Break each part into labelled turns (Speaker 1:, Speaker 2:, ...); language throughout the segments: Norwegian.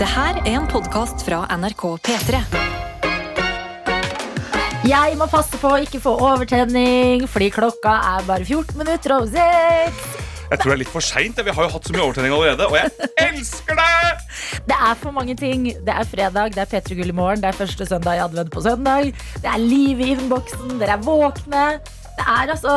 Speaker 1: Det her er en podkast fra NRK P3.
Speaker 2: Jeg må passe på å ikke få overtenning, fordi klokka er bare 14 minutter over seks.
Speaker 3: Jeg tror det er litt for seint. Vi har jo hatt så mye overtenning allerede. Og jeg elsker det!
Speaker 2: Det er for mange ting. Det er fredag, det er P3 Gull i morgen, det er første søndag i advent på søndag. Det er liv i innboksen, dere er våkne. Det er altså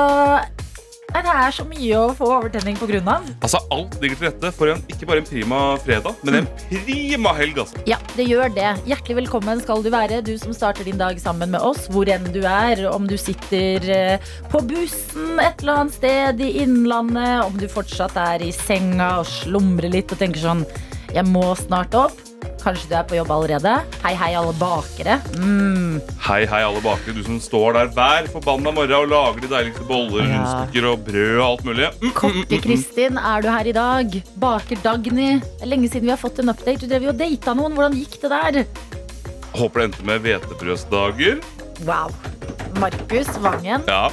Speaker 2: Nei, Det er så mye å få overtenning på grunn av.
Speaker 3: Altså, Alt ligger til rette for en, ikke bare en prima fredag, men en prima helg. altså.
Speaker 2: Ja, det gjør det. Hjertelig velkommen skal du være, du som starter din dag sammen med oss, hvor enn du er. Om du sitter eh, på bussen et eller annet sted i Innlandet, om du fortsatt er i senga og slumrer litt og tenker sånn Jeg må snart opp. Kanskje du er på jobb allerede. Hei, hei, alle bakere. Mm.
Speaker 3: Hei, hei, alle bakere, du som står der hver forbanna morgen og lager de deiligste boller,
Speaker 2: Ja.
Speaker 3: rundstykker og brød og alt mulig. Mm, mm, mm, mm.
Speaker 2: Kokke-Kristin, er du her i dag? Baker Dagny. Det er lenge siden vi har fått en update. Du drev jo og data noen. Hvordan gikk det der?
Speaker 3: Håper det endte med hvetebrødsdager.
Speaker 2: Wow. Markus Vangen,
Speaker 3: Ja,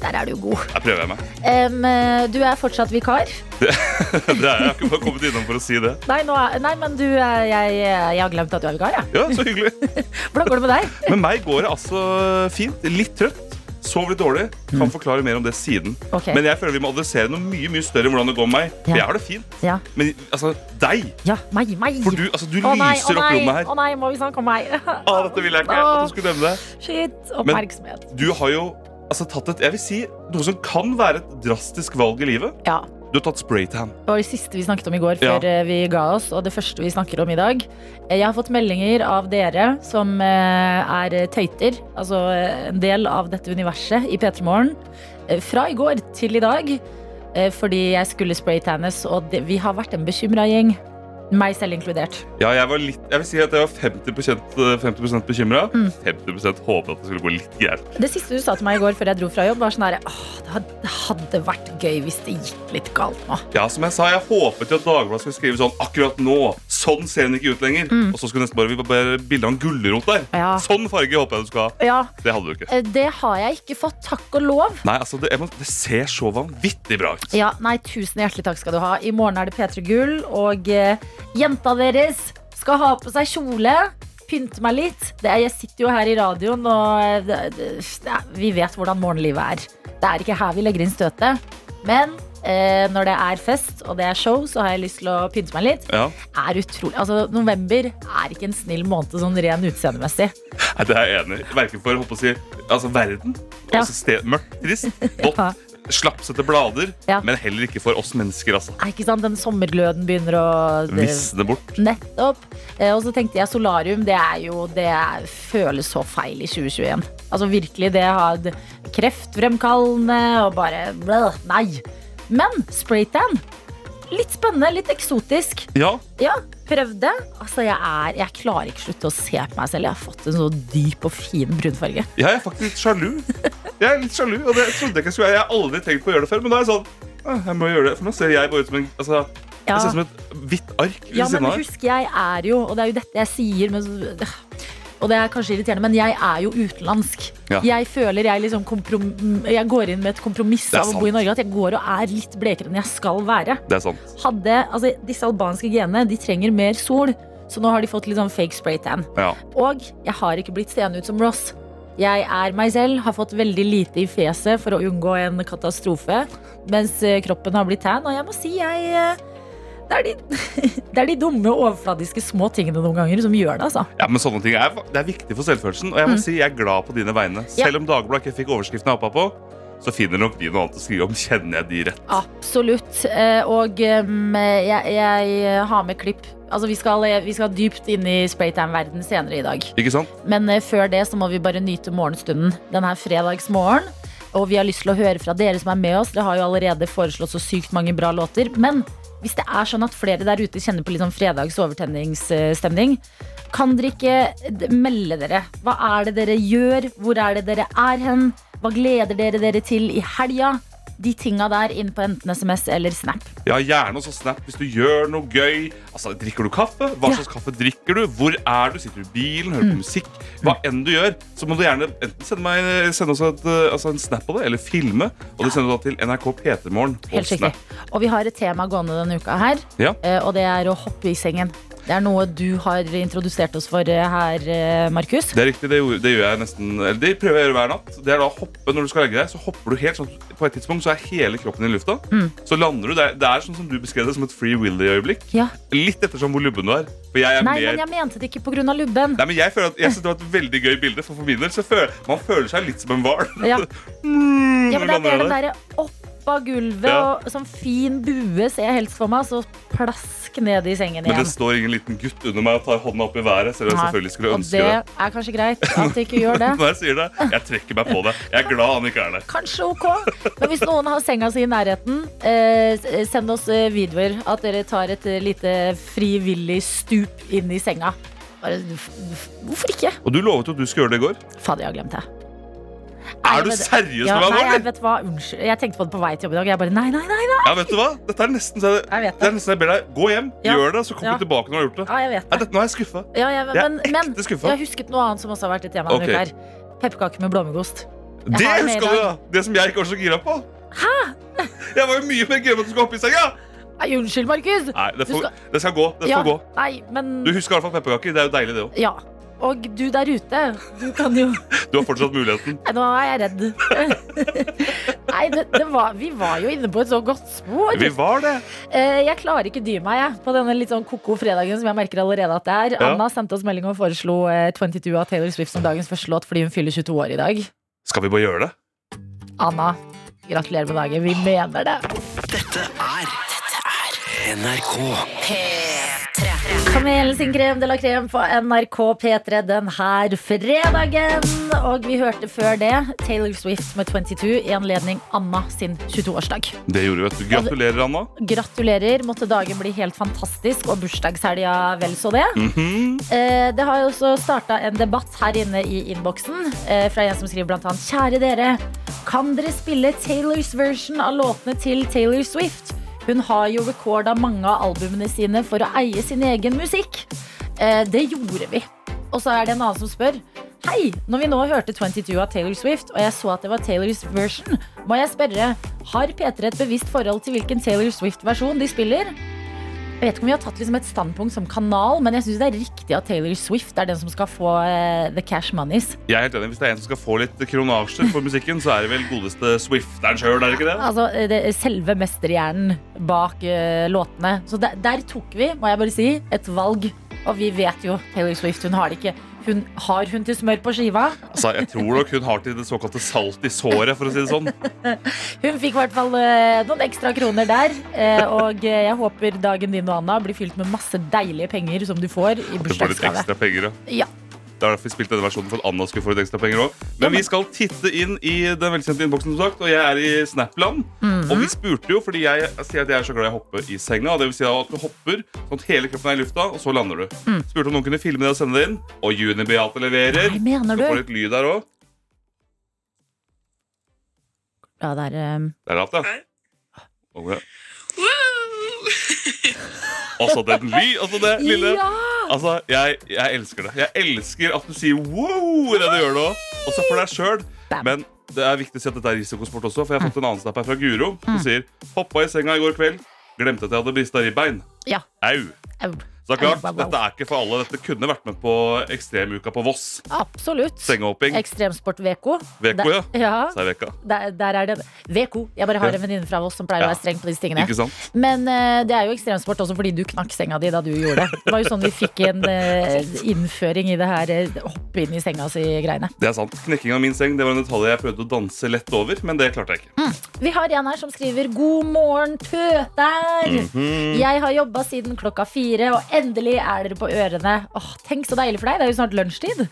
Speaker 2: der er du god.
Speaker 3: der prøver jeg meg.
Speaker 2: Em, eh, du er fortsatt vikar.
Speaker 3: Det er, jeg har ikke bare kommet innom for å si det.
Speaker 2: Nei, nå er, nei men du, eh, jeg, jeg har glemt at du er vikar. jeg.
Speaker 3: Ja, så hyggelig.
Speaker 2: Hvordan går det med deg?
Speaker 3: Med meg går det altså fint. Litt trøtt. Sov litt dårlig.
Speaker 2: Mm.
Speaker 3: Kan forklare mer om det siden.
Speaker 2: Ok.
Speaker 3: Men jeg føler vi må adressere noe mye mye større enn hvordan det går med meg.
Speaker 2: Ja.
Speaker 3: For jeg har det fint.
Speaker 2: Ja,
Speaker 3: Men altså, deg
Speaker 2: ja meg, meg.
Speaker 3: For du, altså, du
Speaker 2: Å nei, å
Speaker 3: lyser opp
Speaker 2: nei,
Speaker 3: rommet her.
Speaker 2: Å nei, må vi snakke om meg?
Speaker 3: Ah, dette ville jeg ikke at du skulle nevne det.
Speaker 2: Shit, oppmerksomhet.
Speaker 3: Du har jo altså, tatt et jeg vil si, noe som kan være et drastisk valg i livet.
Speaker 2: Ja,
Speaker 3: Du har tatt spraytan.
Speaker 2: Det var det siste vi snakket om i går
Speaker 3: Ja.
Speaker 2: før eh, vi ga oss, og det første vi snakker om i dag. Eh, Jeg har fått meldinger av dere som eh, er tøyter, altså eh, en del av dette universet i P3 Morgen, eh, fra i går til i dag, eh, fordi jeg skulle spraytannes, og det, vi har vært en bekymra gjeng. Meg selv inkludert.
Speaker 3: Ja, jeg, var litt, jeg vil si at jeg var eh, 50, 50 bekymra.
Speaker 2: Mm.
Speaker 3: 50 håpet at det skulle gå litt gærent.
Speaker 2: Det siste du sa til meg i går før jeg dro fra jobb, var sånn herre Åh, det had- det hadde vært gøy hvis det gikk litt galt nå.
Speaker 3: Ja, som Jeg sa, jeg håpet jo at Dagbladet skulle skrive sånn akkurat nå. Sånn ser den ikke ut lenger.
Speaker 2: Mm.
Speaker 3: Og så skulle nesten bare vi bare bilde av en gulrot der.
Speaker 2: Ja.
Speaker 3: Sånn farge håper jeg du skal ha.
Speaker 2: ja.
Speaker 3: Det hadde du ikke.
Speaker 2: eh, Det har jeg ikke fått, takk og lov.
Speaker 3: Nei, altså, Det, jeg må, det ser så vanvittig bra ut.
Speaker 2: Ja, nei, tusen hjertelig takk skal du ha. I morgen er det P3 Gull, og eh, jenta deres skal ha på seg kjole. Pynte meg litt. Det er, jeg sitter jo her i radioen, og eh, det, det, det, er- vi vet hvordan morgenlivet er. Det er ikke her vi legger inn støtet. Men eh, når det er fest og det er show, så har jeg lyst til å pynte meg litt.
Speaker 3: Ja,
Speaker 2: Er utrolig, altså November er ikke en snill måned sånn ren utseendemessig.
Speaker 3: Nei, Det er jeg enig i. Verken for holdt på å si, altså, verden,
Speaker 2: Ja.
Speaker 3: altså, sted, mørkt, trist, blått,
Speaker 2: Ja.
Speaker 3: slapsete blader,
Speaker 2: Ja.
Speaker 3: men heller ikke for oss mennesker. altså.
Speaker 2: Er ikke sant, Den sommergløden begynner å
Speaker 3: Visne bort.
Speaker 2: Nettopp. Eh, Og så tenkte jeg solarium, det er jo Det er- føles så feil i 2021. Altså virkelig, det har d- kreftfremkallende og bare bleh, Nei. Men spraytan. Litt spennende, litt eksotisk.
Speaker 3: Ja,
Speaker 2: Ja, prøv det. Altså, jeg, er, jeg klarer ikke slutte å se på meg selv. Jeg har fått en så dyp og fin brunfarge.
Speaker 3: jeg er faktisk litt sjalu. Jeg er litt sjalu, og det trodde jeg ikke jeg skulle være. Jeg har aldri tenkt på å gjøre det før, men da er jeg sånn «Åh, jeg må gjøre det, for nå ser jeg bare ut som en, altså,
Speaker 2: Ja.
Speaker 3: jeg ser ut som et hvitt ark ved
Speaker 2: Ja,
Speaker 3: siden
Speaker 2: men
Speaker 3: av. her.
Speaker 2: husk, jeg er jo, og det er jo dette jeg sier, men, øh, og det er kanskje irriterende, men jeg er jo utenlandsk.
Speaker 3: Ja.
Speaker 2: Jeg føler jeg liksom komprom, jeg går inn med et kompromiss
Speaker 3: Det er
Speaker 2: av å bo i
Speaker 3: sant.
Speaker 2: Norge, at jeg går og er litt blekere enn jeg skal være.
Speaker 3: Det er sant.
Speaker 2: Hadde, altså, disse albanske genene, de trenger mer sol, så nå har de fått litt sånn fake spray tan.
Speaker 3: Ja.
Speaker 2: Og jeg har ikke blitt seende ut som Ross. Jeg er meg selv, har fått veldig lite i fjeset for å unngå en katastrofe, mens eh, kroppen har blitt tan, og jeg må si jeg eh, det er, de, det er de dumme, overfladiske små tingene noen ganger som gjør det, altså.
Speaker 3: ja, men sånne ting er, det er viktig for selvfølelsen, og jeg må si jeg er glad på dine vegne.
Speaker 2: Mm. Ja.
Speaker 3: Selv om Dagbladet ikke fikk overskriften jeg hoppa på, så finner nok de noe annet å skrive om. Kjenner jeg de rett?
Speaker 2: Absolutt. eh, Og em, jeg, jeg har med klipp. Altså, vi skal, vi skal dypt inn i spraytime-verden senere i dag.
Speaker 3: Ikke sant?
Speaker 2: Men eh, før det så må vi bare nyte morgenstunden denne fredagsmorgen. Og vi har lyst til å høre fra dere som er med oss. Det har jo allerede foreslått så sykt mange bra låter. Men hvis det er sånn at flere der ute kjenner på litt sånn fredags overtenningsstemning, kan dere ikke d- melde dere? Hva er det dere gjør? Hvor er det dere er hen? Hva gleder dere dere til i helga? De tinga der inn på enten SMS eller Snap.
Speaker 3: Ja, gjerne også snap hvis du gjør noe gøy. Altså, Drikker du kaffe?
Speaker 2: Ja.
Speaker 3: Hva
Speaker 2: Mm.
Speaker 3: slags kaffe drikker du? Hvor er du? Sitter du i bilen? Hører på musikk? Hva enn du gjør, så må du gjerne enten sende, meg, sende oss et, eh, altså en snap av det, eller filme. Og det sender du da til NRK P3morgen. på
Speaker 2: Helt riktig.
Speaker 3: Snap.
Speaker 2: Og vi har et tema gående denne uka her,
Speaker 3: Ja.
Speaker 2: eh, og det er å hoppe i sengen. Det er noe du har introdusert oss for eh, her, eh, Markus.
Speaker 3: Det er riktig, det, gjorde, det gjør jeg nesten Eller det prøver jeg å gjøre hver natt. Det er da å hoppe når du skal legge deg. Så hopper du helt sånn På et tidspunkt så er hele kroppen din i lufta.
Speaker 2: Mm.
Speaker 3: Så lander du der. Det er sånn som du beskrev det, som et free willy-øyeblikk.
Speaker 2: Ja.
Speaker 3: Litt ettersom hvor lubben du er. For jeg er
Speaker 2: Nei,
Speaker 3: mer
Speaker 2: men jeg mente det ikke pga. lubben.
Speaker 3: Nei, men jeg føler at Jeg synes det var et veldig gøy bilde, for for min del så føler man føler seg litt som en hval.
Speaker 2: Ja.
Speaker 3: Mm,
Speaker 2: Ja, men det
Speaker 3: når
Speaker 2: er mer
Speaker 3: du lander
Speaker 2: den
Speaker 3: der.
Speaker 2: derre opp av gulvet
Speaker 3: Ja.
Speaker 2: og sånn fin bue ser jeg helst for meg, og så plask ned i sengen
Speaker 3: Men det
Speaker 2: igjen.
Speaker 3: står ingen liten gutt under meg og tar hånda opp i været. Selv om jeg
Speaker 2: Nei,
Speaker 3: selvfølgelig skulle
Speaker 2: og
Speaker 3: ønske
Speaker 2: det
Speaker 3: det.
Speaker 2: er kanskje greit at det ikke gjør det.
Speaker 3: Når jeg sier det, jeg trekker meg på det. Jeg er glad han ikke er der.
Speaker 2: Kanskje ok. Men hvis noen har senga si i nærheten, eh, s- send oss eh, videoer. At dere tar et eh, lite frivillig stup inn i senga. Bare, f- f- hvorfor ikke?
Speaker 3: Og du lovet jo at du skulle gjøre det i går.
Speaker 2: Fader, jeg har glemt det. Nei,
Speaker 3: Er du
Speaker 2: men-
Speaker 3: seriøs
Speaker 2: Ja,
Speaker 3: med meg
Speaker 2: nei,
Speaker 3: nå?
Speaker 2: jeg
Speaker 3: eller?
Speaker 2: vet hva, unnskyld. Jeg tenkte på det på vei til jobb i dag. Jeg bare, nei, nei, nei. nei.
Speaker 3: Ja, vet du hva? Dette er nesten så jeg,
Speaker 2: Jeg vet det.
Speaker 3: det er nesten jeg ber deg gå hjem,
Speaker 2: Ja.
Speaker 3: gjør det, så kommer
Speaker 2: Ja.
Speaker 3: du tilbake når du har gjort det.
Speaker 2: Ja, jeg vet
Speaker 3: Nei,
Speaker 2: det.
Speaker 3: dette, nå er jeg skuffa.
Speaker 2: Ja, jeg,
Speaker 3: Jeg er
Speaker 2: men, men
Speaker 3: ekte
Speaker 2: jeg
Speaker 3: skuffa.
Speaker 2: har husket noe annet som også har vært et tema denne
Speaker 3: Ok.
Speaker 2: uka her. Pepperkaker med blåmuggost. Jeg
Speaker 3: Det
Speaker 2: har med i
Speaker 3: huska du, da! Det som jeg ikke var så gira på. Hæ? Jeg var jo mye mer gira på at du skulle hoppe i senga!
Speaker 2: Nei, unnskyld, Markus.
Speaker 3: Nei, det,
Speaker 2: Du
Speaker 3: får,
Speaker 2: skal-
Speaker 3: det skal gå. Det
Speaker 2: Ja,
Speaker 3: skal gå.
Speaker 2: nei, men
Speaker 3: Du husker i hvert fall pepperkaker. Det er jo deilig, det òg.
Speaker 2: Ja. Og du der ute, du kan jo
Speaker 3: Du har fortsatt muligheten.
Speaker 2: Nei, nå er jeg redd. Nei, det, det var, vi var jo inne på et så godt spor.
Speaker 3: Vi var det.
Speaker 2: Eh, Jeg klarer ikke dy meg jeg, på denne litt sånn ko-ko fredagen som jeg merker allerede at det er.
Speaker 3: Ja.
Speaker 2: Anna sendte oss melding og foreslo eh, 22 av Taylor Swift som dagens første låt fordi hun fyller 22 år i dag.
Speaker 3: Skal vi bare gjøre det?
Speaker 2: Anna, gratulerer med dagen. Vi mener det.
Speaker 4: NRK.
Speaker 2: Kamelen sin krem de la krem på NRK P3 den her fredagen. Og vi hørte før det Taylor Swift med 22 i anledning Anna sin 22-årsdag.
Speaker 3: Det gjorde vi, vet du. Gratulerer, Anna.
Speaker 2: Gratulerer. Måtte dagen bli helt fantastisk, og bursdagshelga vel så det.
Speaker 3: Mhm.
Speaker 2: Eh, Det har jo også starta en debatt her inne i innboksen eh, fra en som skriver blant annet Kjære dere, kan dere spille Taylors version av låtene til Taylor Swift? Hun har jo recorda mange av albumene sine for å eie sin egen musikk. Eh, Det gjorde vi. Og så er det en annen som spør. Hei, når vi nå hørte 22 av Taylor Swift, og jeg så at det var Taylors version, må jeg spørre, har P3 et bevisst forhold til hvilken Taylor Swift-versjon de spiller? Jeg vet ikke om vi har tatt liksom et standpunkt som kanal, men jeg syns det er riktig at Taylor Swift er den som skal få eh, the cash monies.
Speaker 3: Jeg er helt enig, Hvis det er en som skal få litt kronasjer for musikken, så er det vel godeste Swifteren sjøl, er det ikke det?
Speaker 2: Altså eh, det, selve mesterhjernen bak eh, låtene. Så der, der tok vi, må jeg bare si, et valg. Og vi vet jo Taylor Swift, hun har det ikke. Hun, har hun til smør på skiva?
Speaker 3: Altså, jeg tror nok hun har til det såkalte salt i såret, for å si det sånn.
Speaker 2: Hun fikk i hvert fall eh, noen ekstra kroner der. eh, og eh, jeg håper dagen din og Anna blir fylt med masse deilige penger som du får i
Speaker 3: Du får litt
Speaker 2: bursdagsgave.
Speaker 3: ekstra penger, ja.
Speaker 2: Ja.
Speaker 3: Det er derfor vi spilte denne versjonen for at Anna skulle få litt ekstra penger også.
Speaker 2: Ja,
Speaker 3: Men
Speaker 2: men-
Speaker 3: vi skal titte inn i den velkjente innboksen, som sagt. Og jeg er i Snapland.
Speaker 2: Mhm.
Speaker 3: Og vi spurte jo, fordi jeg sier at jeg er så glad i å hoppe i senga. og Det vil si at du hopper sånn at hele kroppen er i lufta, og så lander du.
Speaker 2: Mm.
Speaker 3: Spurte om noen kunne filme det og sende det inn. Og Juni Beate leverer.
Speaker 2: Nei, mener
Speaker 3: Du
Speaker 2: du?
Speaker 3: får litt lyd der òg.
Speaker 2: Ja, det er eh,
Speaker 3: Det er rart, ja. Og det- Altså, den ly, altså det lille
Speaker 2: Ja!
Speaker 3: Altså, jeg, jeg elsker det. Jeg elsker at du sier wow i det du gjør nå. Også for deg sjøl.
Speaker 2: Bam. Mm.
Speaker 3: Men det er viktig å si at dette er risikosport også, for jeg har fått en annen snap her fra Guro som sier hoppa i senga i går kveld, glemte at jeg hadde brista ribbein.
Speaker 2: ja.
Speaker 3: Au.
Speaker 2: Au.
Speaker 3: Så det er klart,
Speaker 2: Au, au, au.
Speaker 3: dette er ikke for alle. Dette kunne vært med på ekstremuka på Voss.
Speaker 2: Absolutt.
Speaker 3: Sengehopping.
Speaker 2: Ekstremsport-VK.
Speaker 3: VK,
Speaker 2: Der-
Speaker 3: ja.
Speaker 2: ja.
Speaker 3: Sa jeg veka.
Speaker 2: Der, der er det VK. Jeg bare har
Speaker 3: Ja.
Speaker 2: en venninne fra oss som pleier å
Speaker 3: Ja.
Speaker 2: være streng på disse tingene.
Speaker 3: Ikke sant?
Speaker 2: Men eh, det er jo ekstremsport også fordi du knakk senga di da du gjorde det. Det var jo sånn vi fikk en eh, innføring i det her eh, hoppe inn i senga si-greiene.
Speaker 3: Det er sant. Knekking av min seng det var en detalj jeg prøvde å danse lett over, men det klarte jeg ikke.
Speaker 2: Vi har en her som skriver 'God morgen, pøter'.
Speaker 3: Mhm.
Speaker 2: Jeg har jobba siden klokka fire, og endelig er dere på ørene. Åh, Tenk så deilig for deg. Det er jo snart lunsjtid.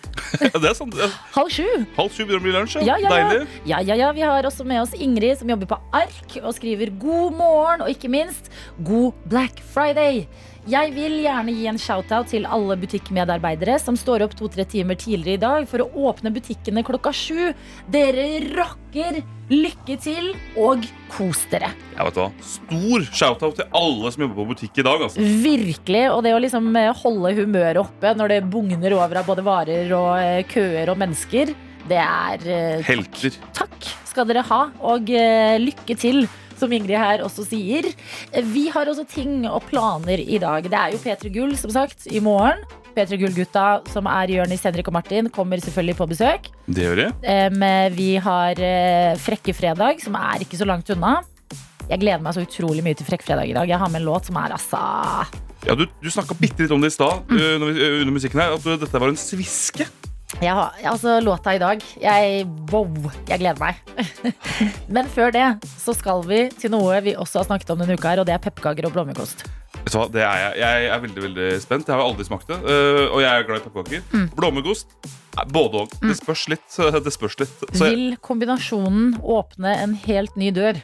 Speaker 3: Det er sant.
Speaker 2: Halv sju.
Speaker 3: Halv sju begynner å bli lunsj.
Speaker 2: Ja, ja, ja.
Speaker 3: Deilig.
Speaker 2: ja, ja, ja. Vi har også med oss Ingrid, som jobber på ark og skriver 'God morgen', og ikke minst 'God Black Friday'. Jeg vil gjerne gi en shout-out til alle butikkmedarbeidere som står opp to-tre timer tidligere i dag for å åpne butikkene klokka sju. Dere rocker! Lykke til, og kos dere.
Speaker 3: Jeg vet hva. Stor shout-out til alle som jobber på butikk i dag. altså.
Speaker 2: Virkelig. Og det å liksom eh, holde humøret oppe når det bugner over av både varer og eh, køer og mennesker, det er eh,
Speaker 3: Helter.
Speaker 2: Takk skal dere ha, og eh, lykke til. som Ingrid her også sier. Vi har også ting og planer i dag. Det er jo P3 Gull, som sagt, i morgen. P3 Gull-gutta, som er Jørnis, Henrik og Martin, kommer selvfølgelig på besøk.
Speaker 3: Det gjør jeg.
Speaker 2: Em, Vi har eh, Frekkefredag, som er ikke så langt unna. Jeg gleder meg så utrolig mye til Frekkfredag i dag. Jeg har med en låt som er altså
Speaker 3: Ja, du du snakka bitte litt om det i stad eh, når vi- eh, under musikken her. At du, dette var en sviske.
Speaker 2: jeg har, Altså, låta i dag jeg, Wow, jeg gleder meg. Men før det så skal vi til noe vi også har snakket om denne uka her, og det er pepperkaker og blåmuggost.
Speaker 3: Vet du hva, det er jeg. Jeg er veldig veldig spent. Jeg har jo aldri smakt det. eh, Og jeg er glad i pepperkaker. Blåmuggost. eh, Både òg. Det spørs litt. eh, Det spørs litt. Så jeg,
Speaker 2: Vil kombinasjonen åpne en helt ny dør?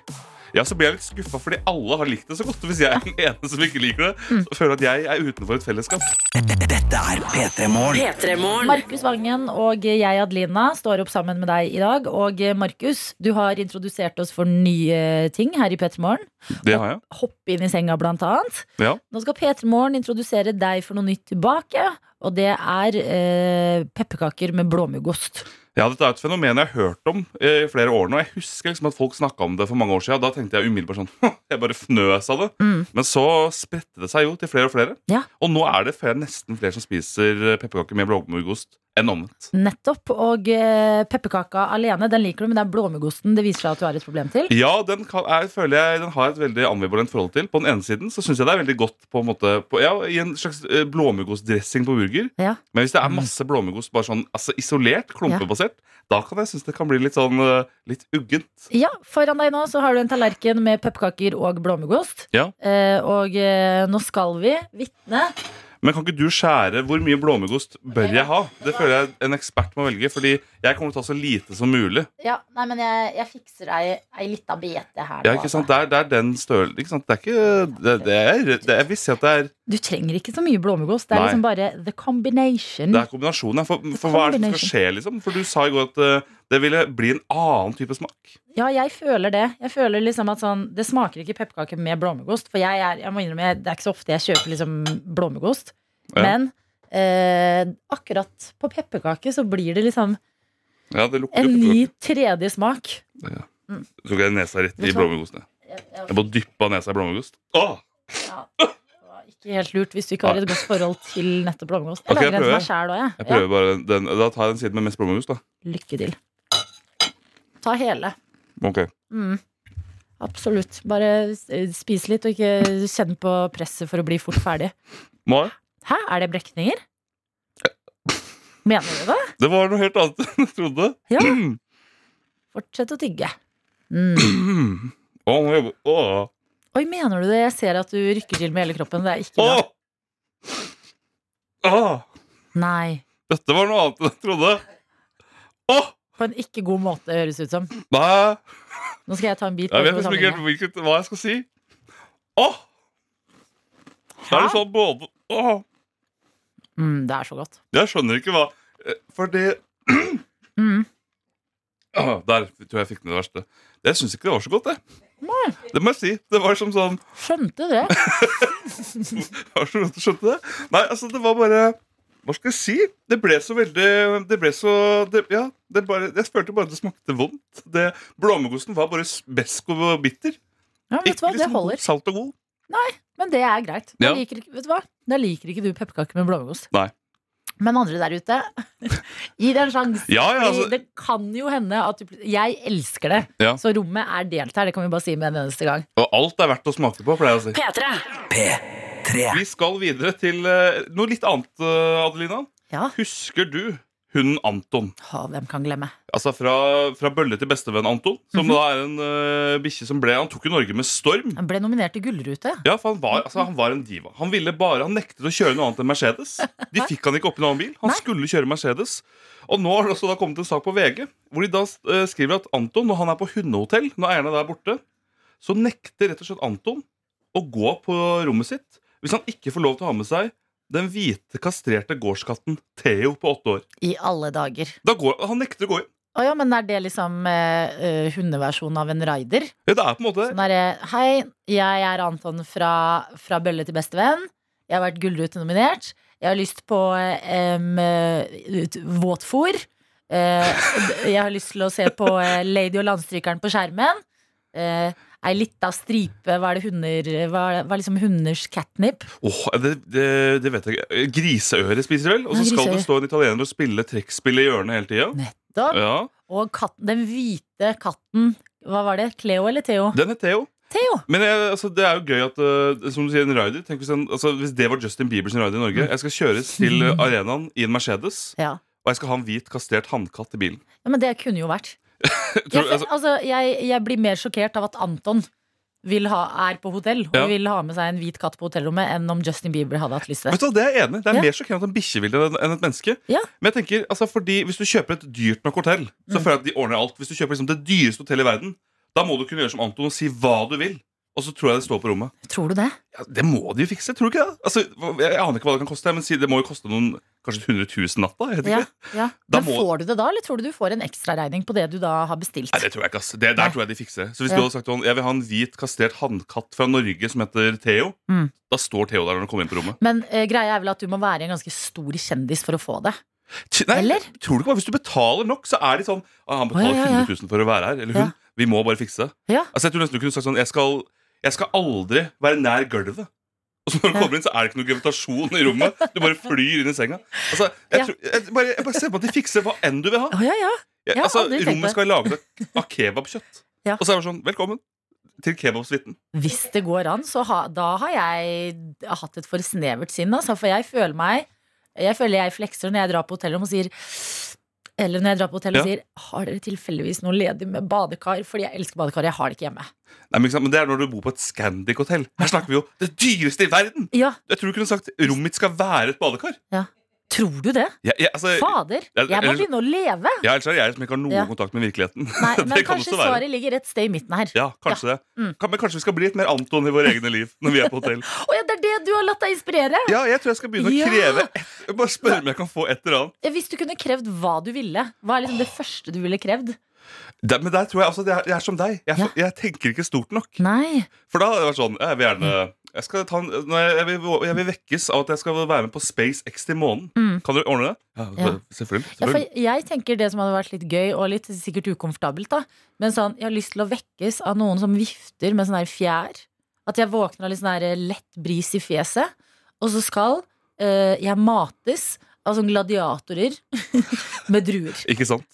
Speaker 3: ja, så blir jeg litt skuffa fordi alle har likt det så godt. Hvis jeg er den ene som ikke liker det, så føler jeg at jeg er utenfor et fellesskap.
Speaker 4: Dette er P3 Morgen.
Speaker 2: Markus Vangen og jeg, Adelina, står opp sammen med deg i dag. Og eh, Markus, du har introdusert oss for nye ting her i P3 Morgen.
Speaker 3: Det har jeg.
Speaker 2: Hoppe inn i senga, blant annet.
Speaker 3: Ja.
Speaker 2: Nå skal P3 Morgen introdusere deg for noe nytt tilbake. Og det er eh, pepperkaker med blåmuggost.
Speaker 3: Ja, dette er et fenomen jeg har hørt om eh, i flere år nå. Jeg husker liksom at folk snakka om det for mange år siden. Da tenkte jeg umiddelbart sånn «Hå, Jeg bare fnøs av det.
Speaker 2: Mm.
Speaker 3: Men så spredte det seg jo til flere og flere.
Speaker 2: Ja.
Speaker 3: Og nå er det flere, nesten flere som spiser eh, pepperkaker med blåmuggost enn omvendt.
Speaker 2: Nettopp. Og eh, pepperkaka alene, den liker du, men det er blåmuggosten det viser seg at du har et problem til.
Speaker 3: Ja, den, kan, jeg, føler jeg, den har jeg et veldig ambivalent forhold til. På den ene siden så syns jeg det er veldig godt på en måte på, ja, i en slags eh, blåmuggostdressing på burger.
Speaker 2: Ja.
Speaker 3: Men hvis det
Speaker 2: Mm.
Speaker 3: er masse blåmuggost bare sånn altså, isolert, klumpebasert, da kan jeg synes det kan bli litt sånn eh, litt uggent.
Speaker 2: Ja, Foran deg nå så har du en tallerken med pepperkaker og blåmuggost.
Speaker 3: Ja.
Speaker 2: Eh, og eh, nå skal vi vitne.
Speaker 3: Men kan ikke du skjære hvor mye blåmuggost bør jeg ha? Det føler jeg en ekspert må velge, fordi jeg kommer til å ta så lite som mulig.
Speaker 2: Ja, nei, men jeg, jeg fikser ei, ei lita bete her.
Speaker 3: Ja,
Speaker 2: nå,
Speaker 3: ikke
Speaker 2: altså.
Speaker 3: sant? Det er, det er den størrelsen. Ikke sant? Det er ikke det, det er, det er, Jeg vil si at det er,
Speaker 2: Du trenger ikke så mye blåmuggost. Det er
Speaker 3: Nei.
Speaker 2: liksom bare the combination.
Speaker 3: det er kombinasjonen. her. For, for hva er det som skal skje, liksom? For du sa i går at eh, det ville bli en annen type smak.
Speaker 2: Ja, jeg føler det. Jeg føler liksom at sånn, Det smaker ikke pepperkake med blåmuggost. For jeg er, jeg må innrømme, jeg- det er ikke så ofte jeg kjøper liksom blåmuggost.
Speaker 3: Ja.
Speaker 2: Men eh, akkurat på pepperkake så blir det liksom
Speaker 3: Ja, det lukter
Speaker 2: en
Speaker 3: jo
Speaker 2: ny
Speaker 3: pepperkake.
Speaker 2: tredje smak.
Speaker 3: Så tok jeg nesa rett i
Speaker 2: Vet du hva?
Speaker 3: blåmuggosten. jeg. Jeg bare dyppa nesa i blåmuggost. Åh!
Speaker 2: Ikke helt lurt hvis du ikke har et godt forhold til nettopp blåmuggost. Jeg
Speaker 3: Ok, jeg
Speaker 2: lager en til meg
Speaker 3: prøver.
Speaker 2: sjæl òg,
Speaker 3: Jeg
Speaker 2: jeg.
Speaker 3: prøver bare den. Da tar jeg den siden med mest blåmuggost, da.
Speaker 2: Ja, lykke til. Ta hele.
Speaker 3: Ok.
Speaker 2: Mm. Absolutt. Bare eh, spis litt, og ikke kjenn på presset for å bli fort ferdig.
Speaker 3: Mai?
Speaker 2: Hæ, er det brekninger? Mener du det?
Speaker 3: Det var noe helt annet enn jeg trodde.
Speaker 2: Ja.
Speaker 3: Mm.
Speaker 2: Fortsett å tygge. Mm.
Speaker 3: Åh, nå jobber- Åh.
Speaker 2: Oi, mener du det? Jeg ser at du rykker til med hele kroppen. Det er ikke bra.
Speaker 3: Åh! Åh!
Speaker 2: Nei.
Speaker 3: Dette var noe annet enn jeg trodde. Åh!
Speaker 2: På en ikke god måte, høres ut som.
Speaker 3: Nei,
Speaker 2: Nå skal jeg ta en bit.
Speaker 3: jeg vet
Speaker 2: på
Speaker 3: liksom ikke helt
Speaker 2: sammenhengen.
Speaker 3: hvilket, hva jeg skal si. Åh! Da er det sånn både Åh!
Speaker 2: mm, det er så godt.
Speaker 3: Jeg skjønner ikke hva eh, For det
Speaker 2: Mm.
Speaker 3: Åh, Der tror jeg jeg fikk med det verste. Jeg syns ikke det var så godt, det. Det må jeg si. Det var som sånn
Speaker 2: Skjønte det.
Speaker 3: Har så godt du skjønte det? Nei, altså, det var bare Hva skal jeg si? Det ble så veldig Det ble så det, Ja, det bare Jeg følte bare at det smakte vondt. Det, blåmuggosten var bare s- besk og bitter.
Speaker 2: Ja, vet du hva? Det
Speaker 3: liksom
Speaker 2: holder.
Speaker 3: Salt og god.
Speaker 2: Men det er greit. Da,
Speaker 3: Ja.
Speaker 2: liker, ikke- vet du hva? da liker ikke du pepperkaker med blåmuggost.
Speaker 3: Nei.
Speaker 2: Men andre der ute, gi det en sjanse.
Speaker 3: Ja, ja,
Speaker 2: Fordi
Speaker 3: altså,
Speaker 2: det kan jo hende at du, pl- Jeg elsker det.
Speaker 3: Ja.
Speaker 2: Så rommet er delt her. Det kan vi bare si med en eneste gang.
Speaker 3: og alt er verdt å smake på, pleier jeg å si.
Speaker 4: P3.
Speaker 3: Vi skal videre til eh, noe litt annet, eh, Adelina.
Speaker 2: Ja.
Speaker 3: Husker du hunden Anton?
Speaker 2: Å, hvem kan glemme?
Speaker 3: Altså fra, fra bølle til bestevenn Anton, som
Speaker 2: Mhm.
Speaker 3: da er en uh, bikkje som ble Han tok jo Norge med storm.
Speaker 2: Han ble nominert til Gullrute.
Speaker 3: Ja, for han var, altså, han var en diva. Han ville bare, han nektet å kjøre noe annet enn Mercedes. De fikk han ikke opp i en annen bil. Han
Speaker 2: Nei.
Speaker 3: skulle kjøre Mercedes. Og nå har det også da kommet en sak på VG, hvor de da eh, skriver at Anton, når han er på hundehotell, når eierne der er borte, så nekter rett og slett Anton å gå på rommet sitt hvis han ikke får lov til å ha med seg den hvite, kastrerte gårdskatten Theo på åtte år.
Speaker 2: I alle dager.
Speaker 3: Da går, han nekter å gå inn.
Speaker 2: Å ja, men er det liksom eh, eh, hundeversjonen av en raider?
Speaker 3: Ja, det er på en måte
Speaker 2: Sånn derre Hei, jeg er Anton fra, fra Bølle til bestevenn. Jeg har vært Gullrute-nominert. Jeg har lyst på um, Eh, våtfòr. Eh, d- jeg har lyst til å se på eh, Lady og landstrykeren på skjermen. eh, ei lita stripe Hva er det hunder Hva er, hva er liksom hunders catnip?
Speaker 3: Åh, det, det, det vet jeg ikke. Griseøre spiser de vel? Og så
Speaker 2: Ja,
Speaker 3: skal
Speaker 2: griseøre.
Speaker 3: det stå en italiener og spille trekkspill i hjørnet hele tida.
Speaker 2: Nettopp.
Speaker 3: Ja.
Speaker 2: Og katten, den hvite katten. Hva var det? Cleo eller Theo?
Speaker 3: Den er Theo.
Speaker 2: Theo!
Speaker 3: Men jeg, altså, det er jo gøy at øh, Som du sier, en rider Tenk hvis, en, altså, hvis det var Justin Biebers rider i Norge Jeg skal kjøres til øh, arenaen i en Mercedes
Speaker 2: Ja.
Speaker 3: Og jeg skal ha en hvit kastrert handkatt i bilen
Speaker 2: ja, men det kunne jo vært.
Speaker 3: Tror,
Speaker 2: jeg,
Speaker 3: altså,
Speaker 2: altså, jeg, jeg blir mer sjokkert av at Anton vil ha, er på hotell og
Speaker 3: Ja.
Speaker 2: vil ha med seg en hvit katt på hotellrommet, enn om Justin Bieber hadde hatt lyst til
Speaker 3: Vet
Speaker 2: det.
Speaker 3: du hva, Det er jeg enig i. Det er
Speaker 2: Ja.
Speaker 3: mer sjokkerende at en bikkje vil det enn- enn et menneske.
Speaker 2: Ja.
Speaker 3: Men jeg tenker, altså fordi Hvis du kjøper et dyrt nok hotell, så
Speaker 2: Mm.
Speaker 3: føler jeg at de ordner alt. Hvis du kjøper liksom det dyreste hotellet i verden, da må du kunne gjøre som Anton og si hva du vil. Og så tror jeg det står på rommet.
Speaker 2: Tror du det?
Speaker 3: Ja, det må de jo fikse, tror du ikke det? Altså, hva- jeg, jeg aner ikke hva det kan koste, men si, det må jo koste noen kanskje 100 000 natta? Jeg vet
Speaker 2: Ja,
Speaker 3: ikke.
Speaker 2: ja.
Speaker 3: Da
Speaker 2: Men
Speaker 3: må-
Speaker 2: får du det da, eller tror du du får en ekstraregning på det du da har bestilt?
Speaker 3: Nei, det tror jeg ikke. ass. Det, der
Speaker 2: Nei.
Speaker 3: tror jeg de fikser det. Så hvis
Speaker 2: Ja.
Speaker 3: du hadde sagt til han, jeg vil ha en hvit kastrert hannkatt fra Norge som heter Theo,
Speaker 2: Mm.
Speaker 3: da står Theo der når han kommer inn på rommet.
Speaker 2: Men eh, greia er vel at du må være en ganske stor kjendis for å få det.
Speaker 3: T- Nei,
Speaker 2: Eller?
Speaker 3: Tror du ikke bare, Hvis du betaler nok, så er de sånn ah, 'Han betaler
Speaker 2: Å, ja, ja, ja.
Speaker 3: 100 000 for å være her.' Eller hun.
Speaker 2: Ja.
Speaker 3: 'Vi må bare fikse det'.
Speaker 2: Ja.
Speaker 3: Altså, jeg tror nesten du kunne sagt sånn 'Jeg skal, jeg skal aldri være nær gulvet'. Og så når du
Speaker 2: Ja.
Speaker 3: kommer inn, så er det ikke noe gravitasjon i rommet. Du bare flyr inn i senga. Altså, jeg,
Speaker 2: Ja.
Speaker 3: tror, jeg, bare, jeg bare ser på at de fikser hva enn du vil ha.
Speaker 2: Å ja, ja.
Speaker 3: Jeg,
Speaker 2: Ja,
Speaker 3: altså,
Speaker 2: aldri tenkt på det.
Speaker 3: Rommet skal være laget av kebabkjøtt.
Speaker 2: Ja.
Speaker 3: Og så er det sånn 'Velkommen til kebabsuiten'.
Speaker 2: Hvis det går an, så ha, da har jeg hatt et for snevert sinn. Altså, for jeg føler meg Jeg føler jeg flekser når jeg drar på hotellrom og sier Eller når jeg drar på hotell og
Speaker 3: Ja.
Speaker 2: sier Har dere tilfeldigvis noe ledig med badekar? Fordi jeg elsker badekar, jeg har det ikke hjemme.
Speaker 3: Nei, men, ikke sant? men Det er når du bor på et Scandic-hotell. Her snakker vi jo det dyreste i verden!
Speaker 2: Ja,
Speaker 3: Jeg tror du kunne sagt 'Rommet mitt skal være et badekar'.
Speaker 2: Tror du det?
Speaker 3: Jeg, jeg, altså,
Speaker 2: Fader!
Speaker 3: Ja,
Speaker 2: Jeg må
Speaker 3: eller-
Speaker 2: begynne å leve!
Speaker 3: Ja, ellers er det jeg som ikke har noen
Speaker 2: Ja.
Speaker 3: kontakt med virkeligheten.
Speaker 2: Nei,
Speaker 3: Det
Speaker 2: men
Speaker 3: kan
Speaker 2: kanskje
Speaker 3: også være.
Speaker 2: svaret ligger et sted i midten her.
Speaker 3: Ja, kanskje det.
Speaker 2: Mm.
Speaker 3: Kan, men kanskje vi skal bli litt mer Anton i våre egne liv når vi er på hotell.
Speaker 2: Å ja, det er det du har latt deg inspirere!
Speaker 3: Ja, jeg tror jeg skal begynne
Speaker 2: Ja.
Speaker 3: å kreve et, Bare spørre om jeg kan få et eller annet.
Speaker 2: Hvis du kunne krevd hva du ville, hva er liksom det første du ville krevd?
Speaker 3: Der, men der tror jeg altså, jeg, er, jeg er som deg. Jeg,
Speaker 2: Ja.
Speaker 3: jeg tenker ikke stort nok.
Speaker 2: Nei.
Speaker 3: For da hadde det vært sånn Jeg vil gjerne jeg, skal ta en, når jeg, jeg, vil, jeg vil vekkes av at jeg skal være med på SpaceX til månen.
Speaker 2: Mm.
Speaker 3: Kan dere ordne det? Ja,
Speaker 2: Ja.
Speaker 3: Selvfølgelig.
Speaker 2: Ja, for
Speaker 3: selvfølgelig.
Speaker 2: jeg tenker det som hadde vært litt gøy og litt sikkert ukomfortabelt, da. Men sånn, jeg har lyst til å vekkes av noen som vifter med sånn her fjær. At jeg våkner av litt sånn her lett bris i fjeset. Og så skal eh, jeg mates av sånne gladiatorer med druer.
Speaker 3: Ikke sant?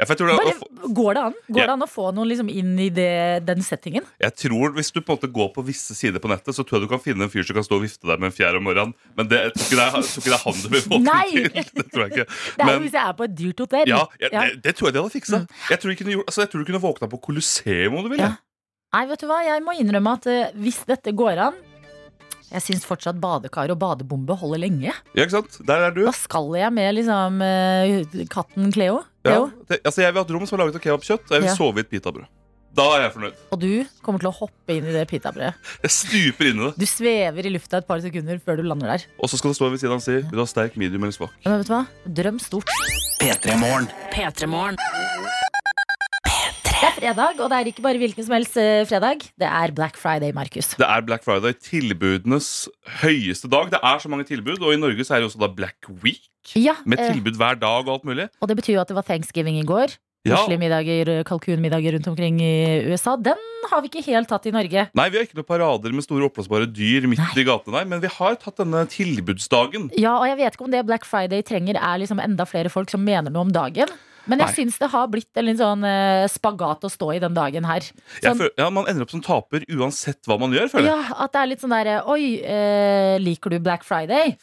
Speaker 3: Ja, for jeg tror det,
Speaker 2: Bare,
Speaker 3: å få-
Speaker 2: går det an? Går
Speaker 3: Ja.
Speaker 2: det an å få noen liksom inn i det, den settingen?
Speaker 3: Jeg tror Hvis du på en måte går på visse sider på nettet, så tror jeg du kan finne en fyr som kan stå og vifte deg med en fjær om morgenen. Men det jeg tror ikke det er, jeg tror ikke det er han du vil få
Speaker 2: Nei!
Speaker 3: til. Det tror jeg ikke.
Speaker 2: Det er jo
Speaker 3: Men-
Speaker 2: hvis jeg er på et dyrt hotell.
Speaker 3: Ja, jeg,
Speaker 2: Ja. Mm.
Speaker 3: Det, det tror jeg de hadde fiksa. Jeg, tror de kunne gjort- altså, jeg tror du kunne våkna på Colosseum om du ville.
Speaker 2: Ja. Nei, vet du hva, jeg må innrømme at eh, hvis dette går an Jeg syns fortsatt badekar og badebombe holder lenge.
Speaker 3: Ja, ikke sant? Der er du.
Speaker 2: Da skal jeg med liksom eh, katten Cleo.
Speaker 3: Ja.
Speaker 2: Cleo.
Speaker 3: Det, altså, jeg vil ha et rom som er laget av kebabkjøtt, og jeg vil
Speaker 2: Ja.
Speaker 3: sove i et pitabrød. Da er jeg fornøyd.
Speaker 2: Og du kommer til å hoppe inn i det pitabrødet.
Speaker 3: Jeg stuper inn i det.
Speaker 2: Du svever i lufta et par sekunder før du lander der.
Speaker 3: Og så skal det stå ved siden av og si Vil du ha sterk, medium eller svak?
Speaker 2: Men vet du hva? Drøm stort.
Speaker 4: P3 Morgen.
Speaker 2: Det er fredag, og det er ikke bare hvilken som helst eh, fredag. Det er Black Friday, Markus.
Speaker 3: Det er Black Friday, tilbudenes høyeste dag. Det er så mange tilbud, og i Norge så er det også da Black Week.
Speaker 2: Ja,
Speaker 3: Med
Speaker 2: eh,
Speaker 3: tilbud hver dag og alt mulig.
Speaker 2: og det betyr jo at det var thanksgiving i går.
Speaker 3: Ja.
Speaker 2: Koselige middager, kalkunmiddager rundt omkring i USA. Den har vi ikke helt tatt i Norge.
Speaker 3: Nei, vi har ikke noen parader med store oppblåsbare dyr midt i gatene, nei, men vi har tatt denne tilbudsdagen.
Speaker 2: Ja, og jeg vet ikke om det Black Friday trenger er liksom enda flere folk som mener noe om dagen. Men jeg
Speaker 3: Nei.
Speaker 2: syns det har blitt en litt sånn eh, spagat å stå i den dagen her.
Speaker 3: Jeg
Speaker 2: Sånn-
Speaker 3: føler, ja, Man ender opp som taper uansett hva man gjør, føler jeg.
Speaker 2: Ja, At det er litt sånn derre Oi, eh, liker du Black Friday?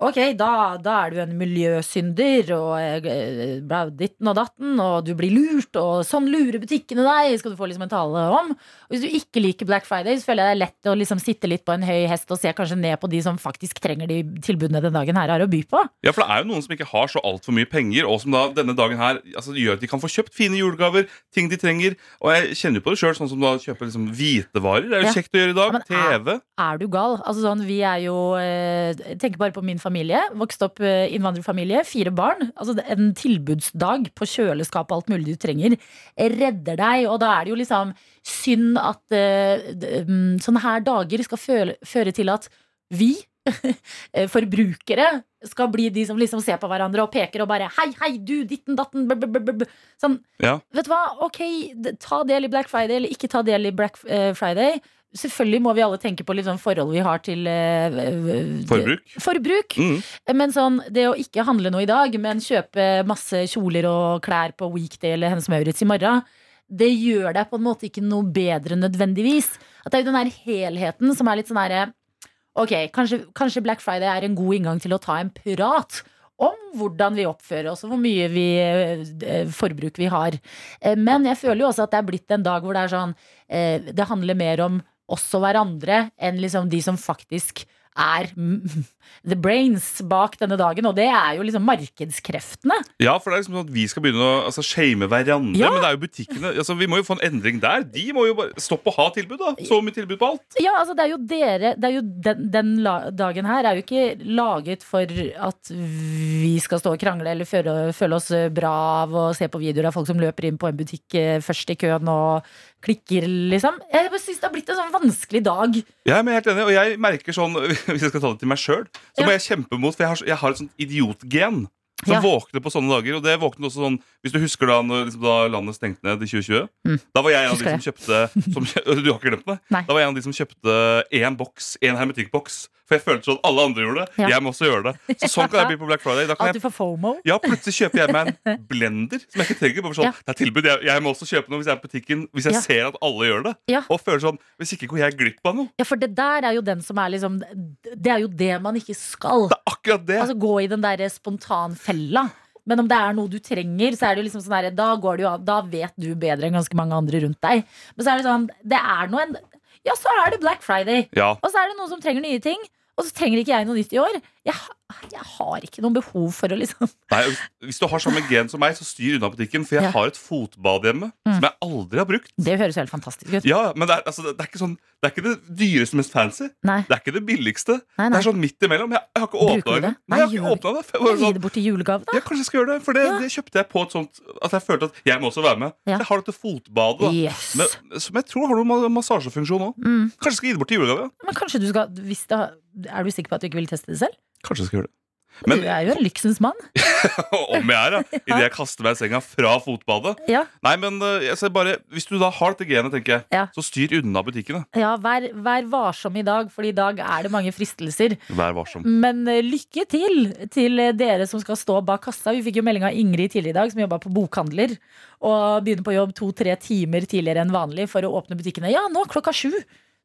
Speaker 2: Ok, da, da er du en miljøsynder og eh, bla, ditten og datten, og du blir lurt, og sånn lurer butikkene deg, skal du få liksom en tale om. Og hvis du ikke liker Black Friday, så føler jeg det er lett å liksom sitte litt på en høy hest og se kanskje ned på de som faktisk trenger de tilbudene den dagen her har å by på.
Speaker 3: Ja, For det er jo noen som ikke har så altfor mye penger, og som da denne dagen her altså, gjør at de kan få kjøpt fine julegaver, ting de trenger. Og jeg kjenner jo på det sjøl, sånn som da kjøper liksom hvitevarer. Det er jo
Speaker 2: Ja.
Speaker 3: kjekt å gjøre i
Speaker 2: Ja,
Speaker 3: dag.
Speaker 2: men
Speaker 3: TV.
Speaker 2: er du gal? Altså sånn, vi er jo eh, Tenk bare på min familie. Vokst opp eh, innvandrerfamilie, fire barn. Altså det- En tilbudsdag på kjøleskap og alt mulig du trenger, redder deg. Og da er det jo liksom synd at eh, d- mm, sånne her dager skal føle, føre til at vi eh, forbrukere skal bli de som liksom ser på hverandre og peker og bare Hei, hei, du, ditten, datten, br, br, br, br. Sånn,
Speaker 3: Ja.
Speaker 2: vet du hva, ok, d- ta del i Black Friday eller ikke ta del i Black eh, Friday. Selvfølgelig må vi alle tenke på litt sånn forhold vi har til eh, v- v-
Speaker 3: Forbruk.
Speaker 2: Forbruk.
Speaker 3: Mm.
Speaker 2: Men sånn, det å ikke handle noe i dag, men kjøpe masse kjoler og klær på weekday eller Hennes Maurits i morgen, det gjør deg på en måte ikke noe bedre nødvendigvis. At det er jo den her helheten som er litt sånn herre Ok, kanskje, kanskje Black Friday er en god inngang til å ta en prat om hvordan vi oppfører oss, og hvor mye vi, eh, forbruk vi har. Eh, Men jeg føler jo også at det er blitt en dag hvor det er sånn eh, Det handler mer om oss og hverandre enn liksom de som faktisk er mm, the brains bak denne dagen, og det er jo liksom markedskreftene.
Speaker 3: Ja, for det er liksom sånn at vi skal begynne å altså, shame hverandre.
Speaker 2: Ja.
Speaker 3: Men det er jo butikkene. Altså, vi må jo få en endring der. De må jo bare stoppe å ha tilbud, da. Så mye tilbud på alt.
Speaker 2: Ja, altså det er jo dere det er jo den, den la- dagen her er jo ikke laget for at vi skal stå og krangle eller føle, føle oss eh, bra av å se på videoer av folk som løper inn på en butikk eh, først i køen og klikker, liksom. Jeg bare synes det har blitt en sånn vanskelig dag.
Speaker 3: Jeg er helt enig, og jeg merker sånn Hvis jeg skal ta det til meg sjøl, så
Speaker 2: Ja.
Speaker 3: må jeg kjempe mot For jeg har, jeg har et sånt idiotgen som
Speaker 2: Ja.
Speaker 3: våkner på sånne dager. Og det våknet også sånn Hvis du husker da når liksom, da landet stengte ned i 2020?
Speaker 2: Mm.
Speaker 3: Da var jeg en av de
Speaker 2: Husker
Speaker 3: som kjøpte som, kjø- Du har ikke glemt det?
Speaker 2: Nei.
Speaker 3: Da var jeg en av de som kjøpte én boks, én hermetikkboks. For jeg følte sånn alle andre gjorde det.
Speaker 2: Ja.
Speaker 3: Jeg må også gjøre det. Så sånn kan jeg bli på Black Friday. Da
Speaker 2: At
Speaker 3: kan jeg
Speaker 2: du får fomo.
Speaker 3: ja, plutselig kjøper jeg meg en blender som jeg ikke trenger. Bare sånn,
Speaker 2: Ja.
Speaker 3: det er tilbud, jeg, jeg må også kjøpe noe hvis jeg er på butikken Hvis jeg
Speaker 2: Ja.
Speaker 3: ser at alle gjør det.
Speaker 2: Ja.
Speaker 3: Og føler sånn Hvis ikke går jeg glipp av noe.
Speaker 2: Ja, for det der er jo den som er liksom Det er jo det man ikke skal.
Speaker 3: Det er akkurat det.
Speaker 2: Altså gå i den der spontanfella. Men om det er noe du trenger, så er det jo liksom sånn der, da, går det jo av, da vet du bedre enn ganske mange andre rundt deg. Men så er det sånn, det er noe en Ja, så er det Black Friday.
Speaker 3: ja.
Speaker 2: Og så er det noen som trenger nye ting. Og så trenger ikke jeg noe nytt i år. Jeg, ha- jeg har ikke noe behov for å liksom
Speaker 3: Nei, hvis, hvis du har samme gen som meg, så styr unna butikken. For jeg
Speaker 2: Ja. Mm.
Speaker 3: har et fotbad hjemme som jeg aldri har brukt.
Speaker 2: Det høres jo helt fantastisk ut.
Speaker 3: Ja, men det er, altså, det er ikke sånn Det er ikke det dyreste, mest fancy.
Speaker 2: Nei,
Speaker 3: Det er ikke det billigste.
Speaker 2: nei,
Speaker 3: Det
Speaker 2: nei.
Speaker 3: er sånn midt imellom. Jeg, jeg har ikke
Speaker 2: Bruker du
Speaker 3: åpna det.
Speaker 2: det?
Speaker 3: Nei, jeg har
Speaker 2: Nei,
Speaker 3: ikke
Speaker 2: gjør
Speaker 3: åpnet det. For jeg
Speaker 2: Gi
Speaker 3: var sånn,
Speaker 2: det bort i julegave, da.
Speaker 3: Ja, kanskje jeg skal gjøre det. For det,
Speaker 2: Ja.
Speaker 3: det kjøpte jeg på et sånt at jeg følte at jeg må også være med.
Speaker 2: Ja.
Speaker 3: Jeg har dette fotbadet. da.
Speaker 2: Yes.
Speaker 3: Men, som jeg tror har noen ma- massasjefunksjon òg.
Speaker 2: Mm.
Speaker 3: Kanskje jeg skal gi det bort i julegave.
Speaker 2: Men kanskje du skal hvis det, har- Er du sikker på at du ikke vil teste det selv?
Speaker 3: Kanskje jeg skal gjøre det.
Speaker 2: du
Speaker 3: Men
Speaker 2: er jo en lyksens mann.
Speaker 3: om jeg er, da. Idet jeg kaster meg i senga fra fotbadet.
Speaker 2: Ja.
Speaker 3: Nei, men eh, jeg ser bare, Hvis du da har dette genet, tenker jeg,
Speaker 2: Ja.
Speaker 3: så styr unna butikkene.
Speaker 2: Ja, vær, vær varsom i dag, for i dag er det mange fristelser.
Speaker 3: Vær varsom.
Speaker 2: Men eh, lykke til til eh, dere som skal stå bak kassa. Vi fikk jo melding av Ingrid tidligere i dag, som jobba på bokhandler. Og begynner på jobb to-tre timer tidligere enn vanlig for å åpne butikkene. Ja, nå klokka sju!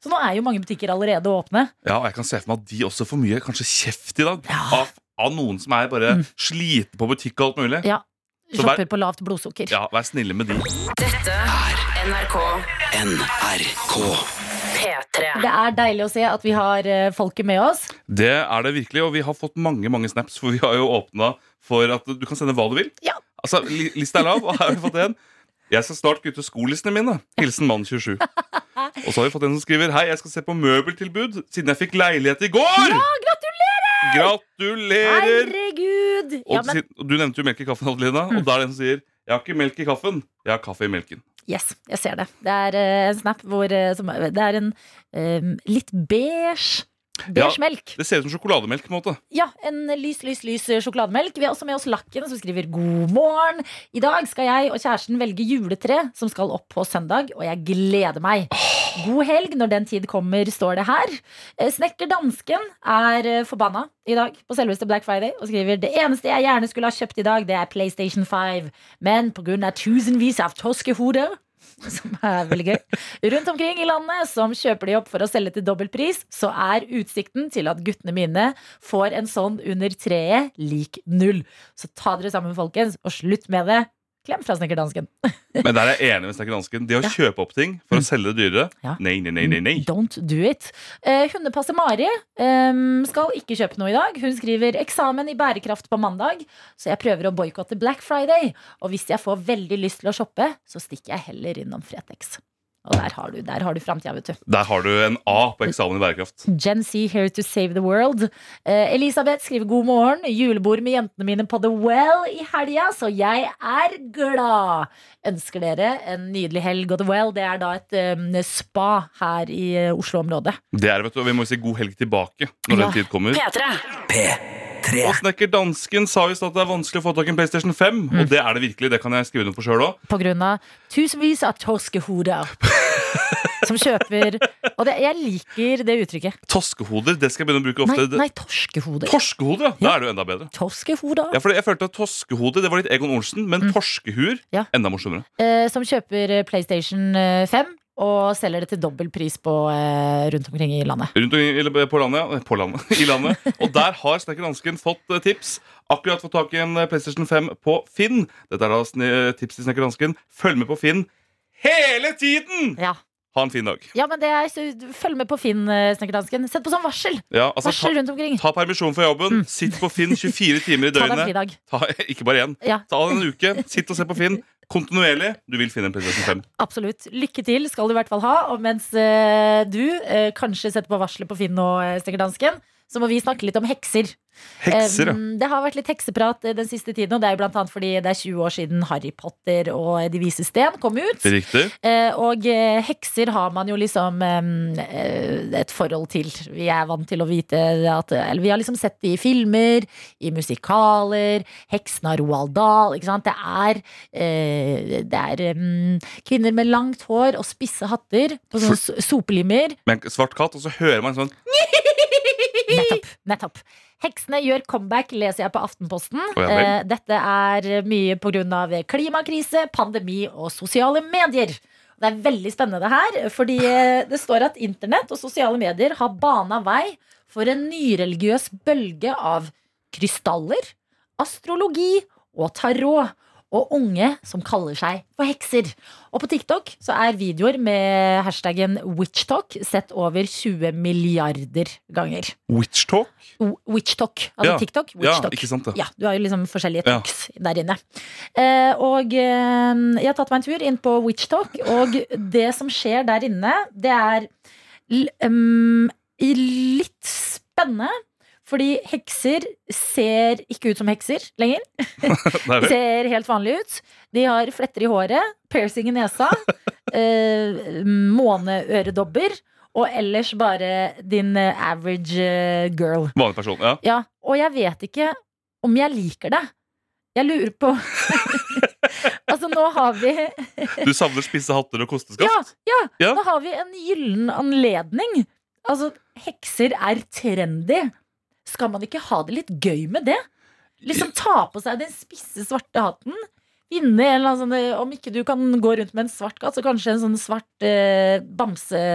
Speaker 2: Så nå er jo mange butikker allerede åpne.
Speaker 3: Ja, og Jeg kan se for meg at de også får mye kanskje kjeft i dag
Speaker 2: Ja. Mm.
Speaker 3: av, av noen som er bare sliten på butikk og alt mulig.
Speaker 2: Ja.
Speaker 3: Så vær-
Speaker 2: Shopper på lavt blodsukker.
Speaker 3: Ja, Vær snille med de.
Speaker 5: NRK
Speaker 4: NRK.
Speaker 5: P3.
Speaker 2: Det er deilig å se at vi har eh, folket med oss.
Speaker 3: Det er det virkelig, og vi har fått mange mange snaps, for vi har jo åpna for at du kan sende hva du vil.
Speaker 2: Ja.
Speaker 3: Altså, li- Lista er lav, og her har vi fått en. Jeg skal snart kutte skolissene mine. Hilsen mann 27. Og så har vi fått en som skriver Hei, jeg skal se på møbeltilbud siden jeg fikk leilighet i går. Ja, gratulerer! Gratulerer!
Speaker 2: Herregud!
Speaker 3: Og
Speaker 2: Ja, men Mm.
Speaker 3: siden- og du nevnte jo melk i kaffen, Adelina, og da er det en som sier Jeg har ikke melk i kaffen, jeg har kaffe i melken.
Speaker 2: Yes, jeg ser det. Det er eh, en snap hvor eh, som, Det er en eh, litt beige Beige
Speaker 3: Ja.
Speaker 2: melk.
Speaker 3: Det ser ut som sjokolademelk. på en måte
Speaker 2: Ja, en lys, lys, lys eh, sjokolademelk. Vi har også med oss Lakken, som skriver 'God morgen'. I dag skal jeg og kjæresten velge juletre, som skal opp på søndag, og jeg gleder meg. God helg når den tid kommer, står det her. Eh, Snekker Dansken er eh, forbanna i dag på selveste Black Friday og skriver det eneste jeg gjerne skulle ha kjøpt i dag, det er PlayStation 5, men pga. tusenvis av toskehoder som er veldig gøy. Rundt omkring i landet som kjøper de opp for å selge til dobbelt pris, så er utsikten til at guttene mine får en sånn under treet lik null. Så ta dere sammen, folkens, og slutt med det. Klem fra snekker dansken.
Speaker 3: Men der er jeg enig med snekker dansken. Det å
Speaker 2: Ja. Mm.
Speaker 3: kjøpe opp ting for å selge det dyrere,
Speaker 2: Ja.
Speaker 3: nei, nei, nei. nei, nei.
Speaker 2: Don't do it. Eh, hundepasser Mari ehm, skal ikke kjøpe noe i dag. Hun skriver eksamen i bærekraft på mandag, så jeg prøver å boikotte Black Friday. Og hvis jeg får veldig lyst til å shoppe, så stikker jeg heller innom Fretex. Og der har du, der har du framtida, vet du.
Speaker 3: Der har du en A på eksamen i bærekraft.
Speaker 2: Gen Z here to save the world. Eh, Elisabeth skriver god morgen. Julebord med jentene mine på The Well i helga, så jeg er glad. Ønsker dere en nydelig helg. Og The Well det er da et eh, spa her i eh, Oslo-området.
Speaker 3: Det er, det, vet du, og Vi må si god helg tilbake når
Speaker 2: Ja.
Speaker 3: den tid kommer.
Speaker 5: P3.
Speaker 3: Og snekker dansken sa visst at det er vanskelig å få tak i en PlayStation 5.
Speaker 2: Mm.
Speaker 3: Og det er det virkelig. Det kan jeg skrive under på sjøl òg.
Speaker 2: På grunn av tusenvis av torskehoder som kjøper Og det, jeg liker det uttrykket.
Speaker 3: Toskehoder det skal jeg begynne å bruke
Speaker 2: Nei,
Speaker 3: ofte.
Speaker 2: nei torskehoder.
Speaker 3: Torskehoder, ja! Da er det jo enda bedre.
Speaker 2: Torskehoder
Speaker 3: Ja, for Jeg følte at Toskehode det var litt Egon Olsen, men torskehuer
Speaker 2: Mm. Ja.
Speaker 3: enda morsommere.
Speaker 2: eh, som kjøper eh, PlayStation eh, 5 og selger det til dobbel pris på eh, rundt omkring i landet.
Speaker 3: Rundt omkring i- på landet, ja. På landet. I landet. Og der har snekker dansken fått eh, tips. Akkurat fått tak i en eh, PlayStation 5 på Finn. Dette er da sne- eh, tips til snekker dansken. Følg med på Finn hele tiden!
Speaker 2: Ja,
Speaker 3: Ha en fin dag.
Speaker 2: ja men det er, så, følg med på Finn, eh, snekkerdansken. Sett på sånn varsel!
Speaker 3: Ja, altså, ta,
Speaker 2: Varsel rundt omkring.
Speaker 3: ta permisjon fra jobben. Sitt på Finn 24 timer i
Speaker 2: Mm. Ta deg en
Speaker 3: døgnet.
Speaker 2: fridag.
Speaker 3: Ta, ikke bare én.
Speaker 2: Ja,
Speaker 3: Ta en uke. Sitt og se på Finn. Kontinuerlig. Du vil finne en PlayStation 5.
Speaker 2: absolutt. Lykke til skal du i hvert fall ha. Og mens eh, du eh, kanskje setter på varselet på Finn og eh, snekkerdansken, så må vi snakke litt om hekser.
Speaker 3: Hekser, ja.
Speaker 2: Um, Det har vært litt hekseprat eh, den siste tiden, og det er jo blant annet fordi det er 20 år siden Harry Potter og eh, De vise sten kom ut.
Speaker 3: Riktig.
Speaker 2: Eh, Og eh, hekser har man jo liksom em, eh, et forhold til. Vi er vant til å vite at Eller vi har liksom sett det i filmer, i musikaler, heksen av Roald Dahl, ikke sant. Det er, eh, det er em, kvinner med langt hår og spisse hatter på sånne so- sopelimmer.
Speaker 3: Med en svart katt, og så hører man sånn
Speaker 2: Nettopp. nettopp Heksene gjør comeback, leser jeg på Aftenposten.
Speaker 3: Å, ja vel.
Speaker 2: Eh, Dette er mye pga. klimakrise, pandemi og sosiale medier. Det er veldig spennende her, fordi eh, det står at internett og sosiale medier har bana vei for en nyreligiøs bølge av krystaller, astrologi og tarot. Og unge som kaller seg for hekser. Og på TikTok så er videoer med hashtaggen witchtalk sett over 20 milliarder ganger.
Speaker 3: Witch talk?
Speaker 2: O- Witchtalk. Altså
Speaker 3: Ja.
Speaker 2: TikTok.
Speaker 3: Ja,
Speaker 2: Witchtalk.
Speaker 3: ikke sant det.
Speaker 2: Ja, du har jo liksom forskjellige
Speaker 3: Ja.
Speaker 2: talks der inne. Eh, og eh, jeg har tatt meg en tur inn på Witchtalk, og det som skjer der inne, det er l- em, i litt spennende. Fordi hekser ser ikke ut som hekser lenger.
Speaker 3: Nei, vel.
Speaker 2: Ser helt vanlige ut. De har fletter i håret, piercing i nesa, eh, måneøredobber, og ellers bare din eh, average eh, girl.
Speaker 3: Vanlig person, ja.
Speaker 2: Ja, og jeg vet ikke om jeg liker det. Jeg lurer på Altså, nå har vi
Speaker 3: Du savner spisse hatter og
Speaker 2: ja,
Speaker 3: kosteskaft?
Speaker 2: ja,
Speaker 3: Ja.
Speaker 2: nå har vi en gyllen anledning. Altså, hekser er trendy. Skal man ikke ha det litt gøy med det? Liksom ta på seg den spisse, svarte hatten. Vinne en eller annen sånn eh, Om ikke du kan gå rundt med en svart katt, så kanskje en sånn svart eh,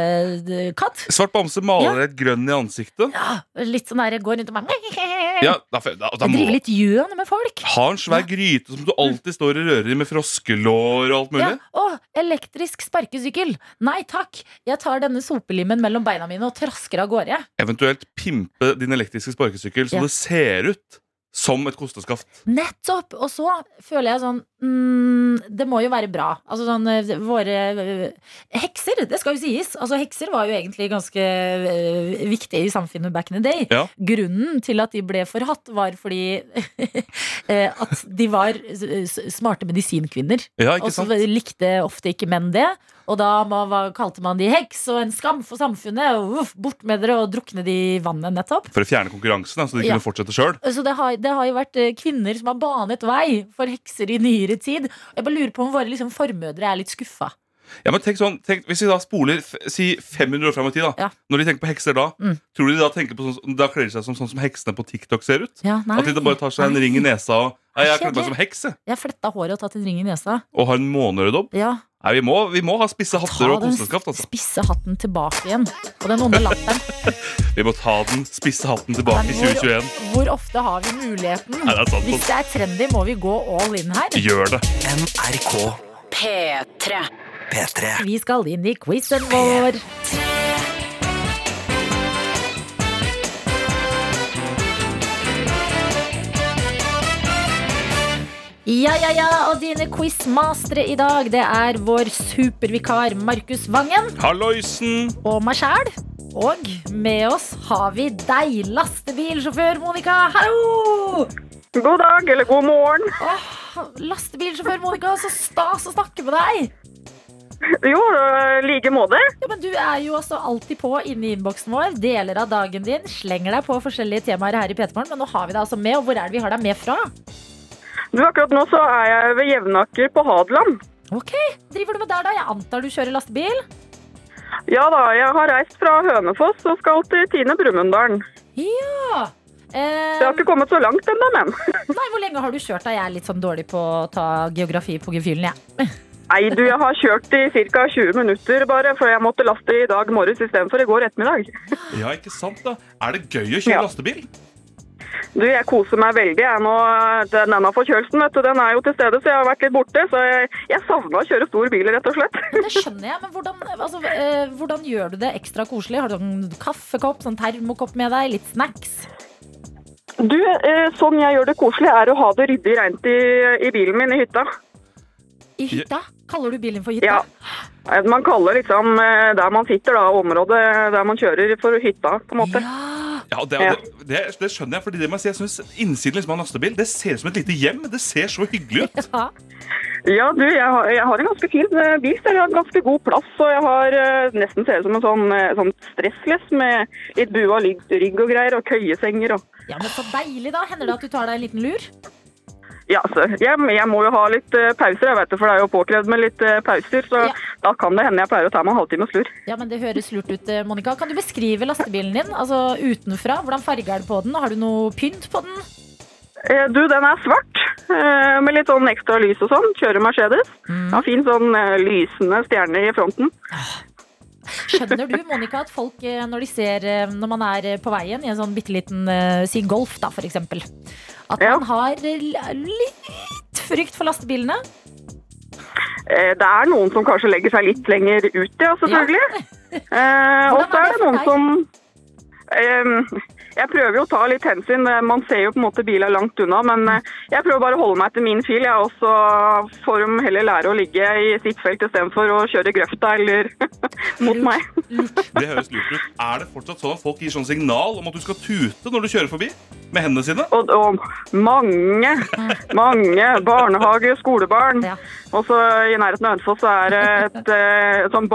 Speaker 2: bamsekatt.
Speaker 3: Svart bamse maler et grønn i ansiktet.
Speaker 2: Ja, litt sånn der gå rundt og bare
Speaker 3: Ja, da, da, da må
Speaker 2: Drive litt gjøn med folk.
Speaker 3: Ha en svær gryte som du alltid står og rører i med froskelår og alt mulig.
Speaker 2: Ja. Å, elektrisk sparkesykkel! Nei takk! Jeg tar denne sopelimmen mellom beina mine og trasker av gårde.
Speaker 3: Eventuelt pimpe din elektriske sparkesykkel så
Speaker 2: Ja.
Speaker 3: det ser ut som et kosteskaft.
Speaker 2: Nettopp! Og så føler jeg sånn mm, Det må jo være bra. Altså sånn eh, våre eh, Hekser, det skal jo sies. Altså Hekser var jo egentlig ganske eh, viktige i samfunnet back in the day.
Speaker 3: Ja.
Speaker 2: Grunnen til at de ble forhatt, var fordi eh, at de var eh, s- smarte medisinkvinner.
Speaker 3: Ja, ikke
Speaker 2: Og så
Speaker 3: sant?
Speaker 2: likte ofte ikke menn det. Og da ma- hva kalte man de heks og en skam for samfunnet. Og uff, bort med dere og drukne de i vannet, nettopp.
Speaker 3: For å fjerne konkurransen, da, så de
Speaker 2: Ja.
Speaker 3: kunne fortsette sjøl.
Speaker 2: Så det har, det har jo vært eh, kvinner som har banet vei for hekser i nyere tid. Og jeg bare lurer på om våre liksom formødre er litt skuffa.
Speaker 3: Ja, men tenk sånn, tenk, hvis vi da spoler f si 500 år fram i tid, da.
Speaker 2: Ja.
Speaker 3: Når de tenker på hekser da,
Speaker 2: Mm.
Speaker 3: tror du de da tenker på sånn, som- da kler de seg som sånn som heksene på TikTok ser ut?
Speaker 2: Ja, nei.
Speaker 3: At de da bare tar seg en ring i nesa og Nei, jeg kledde meg
Speaker 2: Kjedelig.
Speaker 3: som heks, jeg.
Speaker 2: Jeg fletta håret og tatt en ring i nesa.
Speaker 3: Og har en måneøredobb.
Speaker 2: Ja,
Speaker 3: Nei, vi må, vi må ha spisse hatter
Speaker 2: Ta
Speaker 3: og
Speaker 2: den
Speaker 3: koseskaft, altså.
Speaker 2: spisse hatten tilbake igjen. Og den onde latteren.
Speaker 3: Vi må ta den spisse hatten tilbake i 2021.
Speaker 2: Hvor ofte har vi muligheten?
Speaker 3: Nei, det er sant, altså.
Speaker 2: Hvis det er trendy, må vi gå all in her.
Speaker 3: Gjør det.
Speaker 4: NRK
Speaker 5: P3.
Speaker 4: P3
Speaker 2: Vi skal inn i quizen vår. I Ja, ja, ja, og dine quizmastere i dag, det er vår supervikar Markus Vangen
Speaker 3: Halloisen!
Speaker 2: og meg sjæl. Og med oss har vi deg, lastebilsjåfør Monica. Hallo!
Speaker 6: God dag, eller god morgen.
Speaker 2: Lastebilsjåfør Monica, så stas å snakke med deg.
Speaker 6: Jo, øh, like måte.
Speaker 2: Ja, men Du er jo også alltid på inne i innboksen vår. Deler av dagen din. Slenger deg på forskjellige temaer her i P3morgen. Men nå har vi deg altså med, og hvor er det vi har deg med fra?
Speaker 6: Du, akkurat nå så er jeg ved Jevnaker på Hadeland.
Speaker 2: Ok, Driver du med der, da? Jeg antar du kjører lastebil?
Speaker 6: Ja da, jeg har reist fra Hønefoss og skal til Tine Brumunddalen.
Speaker 2: Ja.
Speaker 6: Jeg har
Speaker 2: Eh,
Speaker 6: ikke kommet så langt ennå, men.
Speaker 2: Nei, Hvor lenge har du kjørt? da? Jeg er litt sånn dårlig på å ta geografi på gefühlen. jeg.
Speaker 6: Nei, du, jeg har kjørt i ca. 20 minutter bare, for jeg måtte laste i dag morges istedenfor i går ettermiddag.
Speaker 3: Ja, ikke sant da? Er det gøy å kjøre
Speaker 6: Ja.
Speaker 3: lastebil?
Speaker 6: Du, jeg koser meg veldig. Jeg nå, eh, den, denne forkjølelsen, vet du, den er jo til stede, så jeg har vært litt borte. Så jeg, jeg savna å kjøre stor bil, rett og slett.
Speaker 2: Men Det skjønner jeg, men hvordan, altså, eh, hvordan gjør du det ekstra koselig? Har du sånn kaffekopp, sånn termokopp med deg, litt snacks?
Speaker 6: Du, eh, sånn jeg gjør det koselig, er å ha det ryddig reint i, i bilen min i hytta.
Speaker 2: I hytta? Kaller du bilen for hytta?
Speaker 6: Ja. Man kaller liksom eh, der man sitter, da, området der man kjører for hytta, på en måte.
Speaker 2: Ja.
Speaker 3: Ja, det,
Speaker 6: Ja.
Speaker 3: det, det, det skjønner jeg, fordi det må jeg si, jeg synes innsiden liksom av en lastebil, det ser ut som et lite hjem. Det ser så hyggelig ut.
Speaker 2: Ja.
Speaker 6: Ja, du, jeg har, jeg har en ganske fin eh, bil, så jeg har ganske god plass. Og jeg har eh, nesten ser ut som en sånn, eh, sånn stressless med litt bua rygg, rygg og greier, og køyesenger og
Speaker 2: ja, men Så deilig, da. Hender det at du tar deg en liten lur?
Speaker 6: Ja, så jeg, jeg må jo ha litt eh, pauser, jeg vet det, for det er jo påkrevd med litt eh, pauser. Så
Speaker 2: Ja.
Speaker 6: da kan det hende jeg pleier å ta meg en halvtime slur.
Speaker 2: Ja, men Det høres lurt ut, eh, Monica. Kan du beskrive lastebilen din altså utenfra? Hvordan farge er det på den? Har du noe pynt på den?
Speaker 6: Eh, Du, den er svart, eh, med litt sånn ekstra lys og sånn. Kjører Mercedes.
Speaker 2: Mm.
Speaker 6: Den Har fin sånn eh, lysende stjerne i fronten.
Speaker 2: Skjønner du Monica, at folk eh, når de ser eh, Når man er eh, på veien i en sånn bitte liten Si Golf, da, for eksempel. At
Speaker 6: Ja.
Speaker 2: man har eh, l- litt frykt for lastebilene.
Speaker 6: Eh, Det er noen som kanskje legger seg litt lenger ut, ja, selvfølgelig. Eh, og
Speaker 2: Hvordan er
Speaker 6: så er
Speaker 2: det
Speaker 6: det
Speaker 2: for
Speaker 6: noen
Speaker 2: deg?
Speaker 6: som eh, Jeg prøver jo å ta litt hensyn. Eh, Man ser jo på en måte biler langt unna, men eh, jeg prøver bare å holde meg til min fil, jeg. Og så får de heller lære å ligge i sitt felt istedenfor å kjøre i grøfta eller mot meg.
Speaker 3: Det høres lurt ut. Er det fortsatt sånn at folk gir sånn signal om at du skal tute når du kjører forbi? Med hendene sine?
Speaker 6: Og, og mange, mange barnehage- og skolebarn.
Speaker 2: Ja.
Speaker 6: Og så i nærheten av Hønefoss så er det et eh, sånn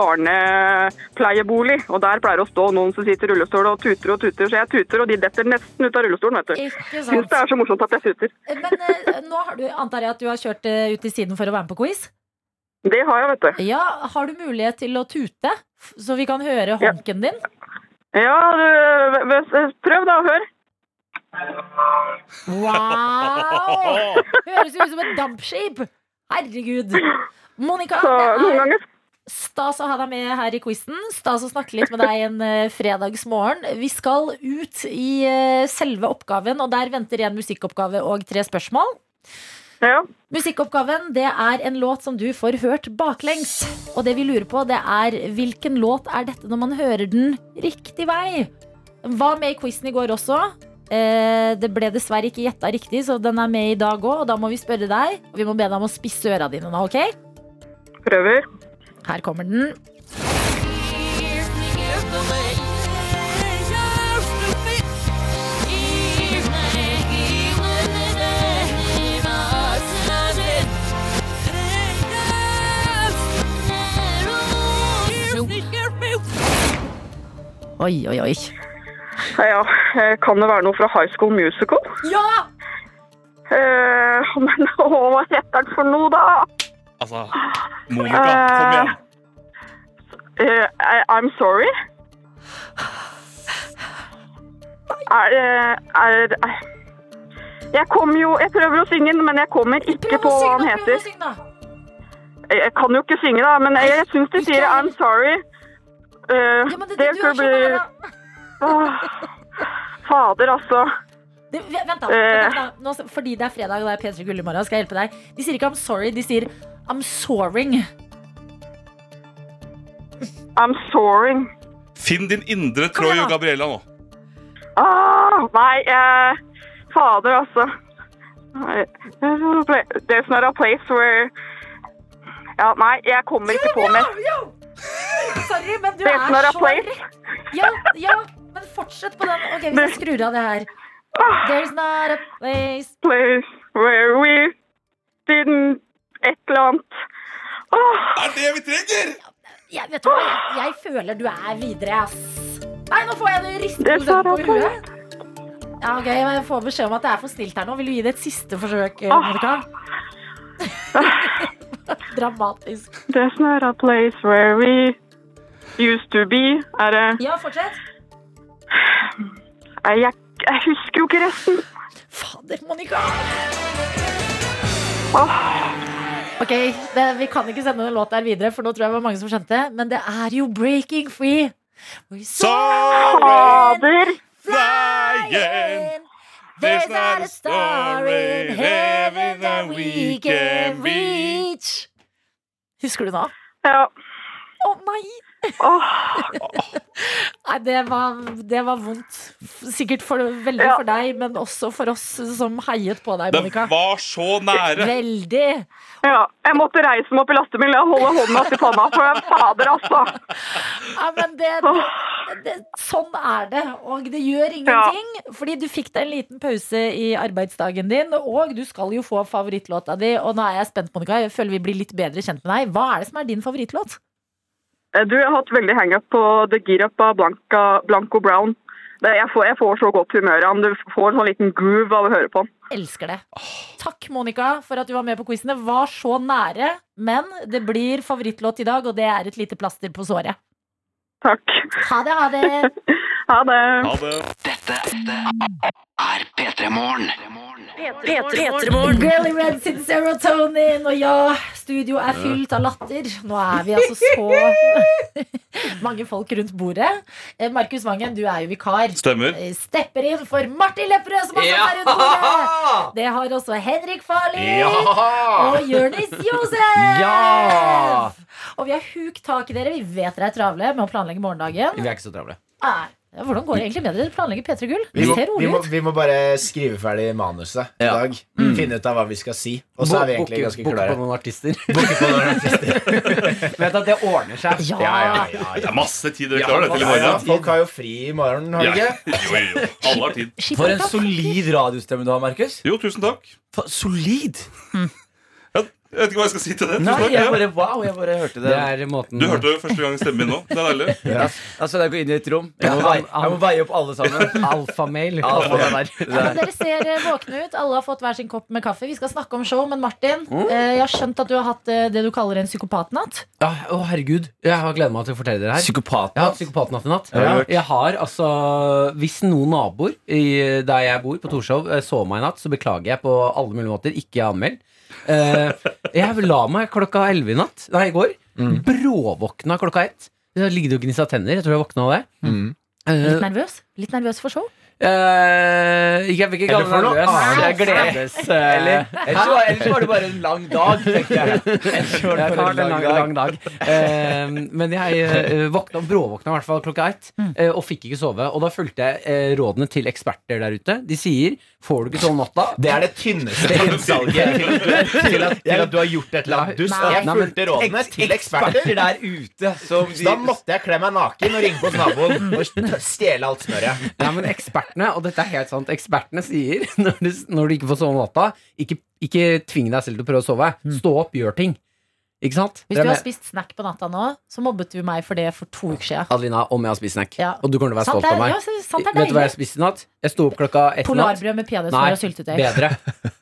Speaker 6: barnepleiebolig. Og der pleier det å stå noen som sitter i rullestol og tuter og tuter. Så jeg tuter, og de detter nesten ut av rullestolen, vet du.
Speaker 2: Ikke
Speaker 6: Syns
Speaker 2: sant.
Speaker 6: det er så morsomt at jeg tuter.
Speaker 2: Men eh, nå har du, antar jeg at du har kjørt eh, ut til siden for å være med på quiz.
Speaker 6: Det har jeg, vet du.
Speaker 2: Ja, Har du mulighet til å tute, f- så vi kan høre honken din?
Speaker 6: Ja, du, v- v- prøv da, hør.
Speaker 2: Wow! Høres ut som et dampskip! Herregud. Monica,
Speaker 6: Så
Speaker 2: det
Speaker 6: noen
Speaker 2: er
Speaker 6: ganger
Speaker 2: Stas å ha deg med her i quizen. Stas å snakke litt med deg en eh, fredagsmorgen. Vi skal ut i eh, selve oppgaven, og der venter en musikkoppgave og tre spørsmål.
Speaker 6: Ja.
Speaker 2: Musikkoppgaven det er en låt som du får hørt baklengs. Og det vi lurer på, det er hvilken låt er dette når man hører den riktig vei? Den var med i quizen i går også. Eh, det ble dessverre ikke gjetta riktig, så den er med i dag òg. Og da må vi spørre deg, og vi må be deg om å spisse øra dine nå, OK?
Speaker 6: Prøver.
Speaker 2: Her kommer den. Oi, oi, oi.
Speaker 6: Ja, eh, kan det være noe fra High School Musical?
Speaker 2: Ja!
Speaker 6: Eh, men å, hva heter den for noe, da?
Speaker 3: Altså, Monica, kom igjen.
Speaker 6: Eh, I- I'm sorry? Er, eh, er, er Jeg kommer jo Jeg prøver å synge den, men jeg kommer ikke på hva han heter. Eh, Jeg jeg kan jo ikke synge, da, men jeg, jeg syns de
Speaker 2: Ikke
Speaker 6: sier
Speaker 2: jeg.
Speaker 6: I'm sorry. Eh,
Speaker 2: Ja, men det, det,
Speaker 6: det
Speaker 2: du
Speaker 6: skulle
Speaker 2: er så
Speaker 6: bli
Speaker 2: nære.
Speaker 6: Åh, Fader, altså.
Speaker 2: Det, vent, da.
Speaker 6: Eh.
Speaker 2: vent da. Nå, fordi det er fredag og det er P3 Gull i morgen, skal jeg hjelpe deg. De sier ikke 'I'm sorry', de sier 'I'm soaring'.
Speaker 6: I'm soaring.
Speaker 3: Finn din indre
Speaker 2: Kom igjen,
Speaker 3: Troy
Speaker 2: da.
Speaker 3: og Gabriella nå.
Speaker 6: Ah, nei, eh, fader, altså. Eh, There's not a place where Ja, nei, jeg kommer ikke på mer.
Speaker 2: Sorry, men du
Speaker 6: There's
Speaker 2: er
Speaker 6: not a
Speaker 2: så
Speaker 6: place.
Speaker 2: Ja, ja, men fortsett på den. Ok, vi skrur av det her. There's not a place
Speaker 6: place where we didn't Et eller annet. Åh,
Speaker 3: Er det vi trenger?!
Speaker 2: jeg, Vet du hva, jeg, jeg føler du er videre, ass. Nei, nå får jeg det
Speaker 6: Det
Speaker 2: ristende
Speaker 6: sa
Speaker 2: på
Speaker 6: jeg
Speaker 2: huet. Ja, ok, men Jeg får beskjed om at det er for snilt her nå. Vil du gi det et siste forsøk, eh, Monica? Dramatisk.
Speaker 6: there's not a place where we used to be. Er det
Speaker 2: Ja, fortsett.
Speaker 6: Nei, jeg, jeg husker jo ikke resten.
Speaker 2: Fader, Monica.
Speaker 6: Åh,
Speaker 2: Ok, det, Vi kan ikke sende den låta her videre, for nå tror jeg det var mange som skjønte. Men det er jo 'Breaking Free'. We
Speaker 3: Sånn!
Speaker 2: saw
Speaker 6: fader!
Speaker 3: Flying. There's not a star in heaven that we can reach.
Speaker 2: Husker du nå?
Speaker 6: Ja.
Speaker 2: Å nei!
Speaker 6: Åh,
Speaker 2: nei det, var, det var vondt. Sikkert for, veldig
Speaker 6: Ja.
Speaker 2: for deg, men også for oss som heiet på deg,
Speaker 3: Den
Speaker 2: Monica.
Speaker 3: var så nære!
Speaker 2: Veldig.
Speaker 6: ja. Jeg måtte reise meg opp i lastebilen og holde hånda oppi panna, for fader, altså.
Speaker 2: Ja, men det, det, det, sånn er det, og det gjør ingenting. Fordi du fikk deg en liten pause i arbeidsdagen din, og du skal jo få favorittlåta di. Og nå er jeg spent, Monica. Jeg føler vi blir litt bedre kjent med deg. Hva er det som er din favorittlåt?
Speaker 6: Eh, Du, jeg har hatt veldig hangup på The Gear Up av Blanca, Blanco Brown. Det, jeg, får, jeg får så godt humør av den. Du får en sånn liten groove av å høre på den.
Speaker 2: Elsker det. Takk, Monica, for at du var med på quizen. Det var så nære, men det blir favorittlåt i dag, og det er et lite plaster på såret.
Speaker 6: Takk.
Speaker 2: Ha det, ha det.
Speaker 6: Ha det.
Speaker 3: Ha det.
Speaker 4: Dette er P3 Morgen.
Speaker 2: Girly Red sin serotonin, og ja, studio er fylt av latter. Nå er vi altså så mange folk rundt bordet. Eh, Markus Vangen, du er jo vikar.
Speaker 3: Stemmer.
Speaker 2: Eh, Stepper inn for Martin Lepperød, som har satt her rundt bordet. Det har også Henrik Farli. Og Jonis Josef!
Speaker 7: Ja!
Speaker 2: Og vi har huk tak i dere. Vi vet dere er travle med å planlegge morgendagen.
Speaker 7: Vi er ikke så travle.
Speaker 2: Nei, Hvordan går det egentlig med dere? Dere planlegger P3 Gull?
Speaker 8: Vi
Speaker 2: Det
Speaker 8: må,
Speaker 2: ser
Speaker 8: vi,
Speaker 2: rolig
Speaker 8: må,
Speaker 2: ut.
Speaker 8: vi må bare skrive ferdig manuset i
Speaker 7: Ja.
Speaker 8: dag.
Speaker 9: Mm.
Speaker 8: Finne ut av hva vi skal si. Og så er vi egentlig ganske
Speaker 7: Bukke på
Speaker 8: klare.
Speaker 7: noen artister.
Speaker 8: Bukke på noen artister.
Speaker 7: Vet at det ordner seg.
Speaker 2: Ja.
Speaker 8: Ja, ja, ja,
Speaker 3: Det
Speaker 8: ja.
Speaker 3: er masse tid dere klarer det til i
Speaker 8: ja, ja.
Speaker 3: morgen.
Speaker 8: Folk har jo fri i morgen, har de
Speaker 3: Ja.
Speaker 8: ikke?
Speaker 3: Jo, jo, jo. Alle har tid.
Speaker 2: Skikkelig
Speaker 7: For en
Speaker 2: takk.
Speaker 7: solid radiostemme du har, Markus.
Speaker 3: Jo, tusen takk.
Speaker 7: Fa- Solid!
Speaker 3: Jeg jeg vet ikke hva jeg skal si til det.
Speaker 7: Nei,
Speaker 3: Tusen takk.
Speaker 7: jeg
Speaker 3: Ja.
Speaker 7: bare, wow, jeg bare hørte det. um,
Speaker 9: Det er måten
Speaker 3: Du hørte det første gang stemmen min nå. Det er deilig.
Speaker 8: Ja.
Speaker 7: Altså, jeg går inn i et rom.
Speaker 9: Jeg
Speaker 7: Jeg
Speaker 9: må
Speaker 7: må,
Speaker 9: veie-
Speaker 7: veie, jeg må veie opp alle sammen.
Speaker 9: alfamail.
Speaker 7: Ja, det der.
Speaker 2: Ja, men dere ser eh, våkne ut. Alle har fått hver sin kopp med kaffe. Vi skal snakke om show, men Martin,
Speaker 9: Mm.
Speaker 2: eh, jeg har skjønt at du har hatt eh, det du kaller en psykopatnatt.
Speaker 9: Ja, Å, herregud. Jeg har gledet meg til å fortelle dere her.
Speaker 7: Psykopat.
Speaker 9: Jeg har hatt psykopatnatt i natt.
Speaker 8: Ja.
Speaker 9: Jeg har altså Hvis noen naboer i, der jeg bor, på Torshov, eh, så meg i natt, så beklager jeg på alle mulige måter. Ikke anmeld. Eh, jeg la meg klokka elleve i natt. Nei, i går.
Speaker 7: Mm.
Speaker 9: Bråvåkna klokka ett. Jeg har ligget og gnissa tenner. Jeg tror jeg våkna av det.
Speaker 8: Mm.
Speaker 9: Eh,
Speaker 2: Litt nervøs? Litt nervøs for show?
Speaker 9: eh, jeg vil ikke
Speaker 7: Eller
Speaker 9: kalle
Speaker 7: for
Speaker 9: det
Speaker 7: noe
Speaker 9: nervøs. Jeg
Speaker 7: annet.
Speaker 9: gledes. eh,
Speaker 7: Eller, ellers, var, ellers var det bare en lang dag, tenkte jeg. Ellers var det bare
Speaker 9: Jeg tar
Speaker 7: en
Speaker 9: den
Speaker 7: lang
Speaker 9: lang,
Speaker 7: dag.
Speaker 9: lang dag. Eh, men jeg eh, våkna, bråvåkna i hvert fall klokka ett,
Speaker 2: Mm.
Speaker 9: eh, og fikk ikke sove. Og da fulgte jeg eh, rådene til eksperter der ute. De sier 'får du ikke sove om natta',
Speaker 8: Det er det tynneste innsalget til, til, at, til at du har gjort et eller annet dust.
Speaker 2: Nei.
Speaker 8: Jeg
Speaker 9: Nei, men-
Speaker 8: fulgte rådene til eksperter.
Speaker 7: Eksperter der ute som
Speaker 8: Så da måtte jeg kle meg naken og ringe hos naboen og stjele alt smøret.
Speaker 9: Nei, men ekspertene, og dette er helt sant, ekspertene sier når du, når du ikke får sove om natta, ikke, ikke tving deg selv til å prøve å sove. Stå opp, gjør ting. Ikke sant?
Speaker 2: Mm. Hvis
Speaker 9: Dere
Speaker 2: du
Speaker 9: er
Speaker 2: har
Speaker 9: med-
Speaker 2: spist snack på natta nå, så mobbet du meg for det for to uker siden.
Speaker 9: Adelina, om jeg har spist snack.
Speaker 2: Ja.
Speaker 9: Og du kommer til å være
Speaker 2: Sant
Speaker 9: stolt
Speaker 2: er,
Speaker 9: av meg.
Speaker 2: ja, så- sant er
Speaker 9: Vet du hva jeg
Speaker 2: deilig.
Speaker 9: spiste i natt? Jeg sto opp klokka ett i natt.
Speaker 2: Polarbrød med
Speaker 9: Nei,
Speaker 2: peanøttsmør og syltetøy.
Speaker 9: bedre.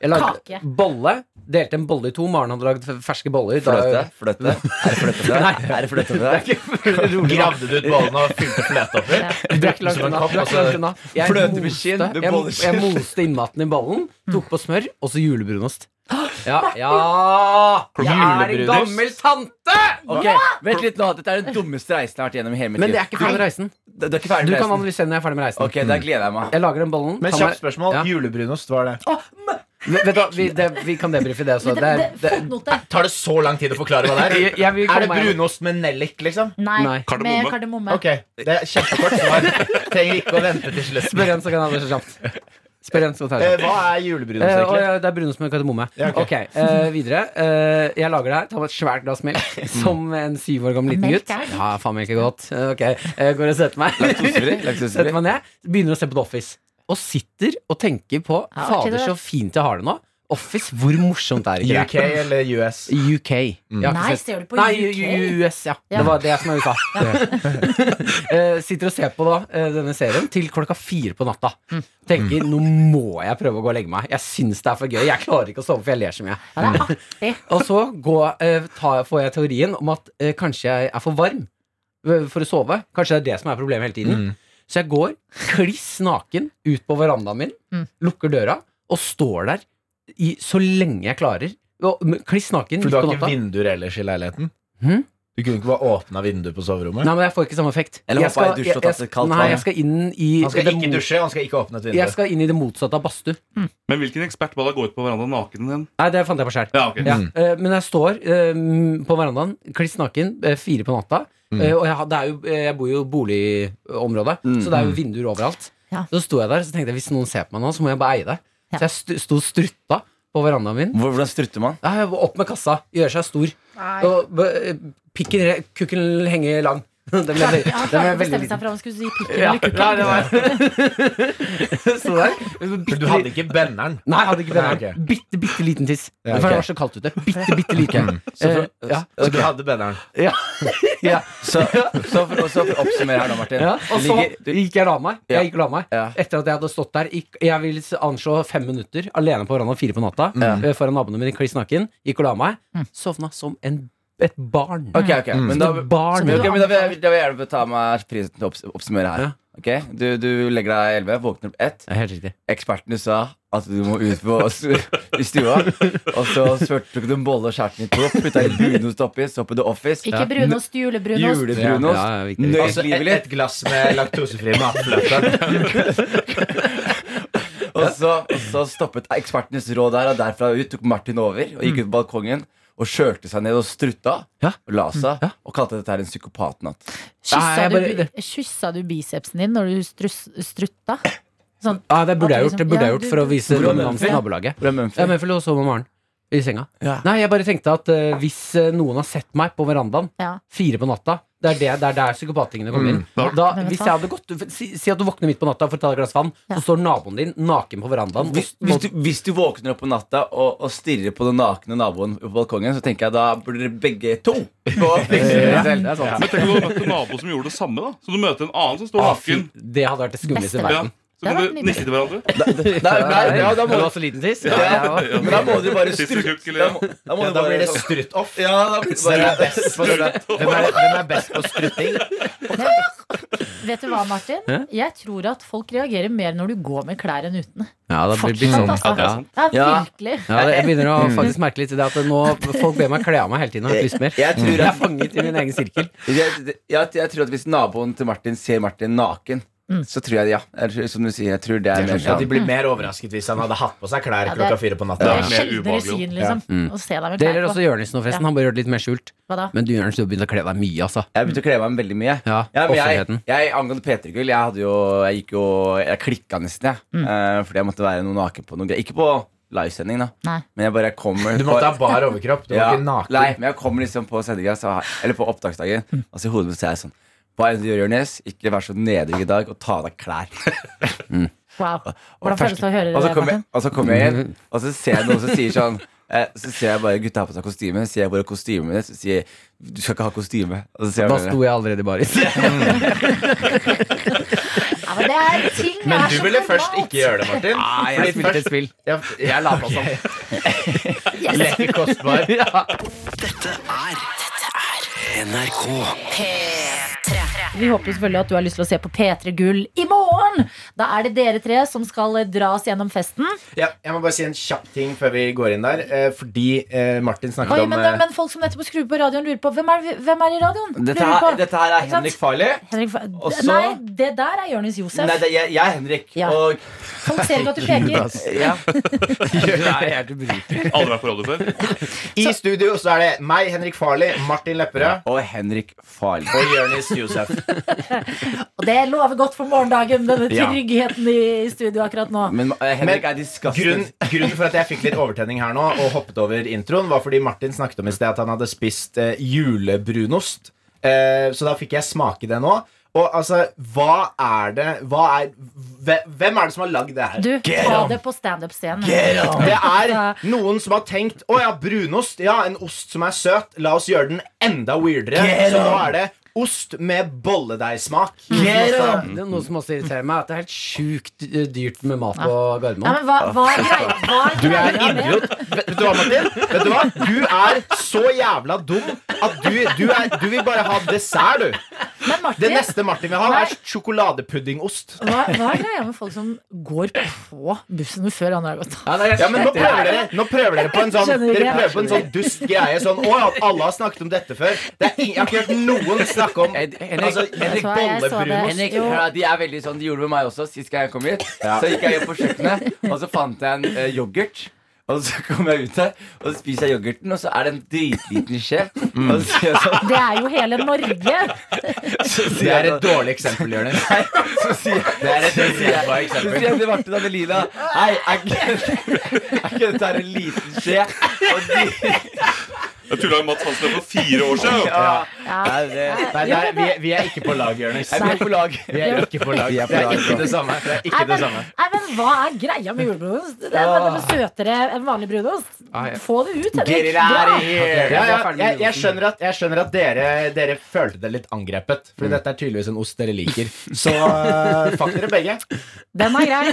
Speaker 9: Jeg lagde
Speaker 2: Kake.
Speaker 9: bolle. Delte en bolle i to. Maren hadde lagd ferske boller. Da-
Speaker 7: Fløte? Fløte? Er det fløte der? Er det fløte
Speaker 9: Det er
Speaker 7: der?
Speaker 9: ikke rolig.
Speaker 8: Gravde du ut bollen og fylte fløte oppi?
Speaker 9: Du er ikke langt
Speaker 8: Som en
Speaker 9: unna.
Speaker 8: kopp,
Speaker 9: Du er ikke langt unna. Jeg
Speaker 7: Fløtebeskinn,
Speaker 9: moste-
Speaker 7: du
Speaker 9: jeg-
Speaker 7: bolleskinn.
Speaker 9: Jeg moste innmaten i bollen, tok på smør, og så julebrunost. Ja, ja Jeg er en
Speaker 7: Julebrunost.
Speaker 9: gammel tante!
Speaker 7: Ok, Vent litt nå. Dette er den dummeste reisen jeg har vært gjennom i hele mitt
Speaker 9: Men
Speaker 7: liv.
Speaker 9: det er ikke ferdig med reisen.
Speaker 7: Det er ikke ferdig
Speaker 9: Du
Speaker 7: med
Speaker 9: kan
Speaker 7: reisen.
Speaker 9: analysere når jeg er ferdig med reisen.
Speaker 7: Ok, der gleder jeg meg.
Speaker 9: Jeg lager den bollen.
Speaker 8: Men
Speaker 9: tar
Speaker 8: kjapt
Speaker 9: meg-
Speaker 8: spørsmål.
Speaker 9: Ja.
Speaker 8: Julebrunost, hva er det?
Speaker 9: Vet du hva, vi, det, vi kan debrife det også.
Speaker 2: Men
Speaker 9: Det,
Speaker 2: det, det,
Speaker 9: er- det,
Speaker 2: fotnote.
Speaker 8: Tar det så lang tid å forklare hva det er?
Speaker 9: jeg, jeg vil
Speaker 8: Er
Speaker 9: komme
Speaker 8: det
Speaker 9: meg-
Speaker 8: brunost med nellik, liksom?
Speaker 2: Nei.
Speaker 9: Nei.
Speaker 2: Med
Speaker 3: Kardemomme.
Speaker 2: kardemomme.
Speaker 8: Ok, det er kjempekort svar. Trenger ikke å vente til slutt.
Speaker 9: Spør igjen, så kan jeg ha det så kjapt. Spør en som tar
Speaker 8: Eh,
Speaker 9: seg.
Speaker 8: Hva er julebrunost,
Speaker 9: Eh, og
Speaker 8: egentlig?
Speaker 9: ja, det er brunost med kardemomme.
Speaker 8: Ja, ok.
Speaker 9: ok, eh, Videre. Eh, jeg lager det her. Tar meg et svært glass melk som en syv år gammel liten
Speaker 2: Melk
Speaker 9: gutt.
Speaker 2: er godt.
Speaker 9: Ja, faen meg ikke godt. Eh, ok, jeg Går og setter meg.
Speaker 8: Laktosefri, laktosefri.
Speaker 9: setter meg ned, begynner å se på The Office. Og sitter og tenker på
Speaker 2: Ja, ok,
Speaker 9: Fader,
Speaker 2: det-
Speaker 9: så fint jeg har det nå. Office, hvor morsomt er ikke
Speaker 8: UK
Speaker 9: det?
Speaker 8: eller US?
Speaker 9: UK.
Speaker 8: Mm.
Speaker 9: Jeg har ikke
Speaker 2: Nei,
Speaker 9: sett-
Speaker 2: ser du på
Speaker 9: Nei,
Speaker 2: UK?
Speaker 9: U- US, ja.
Speaker 2: Ja.
Speaker 9: Det var det som er USA. Eh, Sitter og ser på da eh, denne serien til klokka fire på natta.
Speaker 2: Mm.
Speaker 8: Mm.
Speaker 9: Tenker nå må jeg prøve å gå og legge meg. Jeg syns det er for gøy. Jeg klarer ikke å sove, for jeg ler så mye.
Speaker 2: Ja, det er artig.
Speaker 9: Og så går, eh, tar, får jeg teorien om at eh, kanskje jeg er for varm eh, for å sove. Kanskje det er det som er problemet hele
Speaker 8: Mm.
Speaker 9: tiden. Så jeg går kliss naken ut på verandaen min,
Speaker 2: Mm.
Speaker 9: lukker døra og står der i, så lenge jeg klarer. Og- men Kliss naken
Speaker 8: For
Speaker 9: midt
Speaker 8: du
Speaker 9: på
Speaker 8: har ikke
Speaker 9: natta.
Speaker 8: vinduer ellers i leiligheten?
Speaker 9: Hm?
Speaker 8: Du kunne ikke bare åpna vinduet på soverommet?
Speaker 9: Nei, men jeg får ikke samme effekt.
Speaker 10: Eller
Speaker 9: Jeg
Speaker 10: hoppa i dusj og tatt
Speaker 9: jeg-
Speaker 10: et kaldt
Speaker 9: Nei,
Speaker 10: vann.
Speaker 9: jeg skal inn i
Speaker 8: Han skal
Speaker 9: det
Speaker 8: ikke
Speaker 9: mot-
Speaker 8: dusje, han skal ikke åpne et
Speaker 9: Jeg
Speaker 8: vindu.
Speaker 9: skal inn i det motsatte av badstue.
Speaker 3: Men hvilken ekspert ba deg gå ut på verandaen naken igjen?
Speaker 9: Nei, det fant jeg på sjøl.
Speaker 3: Ja, ok.
Speaker 10: Mm.
Speaker 9: Ja, eh, men jeg står eh, mm, på verandaen, kliss naken, eh, fire på natta.
Speaker 10: Mm.
Speaker 9: eh, og jeg, har- det er jo, eh, jeg bor jo i boligområdet,
Speaker 10: Mm,
Speaker 9: så det er jo vinduer overalt.
Speaker 2: Ja.
Speaker 9: Så sto jeg der så tenkte jeg, hvis noen ser på meg nå, så må jeg bare eie det.
Speaker 2: Ja.
Speaker 9: Så jeg stu- sto og strutta på verandaen min.
Speaker 10: Hvordan strutter man?
Speaker 9: Ja, jeg var Opp med kassa, gjøre seg stor. Og, b- pikken, re- kukken henger lang. Den ble,
Speaker 2: Klarte
Speaker 9: den
Speaker 2: ikke- Han
Speaker 9: ble
Speaker 2: klarte ikke å
Speaker 9: veldig
Speaker 2: bestemme
Speaker 9: liten.
Speaker 2: seg for om han skulle si pikken eller
Speaker 9: Ja, ja,
Speaker 2: kukken.
Speaker 9: det var Sto der.
Speaker 8: For du hadde ikke benneren.
Speaker 9: Nei, jeg hadde ikke
Speaker 8: Nei,
Speaker 9: benneren. Bitte, bitte liten tiss.
Speaker 8: Ja,
Speaker 9: For
Speaker 8: ok.
Speaker 9: det var så kaldt ute. Bitte, bitte liten.
Speaker 10: Så for-
Speaker 9: Eh, ja.
Speaker 7: Altså,
Speaker 8: Så du hadde benneren.
Speaker 9: ja.
Speaker 10: Så, så for, så for å oppsummere her nå, Martin.
Speaker 9: Ja, og så
Speaker 10: Ligger- du-
Speaker 9: gikk jeg og la meg.
Speaker 10: Ja.
Speaker 9: Jeg gikk og la meg
Speaker 10: Ja.
Speaker 9: Etter at jeg hadde stått der gikk, Jeg vil s- anslå fem minutter alene på verandaen fire på natta eh, foran naboene mine kliss naken. Gikk og la meg.
Speaker 2: Mm.
Speaker 9: Sovna som en, et barn.
Speaker 10: Ok, ok, men da,
Speaker 9: Som et barn.
Speaker 10: Ok, men da, vil jeg, da vil jeg gjerne ta meg prisen til å opps- oppsummere her.
Speaker 9: Ja.
Speaker 10: Ok, du, du legger deg i 11, våkner opp 1.
Speaker 9: Ja, Helt riktig.
Speaker 10: Ekspertene sa at du må ut på s- i stua. Og så spurte du en bolle og skjærte den i to, putta litt brunost oppi, så på The Office.
Speaker 2: Ikke brunost, julebrunost.
Speaker 10: Julebrunost.
Speaker 9: Ja, ja, viktig.
Speaker 10: Nøyt
Speaker 8: Altså, et,
Speaker 10: livet litt.
Speaker 8: et glass med laktosefri matfløte.
Speaker 10: Og så, og så stoppet ekspertenes råd der, og derfra ut tok Martin over og gikk ut på balkongen. Og kjørte seg ned og strutta
Speaker 9: Mm. Ja. Mm.
Speaker 10: og la seg.
Speaker 9: Ja.
Speaker 10: Og kalte dette her en psykopatnatt.
Speaker 9: Nei,
Speaker 2: Kyssa
Speaker 9: jeg
Speaker 2: du,
Speaker 9: bare-
Speaker 2: bi- kyssa du bicepsen din når du strus, strutta? Sånn,
Speaker 9: Ja, det burde jeg gjort, det
Speaker 2: Ja,
Speaker 9: burde jeg gjort
Speaker 2: du-
Speaker 9: for å vise
Speaker 10: Hvordan
Speaker 9: dominans
Speaker 10: Mumphy?
Speaker 9: til nabolaget.
Speaker 10: Hvor er Mumphy?
Speaker 9: Ja, men for å sove med Maren i senga.
Speaker 10: Ja.
Speaker 9: Nei, jeg bare tenkte at eh, hvis eh, noen har sett meg på verandaen
Speaker 2: ja.
Speaker 9: fire på natta Det er, det, det er der psykopattingene kommer
Speaker 10: Mm.
Speaker 9: inn. Da,
Speaker 2: Men vet
Speaker 9: hvis
Speaker 2: du
Speaker 9: jeg
Speaker 2: hva?
Speaker 9: hadde gått, si, si at du våkner midt på natta for å ta deg et glass vann,
Speaker 2: Ja.
Speaker 9: så står naboen din naken på verandaen. og-
Speaker 10: Hvis, hvis, du, hvis du våkner opp på natta og, og stirrer på den nakne naboen på balkongen, så tenker jeg da burde dere begge to gå og fikse dere selv. Det er sant.
Speaker 3: Men tenk om du hadde møtt en nabo som gjorde det samme. da Så du møter en annen som står
Speaker 9: Ah, fy,
Speaker 3: naken.
Speaker 9: det hadde vært det skumleste i
Speaker 2: Beste.
Speaker 3: Ja.
Speaker 9: verden.
Speaker 3: Så kan
Speaker 2: Det er
Speaker 3: du
Speaker 2: nydelig.
Speaker 3: nikke til hverandre.
Speaker 10: Nei, nei, ja, da må,
Speaker 9: du ha så liten tiss?
Speaker 10: ja, men da må dere bare
Speaker 3: Siste
Speaker 10: strutte.
Speaker 3: kukk, eller?
Speaker 10: Da, må- da må
Speaker 8: Ja,
Speaker 10: dere
Speaker 8: da blir det
Speaker 10: bare sånn-
Speaker 8: strutt off.
Speaker 10: Ja, da blir det
Speaker 8: Hvem er
Speaker 10: bare
Speaker 8: best på, hvem er, hvem er best på strutting?
Speaker 2: Vet du hva, Martin? Jeg tror at folk reagerer mer når du går med klær enn uten.
Speaker 9: Ja, da blir det
Speaker 2: Fortsatt,
Speaker 9: sånn.
Speaker 2: altså.
Speaker 9: Ja.
Speaker 2: Ja,
Speaker 10: Ja.
Speaker 2: virkelig.
Speaker 9: Ja, det- jeg begynner å faktisk merke litt til det at nå folk ber meg kle av meg hele tiden. og Jeg har ikke lyst mer.
Speaker 10: Jeg tror
Speaker 9: Jeg er
Speaker 10: at
Speaker 9: fanget i min egen sirkel.
Speaker 10: jeg, jeg, jeg tror at hvis naboen til Martin ser Martin naken, så tror jeg ja. Jeg, tror- som du sier, jeg tror det er mer
Speaker 8: Ja, de
Speaker 10: sånn.
Speaker 8: blir mer overrasket hvis han hadde hatt på seg klær
Speaker 2: Ja, det-
Speaker 8: klokka fire
Speaker 2: Det
Speaker 8: på natta.
Speaker 2: er
Speaker 3: mer
Speaker 2: sjeldnere
Speaker 3: ubehagelig.
Speaker 2: syn, liksom. Å se deg med
Speaker 9: Det gjelder
Speaker 2: klær
Speaker 9: Mm. også
Speaker 2: på.
Speaker 9: Jonis nå, forresten. Han bare gjør det litt mer skjult.
Speaker 2: Hva da?
Speaker 9: Men du Jonis, du har begynt å kle deg mye, altså.
Speaker 10: Jeg begynte å kle meg veldig mye.
Speaker 9: Ja,
Speaker 10: Ja, men jeg,
Speaker 9: offentligheten.
Speaker 10: jeg, angående P3-gull, jeg hadde jo Jeg gikk jo Jeg klikka nesten, jeg. Eh, fordi jeg måtte være noe naken på noe greier. Ikke på livesending, da.
Speaker 2: Nei.
Speaker 10: Men jeg bare jeg kommer
Speaker 8: Du måtte ha bar overkropp. Du
Speaker 10: ja,
Speaker 8: var ikke naken.
Speaker 10: Nei, men jeg kommer liksom på sendinga, så- eller på opptaksdagen, og så i hodet mitt så er jeg sånn Hva enn du gjør, Jonis, ikke vær så nedrig i dag og ta av deg klær.
Speaker 2: Wow.
Speaker 10: Og
Speaker 2: Hvordan føles det å høre
Speaker 10: og så
Speaker 2: det,
Speaker 10: kommer jeg-
Speaker 2: Martin?
Speaker 10: Og så kommer jeg inn, og så ser jeg noen som sier sånn eh, så ser jeg bare gutta har på seg kostyme, så sier jeg hvor er kostymet ditt? Så sier jeg du skal ikke ha kostyme. Og så sier jeg
Speaker 9: Da
Speaker 10: bare,
Speaker 9: sto jeg allerede i baris.
Speaker 2: Ja, men det er ting
Speaker 8: Men
Speaker 2: er
Speaker 8: du
Speaker 2: så
Speaker 8: ville først
Speaker 2: normalt.
Speaker 8: ikke gjøre det, Martin.
Speaker 9: Nei, jeg
Speaker 8: Fordi
Speaker 9: spilte et
Speaker 8: først-
Speaker 9: spill.
Speaker 8: Jeg, jeg la meg sånn. Leker kostbar.
Speaker 4: NRK.
Speaker 2: Vi håper jo selvfølgelig at du har lyst til å se på P3 Gull i morgen! Da er det dere tre som skal eh, dras gjennom festen.
Speaker 8: Ja, jeg må bare si en kjapp ting før vi går inn der. Eh, fordi eh, Martin snakket
Speaker 2: Oi,
Speaker 8: om
Speaker 2: men,
Speaker 8: eh,
Speaker 2: men folk som nettopp skrur på radioen, lurer på hvem er, hvem er i radioen?
Speaker 10: Dette
Speaker 2: Lurer
Speaker 10: her,
Speaker 2: på.
Speaker 10: dette her er
Speaker 2: Ikke sant?
Speaker 10: Henrik Farley.
Speaker 2: Henrik, Fa-
Speaker 10: Og så-
Speaker 2: Nei, det der er Jonis Josef.
Speaker 10: Nei, det, jeg, jeg er Henrik.
Speaker 2: Ja.
Speaker 10: Og
Speaker 2: folk ser ikke at du peker.
Speaker 10: ja.
Speaker 3: Aldri vært på radio før.
Speaker 8: I studio så er det meg, Henrik Farley, Martin Lepperød
Speaker 10: Og Henrik Farley.
Speaker 8: og Jonis Josef.
Speaker 2: Og det lover godt for morgendagen, denne
Speaker 10: Ja.
Speaker 2: tryggheten i studio akkurat nå.
Speaker 10: Men eh, Henrik er disgusted.
Speaker 8: Grunnen, grunnen for at jeg fikk litt overtenning her nå og hoppet over introen, var fordi Martin snakket om i sted at han hadde spist eh, julebrunost. Eh, så da fikk jeg smake det nå. Og altså, hva er det Hva er hve- Hvem er det som har lagd det her?
Speaker 2: Du, ta det på standup-scenen.
Speaker 8: Det er
Speaker 2: Altså-
Speaker 8: noen som har tenkt Å ja, brunost. Ja, en ost som er søt. La oss gjøre den enda weirdere. Så nå er det ost med bolledeigsmak. Altså,
Speaker 9: Det er noe som også irriterer meg, at det er helt sjukt eh, dyrt med mat på
Speaker 2: Nei,
Speaker 9: Gardermoen.
Speaker 2: men hva, hva er grei- hva er
Speaker 8: Du er
Speaker 2: greia
Speaker 8: en
Speaker 2: med
Speaker 8: idiot. Vet vet du hva, Martin? Vet du hva? Du er så jævla dum at du, du, er, du vil bare ha dessert, du.
Speaker 2: Men
Speaker 8: Det
Speaker 2: Martin,
Speaker 8: neste Martin vil ha, er
Speaker 2: Nei.
Speaker 8: sjokoladepuddingost.
Speaker 2: hva, hva er greia med folk som går på bussen før andre har gått av?
Speaker 9: Ja, det er helt
Speaker 8: Ja, men nå
Speaker 9: sjukt.
Speaker 8: prøver dere, nå prøver dere på en sånn
Speaker 2: Jeg skjønner
Speaker 8: Dere
Speaker 2: ikke.
Speaker 8: prøver på en sånn dust greie. Sånn, å, ja, alle har snakket om dette før. Det er, ing- jeg har ikke hørt noen snakke om altså, Henrik
Speaker 2: så jeg så det.
Speaker 8: Bollebrunost.
Speaker 10: Henrik,
Speaker 2: Jo.
Speaker 10: hør da, de er veldig sånn, de gjorde det med meg også Sist gang jeg kom hit Så gikk jeg hjem på kjøkkenet Og så fant jeg en eh, yoghurt Og så kom jeg ut her Og så spiser jeg yoghurten Og så er det en dritliten skje
Speaker 9: Mm.
Speaker 10: Og så sier jeg sånn
Speaker 2: Det er jo hele Norge!
Speaker 10: så sier
Speaker 8: Det er
Speaker 10: jeg
Speaker 8: et
Speaker 10: da-
Speaker 8: dårlig eksempel, Jonis.
Speaker 10: Nei, så sier jeg
Speaker 8: Det er et dårlig
Speaker 10: så
Speaker 8: eksempel.
Speaker 10: sier jeg til Martin og Melina Hei, er ikke er ikke dette her en liten skje? Og de,
Speaker 3: Jeg tulla med Mats Hansen her for fire år siden. jo.
Speaker 10: ja,
Speaker 2: Ja.
Speaker 10: er det,
Speaker 8: Nei, det er, vi, er- vi er ikke på lag, Jonis.
Speaker 10: Jeg blir på lag
Speaker 8: Vi er ikke på lag.
Speaker 10: Vi er på
Speaker 8: Det er
Speaker 10: lag,
Speaker 8: ikke
Speaker 10: bro.
Speaker 8: det samme. Det er
Speaker 2: Nei,
Speaker 8: ikke det
Speaker 2: men,
Speaker 8: samme.
Speaker 2: nei, men hva er greia med julebrunost? Det er bare noe søtere enn vanlig brunost. Få det ut,
Speaker 10: Get
Speaker 2: Henrik.
Speaker 10: it out
Speaker 2: Bra.
Speaker 10: of here
Speaker 8: Ja, ja, jeg, jeg skjønner at, jeg skjønner at dere, dere følte det litt angrepet. For dette er tydeligvis en ost dere liker. Så øh, fuck dere begge.
Speaker 2: Den er grei.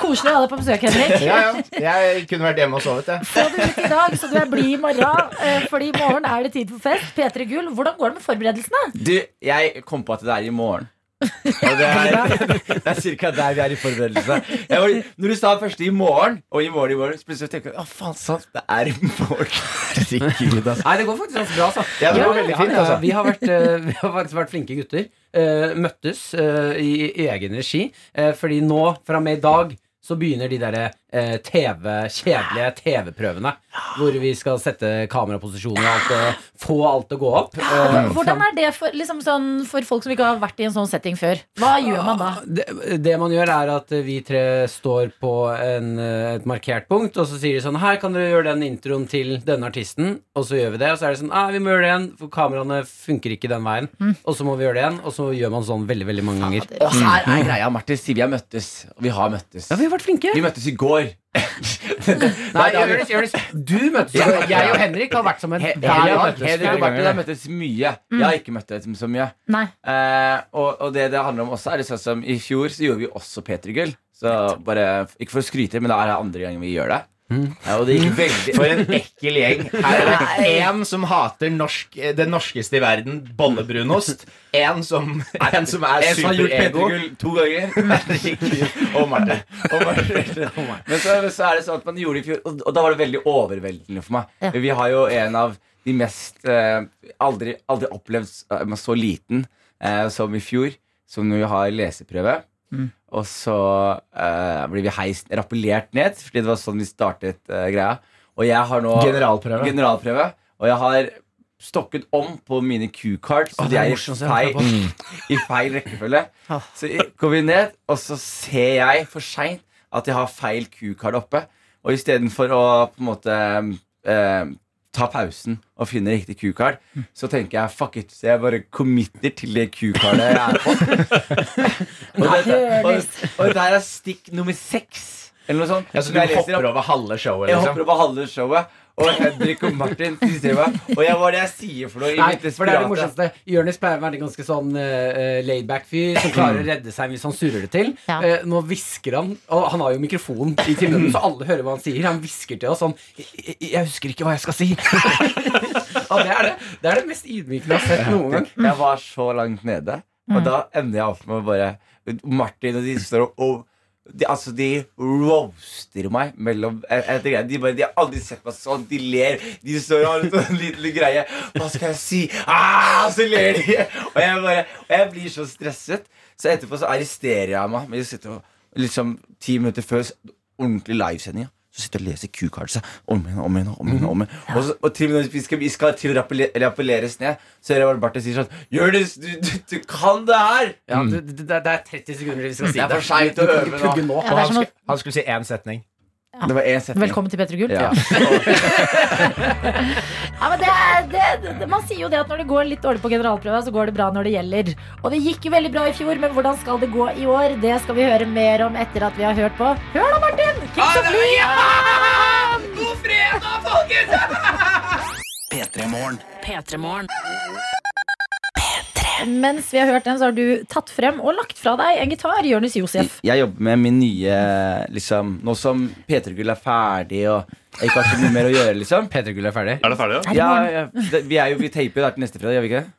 Speaker 2: Koselig å ha deg på besøk, Henrik.
Speaker 8: Ja, ja. Jeg kunne vært hjemme og sovet, jeg.
Speaker 2: Få det ut i dag, så du er blid i morgen. eh, Fordi i morgen er det tid for fest. P3 Gull, hvordan går det med forberedelsene?
Speaker 10: Du, jeg kom på at det er i morgen. Og det er, det er cirka der vi er i forberedelse. Jeg var, når du sa først i morgen, og i morgen i morgen, så plutselig tenkte jeg å faen sant, det er i morgen. Herregud, altså.
Speaker 9: Nei, det går faktisk ganske bra, altså.
Speaker 8: Ja, det går veldig fint,
Speaker 9: ja, ja.
Speaker 8: altså.
Speaker 9: Vi, har vært, eh, vi har faktisk vært flinke gutter. eh, møttes eh, i, i egen regi. eh, fordi nå, fra og med i dag, så begynner de derre eh, TV, kjedelige TV-prøvene. Hvor vi skal sette kameraposisjoner og alt det, få alt til å gå opp. eh,
Speaker 2: Hvordan er det for, liksom sånn, for folk som ikke har vært i en sånn setting før? Hva gjør man da?
Speaker 9: det, det man gjør er at vi tre står på en, eh, et markert punkt, og så sier de sånn Her kan dere gjøre den introen til denne artisten, og så gjør vi det. Og så er det sånn ah, Vi må gjøre det igjen, for kameraene funker ikke den veien. Og så må vi gjøre det igjen, og så gjør man sånn veldig, veldig mange ganger.
Speaker 10: Og
Speaker 2: Mm.
Speaker 10: så her er greia, Martin. Si vi har møttes. Og vi har møttes.
Speaker 9: Ja, vi har vært flinke.
Speaker 10: Vi møttes i går.
Speaker 9: Nei,
Speaker 10: Nei, da har vi-
Speaker 9: Jonis, Jonis, du møttes jo. Jeg og Henrik har vært sammen
Speaker 10: He-
Speaker 9: hver
Speaker 10: Henrik og
Speaker 9: dag.
Speaker 10: Martin- Henrik og Martin har møttes mye. Jeg har ikke møttes så mye.
Speaker 2: Nei.
Speaker 10: Eh, og, og det det handler om også, er det sånn som i fjor så gjorde vi også P3 Gull. Så bare, ikke for å skryte, men det er andre gangen vi gjør det. Ja, og det gikk veldig
Speaker 8: For en ekkel gjeng. Her er det én som hater norsk, eh, det norskeste i verden, bollebrunost. Én som, en som er
Speaker 10: Jeg som har gjort
Speaker 8: superego.
Speaker 10: P3 Gull to ganger.
Speaker 8: Og Martin.
Speaker 10: Og bare- Men så, så er det sånn at man gjorde det i fjor, og, og da var det veldig overveldende for meg.
Speaker 2: Ja.
Speaker 10: Vi har jo en av de mest eh, aldri, aldri opplevd s- eh, så liten eh, som i fjor, som når vi har leseprøve. Og så eh, blir vi heist, rappellert ned, fordi det var sånn vi startet eh, greia. Og jeg har nå
Speaker 8: Generalprøve.
Speaker 10: generalprøve, og jeg har stokket om på mine Q-cards, så
Speaker 9: Å, det
Speaker 10: de
Speaker 9: er
Speaker 10: er i
Speaker 9: morsomt å høre på.
Speaker 10: feil, i feil rekkefølge. Så går vi ned, og så ser jeg for seint at jeg har feil Q-card oppe. Og istedenfor å på en måte eh, ta pausen og finne riktig Q-card, så tenker jeg fuck it. Så jeg bare committer til det Q-cardet jeg er på. og, det, og, og der er stikk nummer seks, eller noe sånt.
Speaker 8: Ja, så
Speaker 10: Når jeg
Speaker 8: du
Speaker 10: leser opp-
Speaker 8: hopper over halve showet,
Speaker 10: jeg
Speaker 8: liksom?
Speaker 10: hopper over halve showet. Og Henrik og Martin kritiserer meg. Og jeg, hva er det jeg sier for noe? i
Speaker 9: Nei,
Speaker 10: mitt
Speaker 9: for det er det
Speaker 10: desperate?
Speaker 9: morsomste. Jonis pleier å være en ganske sånn uh, laidback fyr som klarer å redde seg hvis han surrer det til.
Speaker 2: Ja.
Speaker 9: Eh, nå hvisker han, og han har jo mikrofon i tillegg, så alle hører hva han sier. Han hvisker til oss sånn Jeg, jeg husker ikke hva jeg skal si. og det er det, det er det mest ydmykende jeg har sett noen gang.
Speaker 10: Jeg var så langt nede, og da ender jeg opp med å bare Martin og de står og, og de, Altså, de roaster meg mellom eh, eh, det greia. De, bare, de har aldri sett meg sånn. De ler. De står og har en sånn liten greie. Hva skal jeg si? Ah, og så ler de. Og jeg, bare, og jeg blir så stresset. Så etterpå så arresterer jeg meg. Men jeg sitter og, liksom ti minutter før s- ordentlig livesending. ja, Så sitter jeg og leser Q-cardsa om igjen om igjen. om igjen,
Speaker 9: Mhm.
Speaker 10: om igjen. Og, så, og til og med når vi skal, vi skal til å rappelle- rappelleres ned, så hører jeg bare Barthes sier sånn Jonis, du, du, du kan det her!
Speaker 9: Ja, du, du, det er 30 sekunder til vi skal si
Speaker 10: Det er for seint
Speaker 9: Du
Speaker 10: å
Speaker 9: kan
Speaker 10: øve
Speaker 9: ikke pugge
Speaker 10: nå.
Speaker 9: nå.
Speaker 2: Ja, det er som å,
Speaker 8: Han skulle si én setning.
Speaker 10: Det var én setning.
Speaker 2: velkommen til Petre Gull.
Speaker 10: Ja.
Speaker 2: Ja, men det, er- det, det, man sier jo det at når det går litt dårlig på generalprøven, så går det bra når det gjelder. Og det gikk jo veldig bra i fjor, men hvordan skal det gå i år? Det skal vi høre mer om etter at vi har hørt på Hør da, Martin! Kings of Leon!
Speaker 4: P3-morgen.
Speaker 5: P3morgen.
Speaker 2: Mens vi har hørt den, så har du tatt frem og lagt fra deg en gitar, Jonis Josef.
Speaker 10: Jeg jobber med min nye liksom, Nå som P3 Gull er ferdig og jeg ikke har så mye mer å gjøre, liksom.
Speaker 9: Peter Gull er ferdig.
Speaker 3: Er det ferdig? Ja?
Speaker 10: Ja, ja, det, vi, er jo, vi taper jo der til neste fredag, gjør vi ikke det?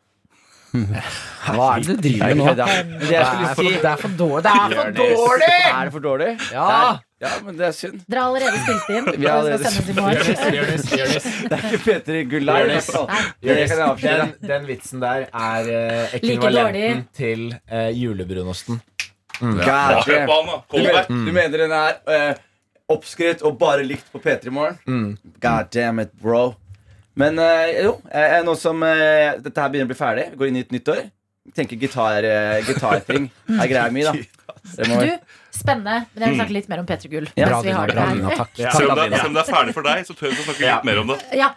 Speaker 9: Hva er det du driver
Speaker 10: Er det ikke
Speaker 9: med nå?
Speaker 10: det? Men det jeg skulle si
Speaker 9: det er for dårlig. Det er for dårlig!
Speaker 10: Er det for dårlig?
Speaker 9: Ja.
Speaker 10: Det er- ja, men det er synd.
Speaker 2: Dere har allerede spilt inn.
Speaker 10: Vi har
Speaker 2: og det skal
Speaker 10: allerede
Speaker 2: sendes i morgen.
Speaker 10: Det er ikke P3 Gull der. i hvert fall. Det kan jeg avsløre.
Speaker 8: Den, den vitsen der er eh,
Speaker 2: Like
Speaker 8: ekvivalenten til eh, julebrunosten.
Speaker 3: Ja,
Speaker 10: Gotcha.
Speaker 3: kjør på han, da.
Speaker 10: Du,
Speaker 3: Kom
Speaker 10: men-
Speaker 3: deg.
Speaker 10: du mener den er eh, oppskrytt og bare likt på P3 Morgen? God damn it, bro. Men eh, jo, jeg, jeg, nå som eh, dette her begynner å bli ferdig, vi går inn i et nytt år Tenker gitar, eh, gitarting er greia mi, da.
Speaker 2: Du, spennende. Men jeg vil snakke litt mer om Petre Gull.
Speaker 10: Ja,
Speaker 2: mens vi har
Speaker 9: Bra,
Speaker 2: det her.
Speaker 9: Nina, takk.
Speaker 3: Selv om det,
Speaker 9: Takk, Nina.
Speaker 3: selv om det er ferdig for deg, så tør vi å snakke litt mer om det.
Speaker 2: Ja,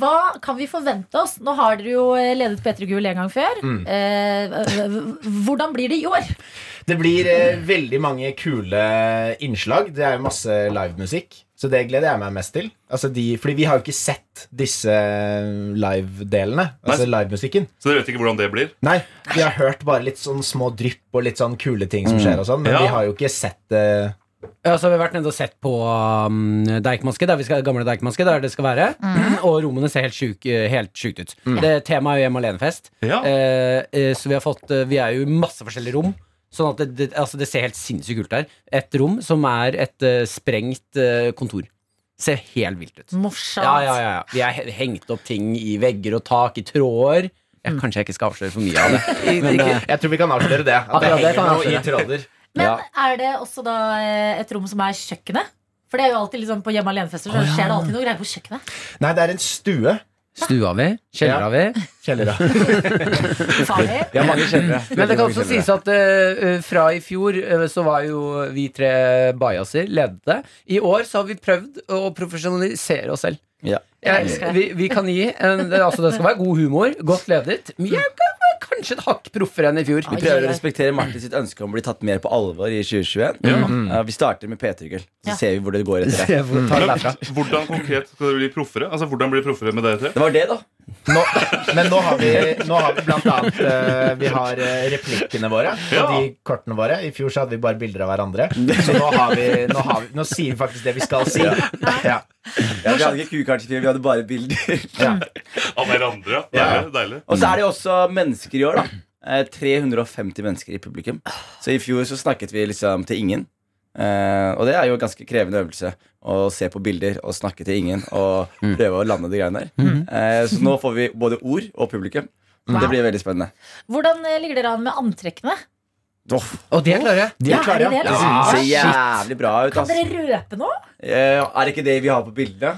Speaker 2: hva kan vi forvente oss? Nå har dere jo eh, ledet P3 Gull en gang før.
Speaker 9: Mm.
Speaker 2: Eh, h- h- hvordan blir det i år?
Speaker 8: Det blir eh, veldig mange kule innslag. Det er jo masse livemusikk. Så det gleder jeg meg mest til. Altså de, fordi vi har jo ikke sett disse eh, live-delene. Altså livemusikken.
Speaker 3: Så dere vet ikke hvordan det blir.
Speaker 8: Nei, vi har hørt bare litt sånn små drypp og litt sånn kule ting som skjer og sånn, men
Speaker 3: Ja.
Speaker 8: vi har jo ikke sett eh, det.
Speaker 9: Ja, så har vi vært nede og sett på um, Deichmanske, der vi skal, gamle Deichmanske, der det skal være. Og rommene ser helt sjukt helt sjukt ut. Det Temaet er jo Hjem alene-fest.
Speaker 3: Ja.
Speaker 9: Eh, eh, så vi har fått eh, Vi er jo i masse forskjellige rom. Sånn at det, det, altså det ser helt sinnssykt kult ut. Et rom som er et eh, sprengt eh, kontor. Ser helt vilt ut.
Speaker 2: Morsomt.
Speaker 9: Ja, ja, ja, ja. Vi har he- hengt opp ting i vegger og tak, i tråder. Ja, Kanskje jeg ikke skal avsløre for mye av det. Men, eh,
Speaker 8: Jeg tror vi kan avsløre det. At det
Speaker 9: Akkurat det
Speaker 8: henger
Speaker 9: kan
Speaker 8: noe i
Speaker 9: jeg
Speaker 8: tråder.
Speaker 2: Men er det også da eh, et rom som er kjøkkenet? For det er jo alltid liksom på hjemme alene-fester så skjer det alltid noe greier på kjøkkenet.
Speaker 8: Nei, det er en stue.
Speaker 9: stua vi, kjellera vi.
Speaker 8: Kjellera.
Speaker 2: Farlig.
Speaker 10: Vi har mange kjennere.
Speaker 9: Men det kan også sies at eh, eh, fra i fjor eh, så var jo vi tre bajaser ledde. I år så har vi prøvd å profesjonalisere oss selv.
Speaker 10: Ja.
Speaker 9: Jeg-
Speaker 2: elsker det.
Speaker 9: vi, vi kan gi en, det, altså det skal være god humor, godt ledet. Men jeg kan være kanskje et hakk proffere enn i fjor.
Speaker 10: Vi prøver å respektere Martin sitt ønske om å bli tatt mer på alvor i 2021. Eh, vi starter med P3 Gull, så
Speaker 2: Ja.
Speaker 10: ser vi hvor det går etter det.
Speaker 3: Men, hvordan konkret skal dere bli proffere? Altså, hvordan blir proffere med dere tre?
Speaker 10: Det var det, da.
Speaker 8: Nå, men nå har vi, nå har vi blant annet eh, Vi har eh, replikkene våre
Speaker 3: Ja.
Speaker 8: og de kortene våre. I fjor så hadde vi bare bilder av hverandre. Så nå, har vi, nå, har vi, nå sier vi faktisk det vi skal si. Ja.
Speaker 10: Ja, vi hadde ikke kukart i fjor, vi hadde bare bilder.
Speaker 3: Av hverandre? ja. Deilig. deilig.
Speaker 10: Og så er det jo også mennesker i år, da. Eh, 350 mennesker i publikum. Så i fjor så snakket vi liksom til ingen. Eh, og det er jo en ganske krevende øvelse å se på bilder og snakke til ingen og prøve å lande de greiene der. Eh, så nå får vi både ord og publikum. Det blir veldig spennende.
Speaker 2: Hvordan eh, ligger dere an med antrekkene?
Speaker 10: Åh,
Speaker 9: Og det klarer jeg.
Speaker 8: De er klare,
Speaker 2: er det
Speaker 8: ja.
Speaker 10: det
Speaker 2: Ah,
Speaker 10: ser
Speaker 2: shit.
Speaker 10: jævlig bra ut,
Speaker 2: Kan
Speaker 10: ass.
Speaker 2: dere røpe noe?
Speaker 10: Eh, er det ikke det vi har på bildene?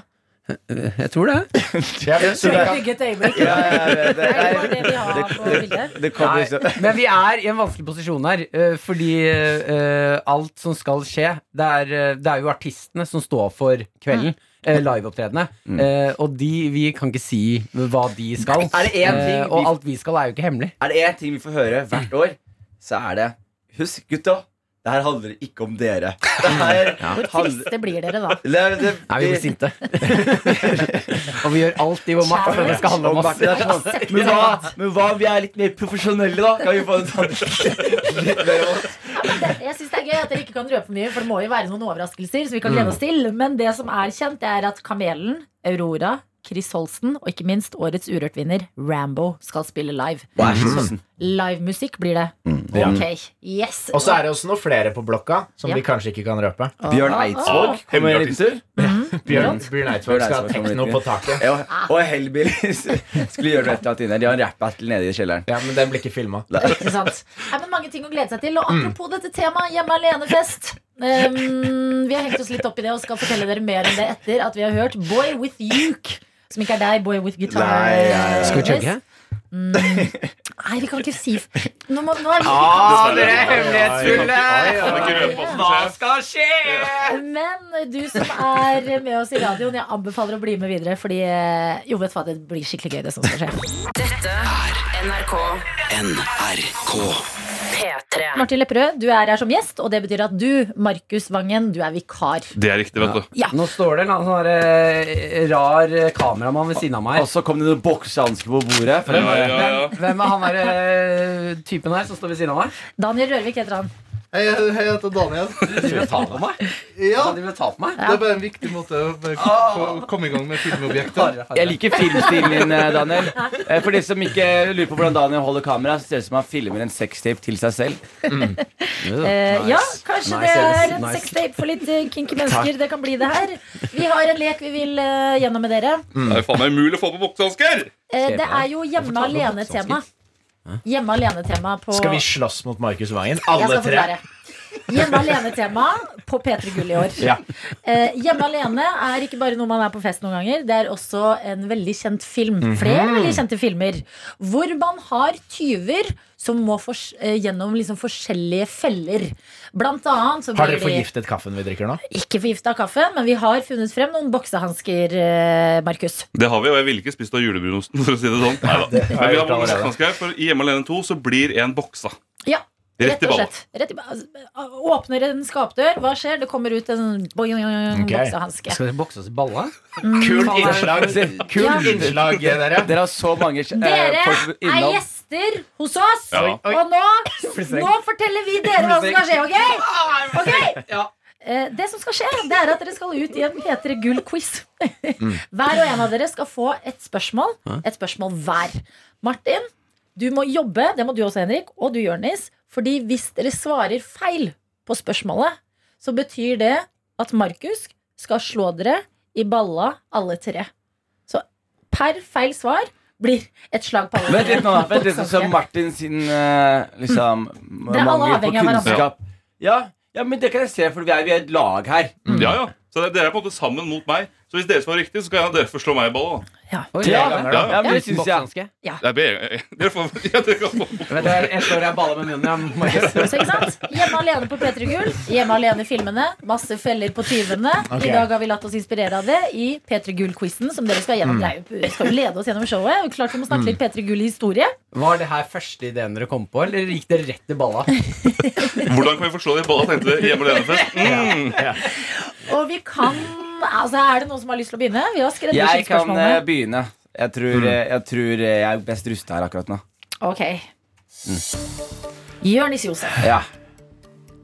Speaker 9: Jeg tror det.
Speaker 8: Ja, så det-
Speaker 2: Bygge et øyeblikk.
Speaker 10: Ja, jeg vet det.
Speaker 2: Er det bare det vi har
Speaker 10: Det-
Speaker 2: på bildet?
Speaker 10: Det kommer
Speaker 9: Nei,
Speaker 10: liksom
Speaker 9: Men vi er i en vanskelig posisjon her, eh, fordi eh, alt som skal skje det er, eh, det er jo artistene som står for
Speaker 10: Mm.
Speaker 9: kvelden. eh, Liveopptredene. Eh, og de, vi kan ikke si hva de skal.
Speaker 10: Er det én ting
Speaker 9: Eh, og
Speaker 10: vi-
Speaker 9: alt vi skal, er jo ikke hemmelig.
Speaker 10: Er det én ting vi får høre hvert år, så er det Husk, gutta, det her handler ikke om dere. Det her
Speaker 2: Hvor
Speaker 10: handler
Speaker 2: triste blir dere da?
Speaker 10: det, er- det,
Speaker 9: Nei, vi blir sinte. og vi gjør alt i vår makt for at det skal handle om oss.
Speaker 10: Det er sånn. Men hva, men hva om vi er litt mer profesjonelle, da? Kan vi få en sånn litt mer av oss?
Speaker 2: Det, jeg synes det er gøy at dere ikke kan røpe for mye, for det må jo være noen overraskelser. som vi kan glede
Speaker 8: Mm.
Speaker 2: oss til Men det som er kjent, det er at Kamelen, Aurora, Chris Holsten og ikke minst årets Urørt-vinner Rambo skal spille live.
Speaker 10: Hva er
Speaker 9: Mm.
Speaker 10: sånn?
Speaker 2: Livemusikk blir det.
Speaker 8: ja.
Speaker 2: Ok, yes
Speaker 8: Og så er det også noen flere på blokka som
Speaker 2: Ja.
Speaker 8: vi kanskje ikke kan røpe.
Speaker 10: Bjørn Eidsvåg kommer en liten tur.
Speaker 8: Bjørn, Bjørn Eidsvåg
Speaker 10: Bjørn
Speaker 8: skal
Speaker 10: Eidsvåg kommer
Speaker 8: tenke noe
Speaker 10: litt
Speaker 8: på taket.
Speaker 10: Ja, og Hellbillies skulle gjøre noe et eller annet inne. De har en rap-battle nede i kjelleren.
Speaker 8: Ja, men den blir ikke filma. Mm.
Speaker 2: Ikke sant? Nei, men mange ting å glede seg til. Og apropos dette temaet, hjemme alene-fest. Ehm, vi har hengt oss litt opp i det og skal fortelle dere mer om det etter at vi har hørt Boy with Uke. Som ikke er deg, Boy with Guitar.
Speaker 8: Nei, nei, nei.
Speaker 9: Skal vi chugge?
Speaker 2: Mm. Nei, vi kan ikke si Nå, må, nå er det
Speaker 10: Ah,
Speaker 3: dere er
Speaker 10: hemmelighetsfulle!
Speaker 3: Kan ikke røpe hva som skjer.
Speaker 10: skal skje?
Speaker 2: Men du som er med oss i radioen, jeg anbefaler å bli med videre. Fordi eh, jo, vet du hva, det blir skikkelig gøy, det som skal skje.
Speaker 5: Dette er NRK
Speaker 4: NRK.
Speaker 5: P3.
Speaker 2: Martin Lepperød, du er her som gjest, og det betyr at du, Markus Vangen, du er vikar.
Speaker 3: Det er riktig, vet du.
Speaker 9: Nå står det en annen sånn her, eh, rar eh, kameramann ved siden av meg.
Speaker 10: Og så kom det noen boksehansker på bordet.
Speaker 3: Ja, ja, ja.
Speaker 9: Hvem er han der, eh, typen her som står ved siden av meg?
Speaker 2: Daniel Rørvik heter han.
Speaker 11: Hei, jeg jeg heter Daniel.
Speaker 9: Du vil ta på meg?
Speaker 11: Ja,
Speaker 9: Du vil ta på meg?
Speaker 11: det er bare en viktig måte å bare få komme i gang med filmobjekter.
Speaker 10: Jeg liker filmstilen din, eh, Daniel. Eh, For de som ikke lurer på hvordan Daniel holder kamera, så ser det ut som han filmer en sextape til seg selv.
Speaker 2: Eh, Ja, kanskje
Speaker 9: Nice,
Speaker 2: det er
Speaker 9: Ellis.
Speaker 2: en
Speaker 9: Nice.
Speaker 2: sextape for litt eh, kinky mennesker. Det kan bli det her. Vi har en lek vi vil eh, gjennom med dere.
Speaker 3: Det er faen meg umulig å få på boksehansker!
Speaker 2: Eh,
Speaker 9: Skjer
Speaker 2: det
Speaker 9: det?
Speaker 2: er jo hjemme
Speaker 9: Hvorfor tar du opp
Speaker 2: alene-tema. Hjemme alene-tema på
Speaker 8: Skal vi slåss mot Markus Vangen?
Speaker 2: Jeg
Speaker 8: Alle
Speaker 2: skal
Speaker 8: tre?
Speaker 2: forklare. Hjemme alene-tema på P3 Gull i år. Eh, hjemme alene er ikke bare noe man er på fest noen ganger. Det er også en veldig kjent film.
Speaker 8: Mhm.
Speaker 2: Flere veldig kjente filmer. Hvor man har tyver som må fors eh, gjennom liksom forskjellige feller. Blant annet så
Speaker 8: Har dere
Speaker 2: blir de-
Speaker 8: forgiftet kaffen vi drikker nå?
Speaker 2: Ikke forgifta kaffe, men vi har funnet frem noen boksehansker, eh, Markus.
Speaker 3: Det har vi, og jeg ville ikke spist av julebrunosten, for å si det sånn. Neida. Men vi har boksehansker, for i Hjemme alene 2 så blir en boksa.
Speaker 2: Ja,
Speaker 3: Rett i
Speaker 2: og
Speaker 3: balla.
Speaker 2: slett. Rett i, ba- altså, åpner en skapdør, hva skjer? Det kommer ut en sånn boing, boing, boing,
Speaker 8: Ok.
Speaker 2: boksehanske.
Speaker 9: Skal dere bokse oss i balla?
Speaker 8: Kult innslag,
Speaker 2: Ja.
Speaker 8: Kult innslag dere.
Speaker 10: Dere har så mange eh,
Speaker 2: Dere
Speaker 10: folk
Speaker 2: er
Speaker 10: innom.
Speaker 2: gjester hos oss,
Speaker 3: Ja.
Speaker 8: Oi, oi.
Speaker 2: og nå, nå forteller vi dere hva som skal skje, OK? Ok? Eh, Det som skal skje, det er at dere skal ut i en P3 Gull-quiz. Hver og en av dere skal få et spørsmål. Et spørsmål hver. Martin, du må jobbe, det må du også, Henrik, og du, Jørnis. Fordi hvis dere svarer feil på spørsmålet, så betyr det at Markus skal slå dere i balla alle tre. Så per feil svar blir et slag på alle
Speaker 10: Vent litt nå, da. Vent litt,
Speaker 2: Boksehanske.
Speaker 10: sånn som Martin sin eh, liksom,
Speaker 2: Dere er alle
Speaker 10: mangel på
Speaker 2: avhengig av hverandre.
Speaker 10: kunnskap. Ja. ja, men det kan jeg se, for vi er, vi er et lag her.
Speaker 3: Ja, ja. Så det- dere er på en måte sammen mot meg. Så hvis dere svarer riktig, så kan jeg- dere få slå meg i balla. da.
Speaker 9: Oi,
Speaker 10: Ja,
Speaker 9: jeg ganger,
Speaker 10: ja,
Speaker 9: da.
Speaker 10: men det
Speaker 9: Uten
Speaker 10: synes jeg.
Speaker 9: boksehanske.
Speaker 3: Jeg ber- Dere får ja, dere kan få
Speaker 9: Jeg vet jeg- jeg står her og baller med munnen. Jeg, Markus.
Speaker 2: Så ikke sant? Hjemme alene på P3 Gull, hjemme alene i filmene, masse feller på tyvene.
Speaker 8: Ok.
Speaker 2: I dag har vi latt oss inspirere av det i P3 Gull-quizen, som dere skal gjennom. Det er jo- dere skal jo lede oss gjennom showet. Og klart vi må snakke litt P3 Gull-historie.
Speaker 9: Var det her første ideen dere kom på, eller gikk det rett i balla?
Speaker 3: Hvordan kan vi få slå deg i balla, tenkte dere. Hjemme alene først. Mm.
Speaker 2: Og vi kan Altså, Er det noen som har lyst til å begynne? Vi har
Speaker 10: Jeg
Speaker 2: skreddersydd
Speaker 10: kan eh,
Speaker 2: spørsmålene.
Speaker 10: begynne. Jeg tror,
Speaker 9: Mm.
Speaker 10: eh, jeg tror eh, jeg er best rusta her akkurat nå.
Speaker 2: Ok.
Speaker 10: Mm.
Speaker 2: Jørnis Josef.
Speaker 10: Ja.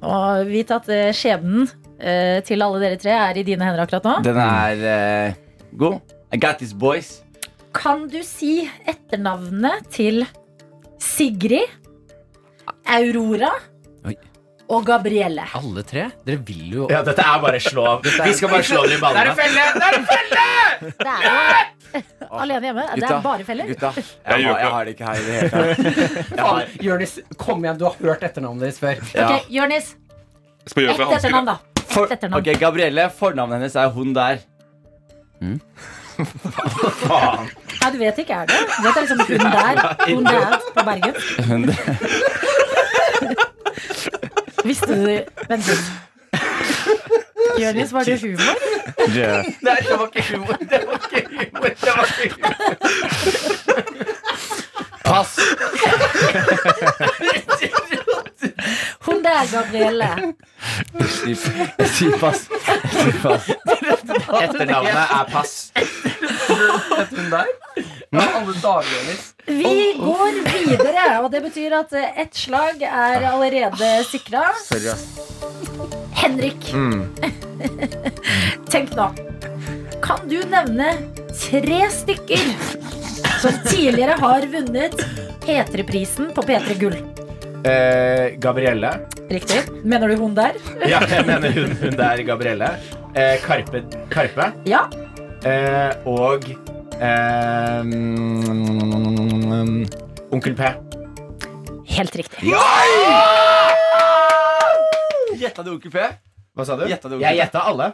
Speaker 2: Og vit at eh, skjebnen eh, til alle dere tre er i dine hender akkurat nå.
Speaker 10: Den er eh, god. I got this, boys.
Speaker 2: Kan du si etternavnet til Sigrid, Aurora
Speaker 9: Oi.
Speaker 2: og Gabrielle?
Speaker 9: Alle tre? Dere vil jo
Speaker 8: Ja, dette er bare slå av. Vi skal bare slå dere i ballene.
Speaker 2: Det er jo alene hjemme. Det
Speaker 10: Gutta.
Speaker 2: er bare feller.
Speaker 10: Gutta, jeg,
Speaker 3: gjør
Speaker 10: har,
Speaker 3: ikke-
Speaker 10: jeg har det ikke her i det hele tatt.
Speaker 9: Faen, Jonis, kom igjen, du har hørt etternavnet deres før.
Speaker 10: Ja.
Speaker 2: Ok, Jørnis.
Speaker 3: Skal vi gjøre
Speaker 2: Ett
Speaker 3: fra hansker?
Speaker 2: etternavn, da.
Speaker 10: For,
Speaker 2: Ett etternavn.
Speaker 10: ok, Gabrielle, fornavnet hennes er hun der.
Speaker 2: Nei, du vet ikke, er det? Du vet det er liksom hun der, hun der på Bergen.
Speaker 10: Hun der.
Speaker 2: Visste du Vent litt. Jørnis, var det humor?
Speaker 9: Nei, det var ikke humor. Det var ikke humor. Det var ikke humor.
Speaker 10: Pass.
Speaker 2: Hun der, Gabrielle.
Speaker 10: Si si pass. Si pass.
Speaker 8: Etternavnet er pass.
Speaker 9: Hun der? Ja, alle dager, Jonis.
Speaker 2: Vi går videre, og det betyr at eh, ett slag er allerede sikra.
Speaker 10: Sorry, ass. Mm.
Speaker 2: Henrik. Tenk nå. Kan du nevne tre stykker som tidligere har vunnet P3-prisen på P3 Gull?
Speaker 8: Eh, Gabrielle.
Speaker 2: Riktig. Mener du hun der?
Speaker 8: Ja, jeg mener hun, hun der, Gabrielle. Eh, Karpe. Karpe.
Speaker 2: Ja.
Speaker 8: Eh, og eh, mm, Onkel P.
Speaker 2: Helt riktig.
Speaker 10: Gjetta du Onkel P?
Speaker 8: Hva sa du?
Speaker 10: Gjetta det ordet.
Speaker 8: Jeg gjetta alle.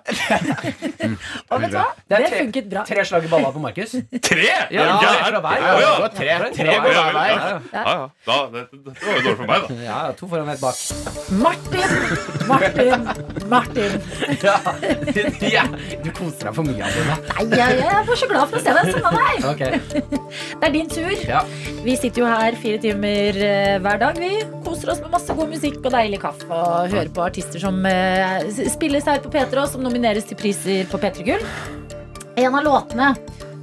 Speaker 10: Mm.
Speaker 2: Og vet du hva?
Speaker 9: Det
Speaker 2: Det
Speaker 9: er tre-
Speaker 2: funket bra.
Speaker 9: Tre slag i balla på Markus.
Speaker 3: Tre?! Er du
Speaker 9: Ja,
Speaker 3: gæren?
Speaker 9: tre fra hver.
Speaker 3: Å, ja.
Speaker 9: Det var tre- tre
Speaker 3: Ja,
Speaker 9: på
Speaker 3: ja,
Speaker 9: hver vei.
Speaker 3: ja, ja. Ja, ja. Da, det, dette var jo dårlig for meg, da.
Speaker 9: Ja, to foran et bak.
Speaker 2: Martin! Martin! Martin!
Speaker 9: Ja, de er- du koser deg for mye av det.
Speaker 2: Nei, jeg, jeg var så glad for å se deg. Sånn av deg.
Speaker 9: da. Ok.
Speaker 2: Det er din tur.
Speaker 9: Ja.
Speaker 2: Vi sitter jo her fire timer eh, hver dag. Vi koser oss med masse god musikk og deilig kaffe. Og hører på artister som eh, s- spilles her på P3, og som nomineres til priser på P3 Gull. En av låtene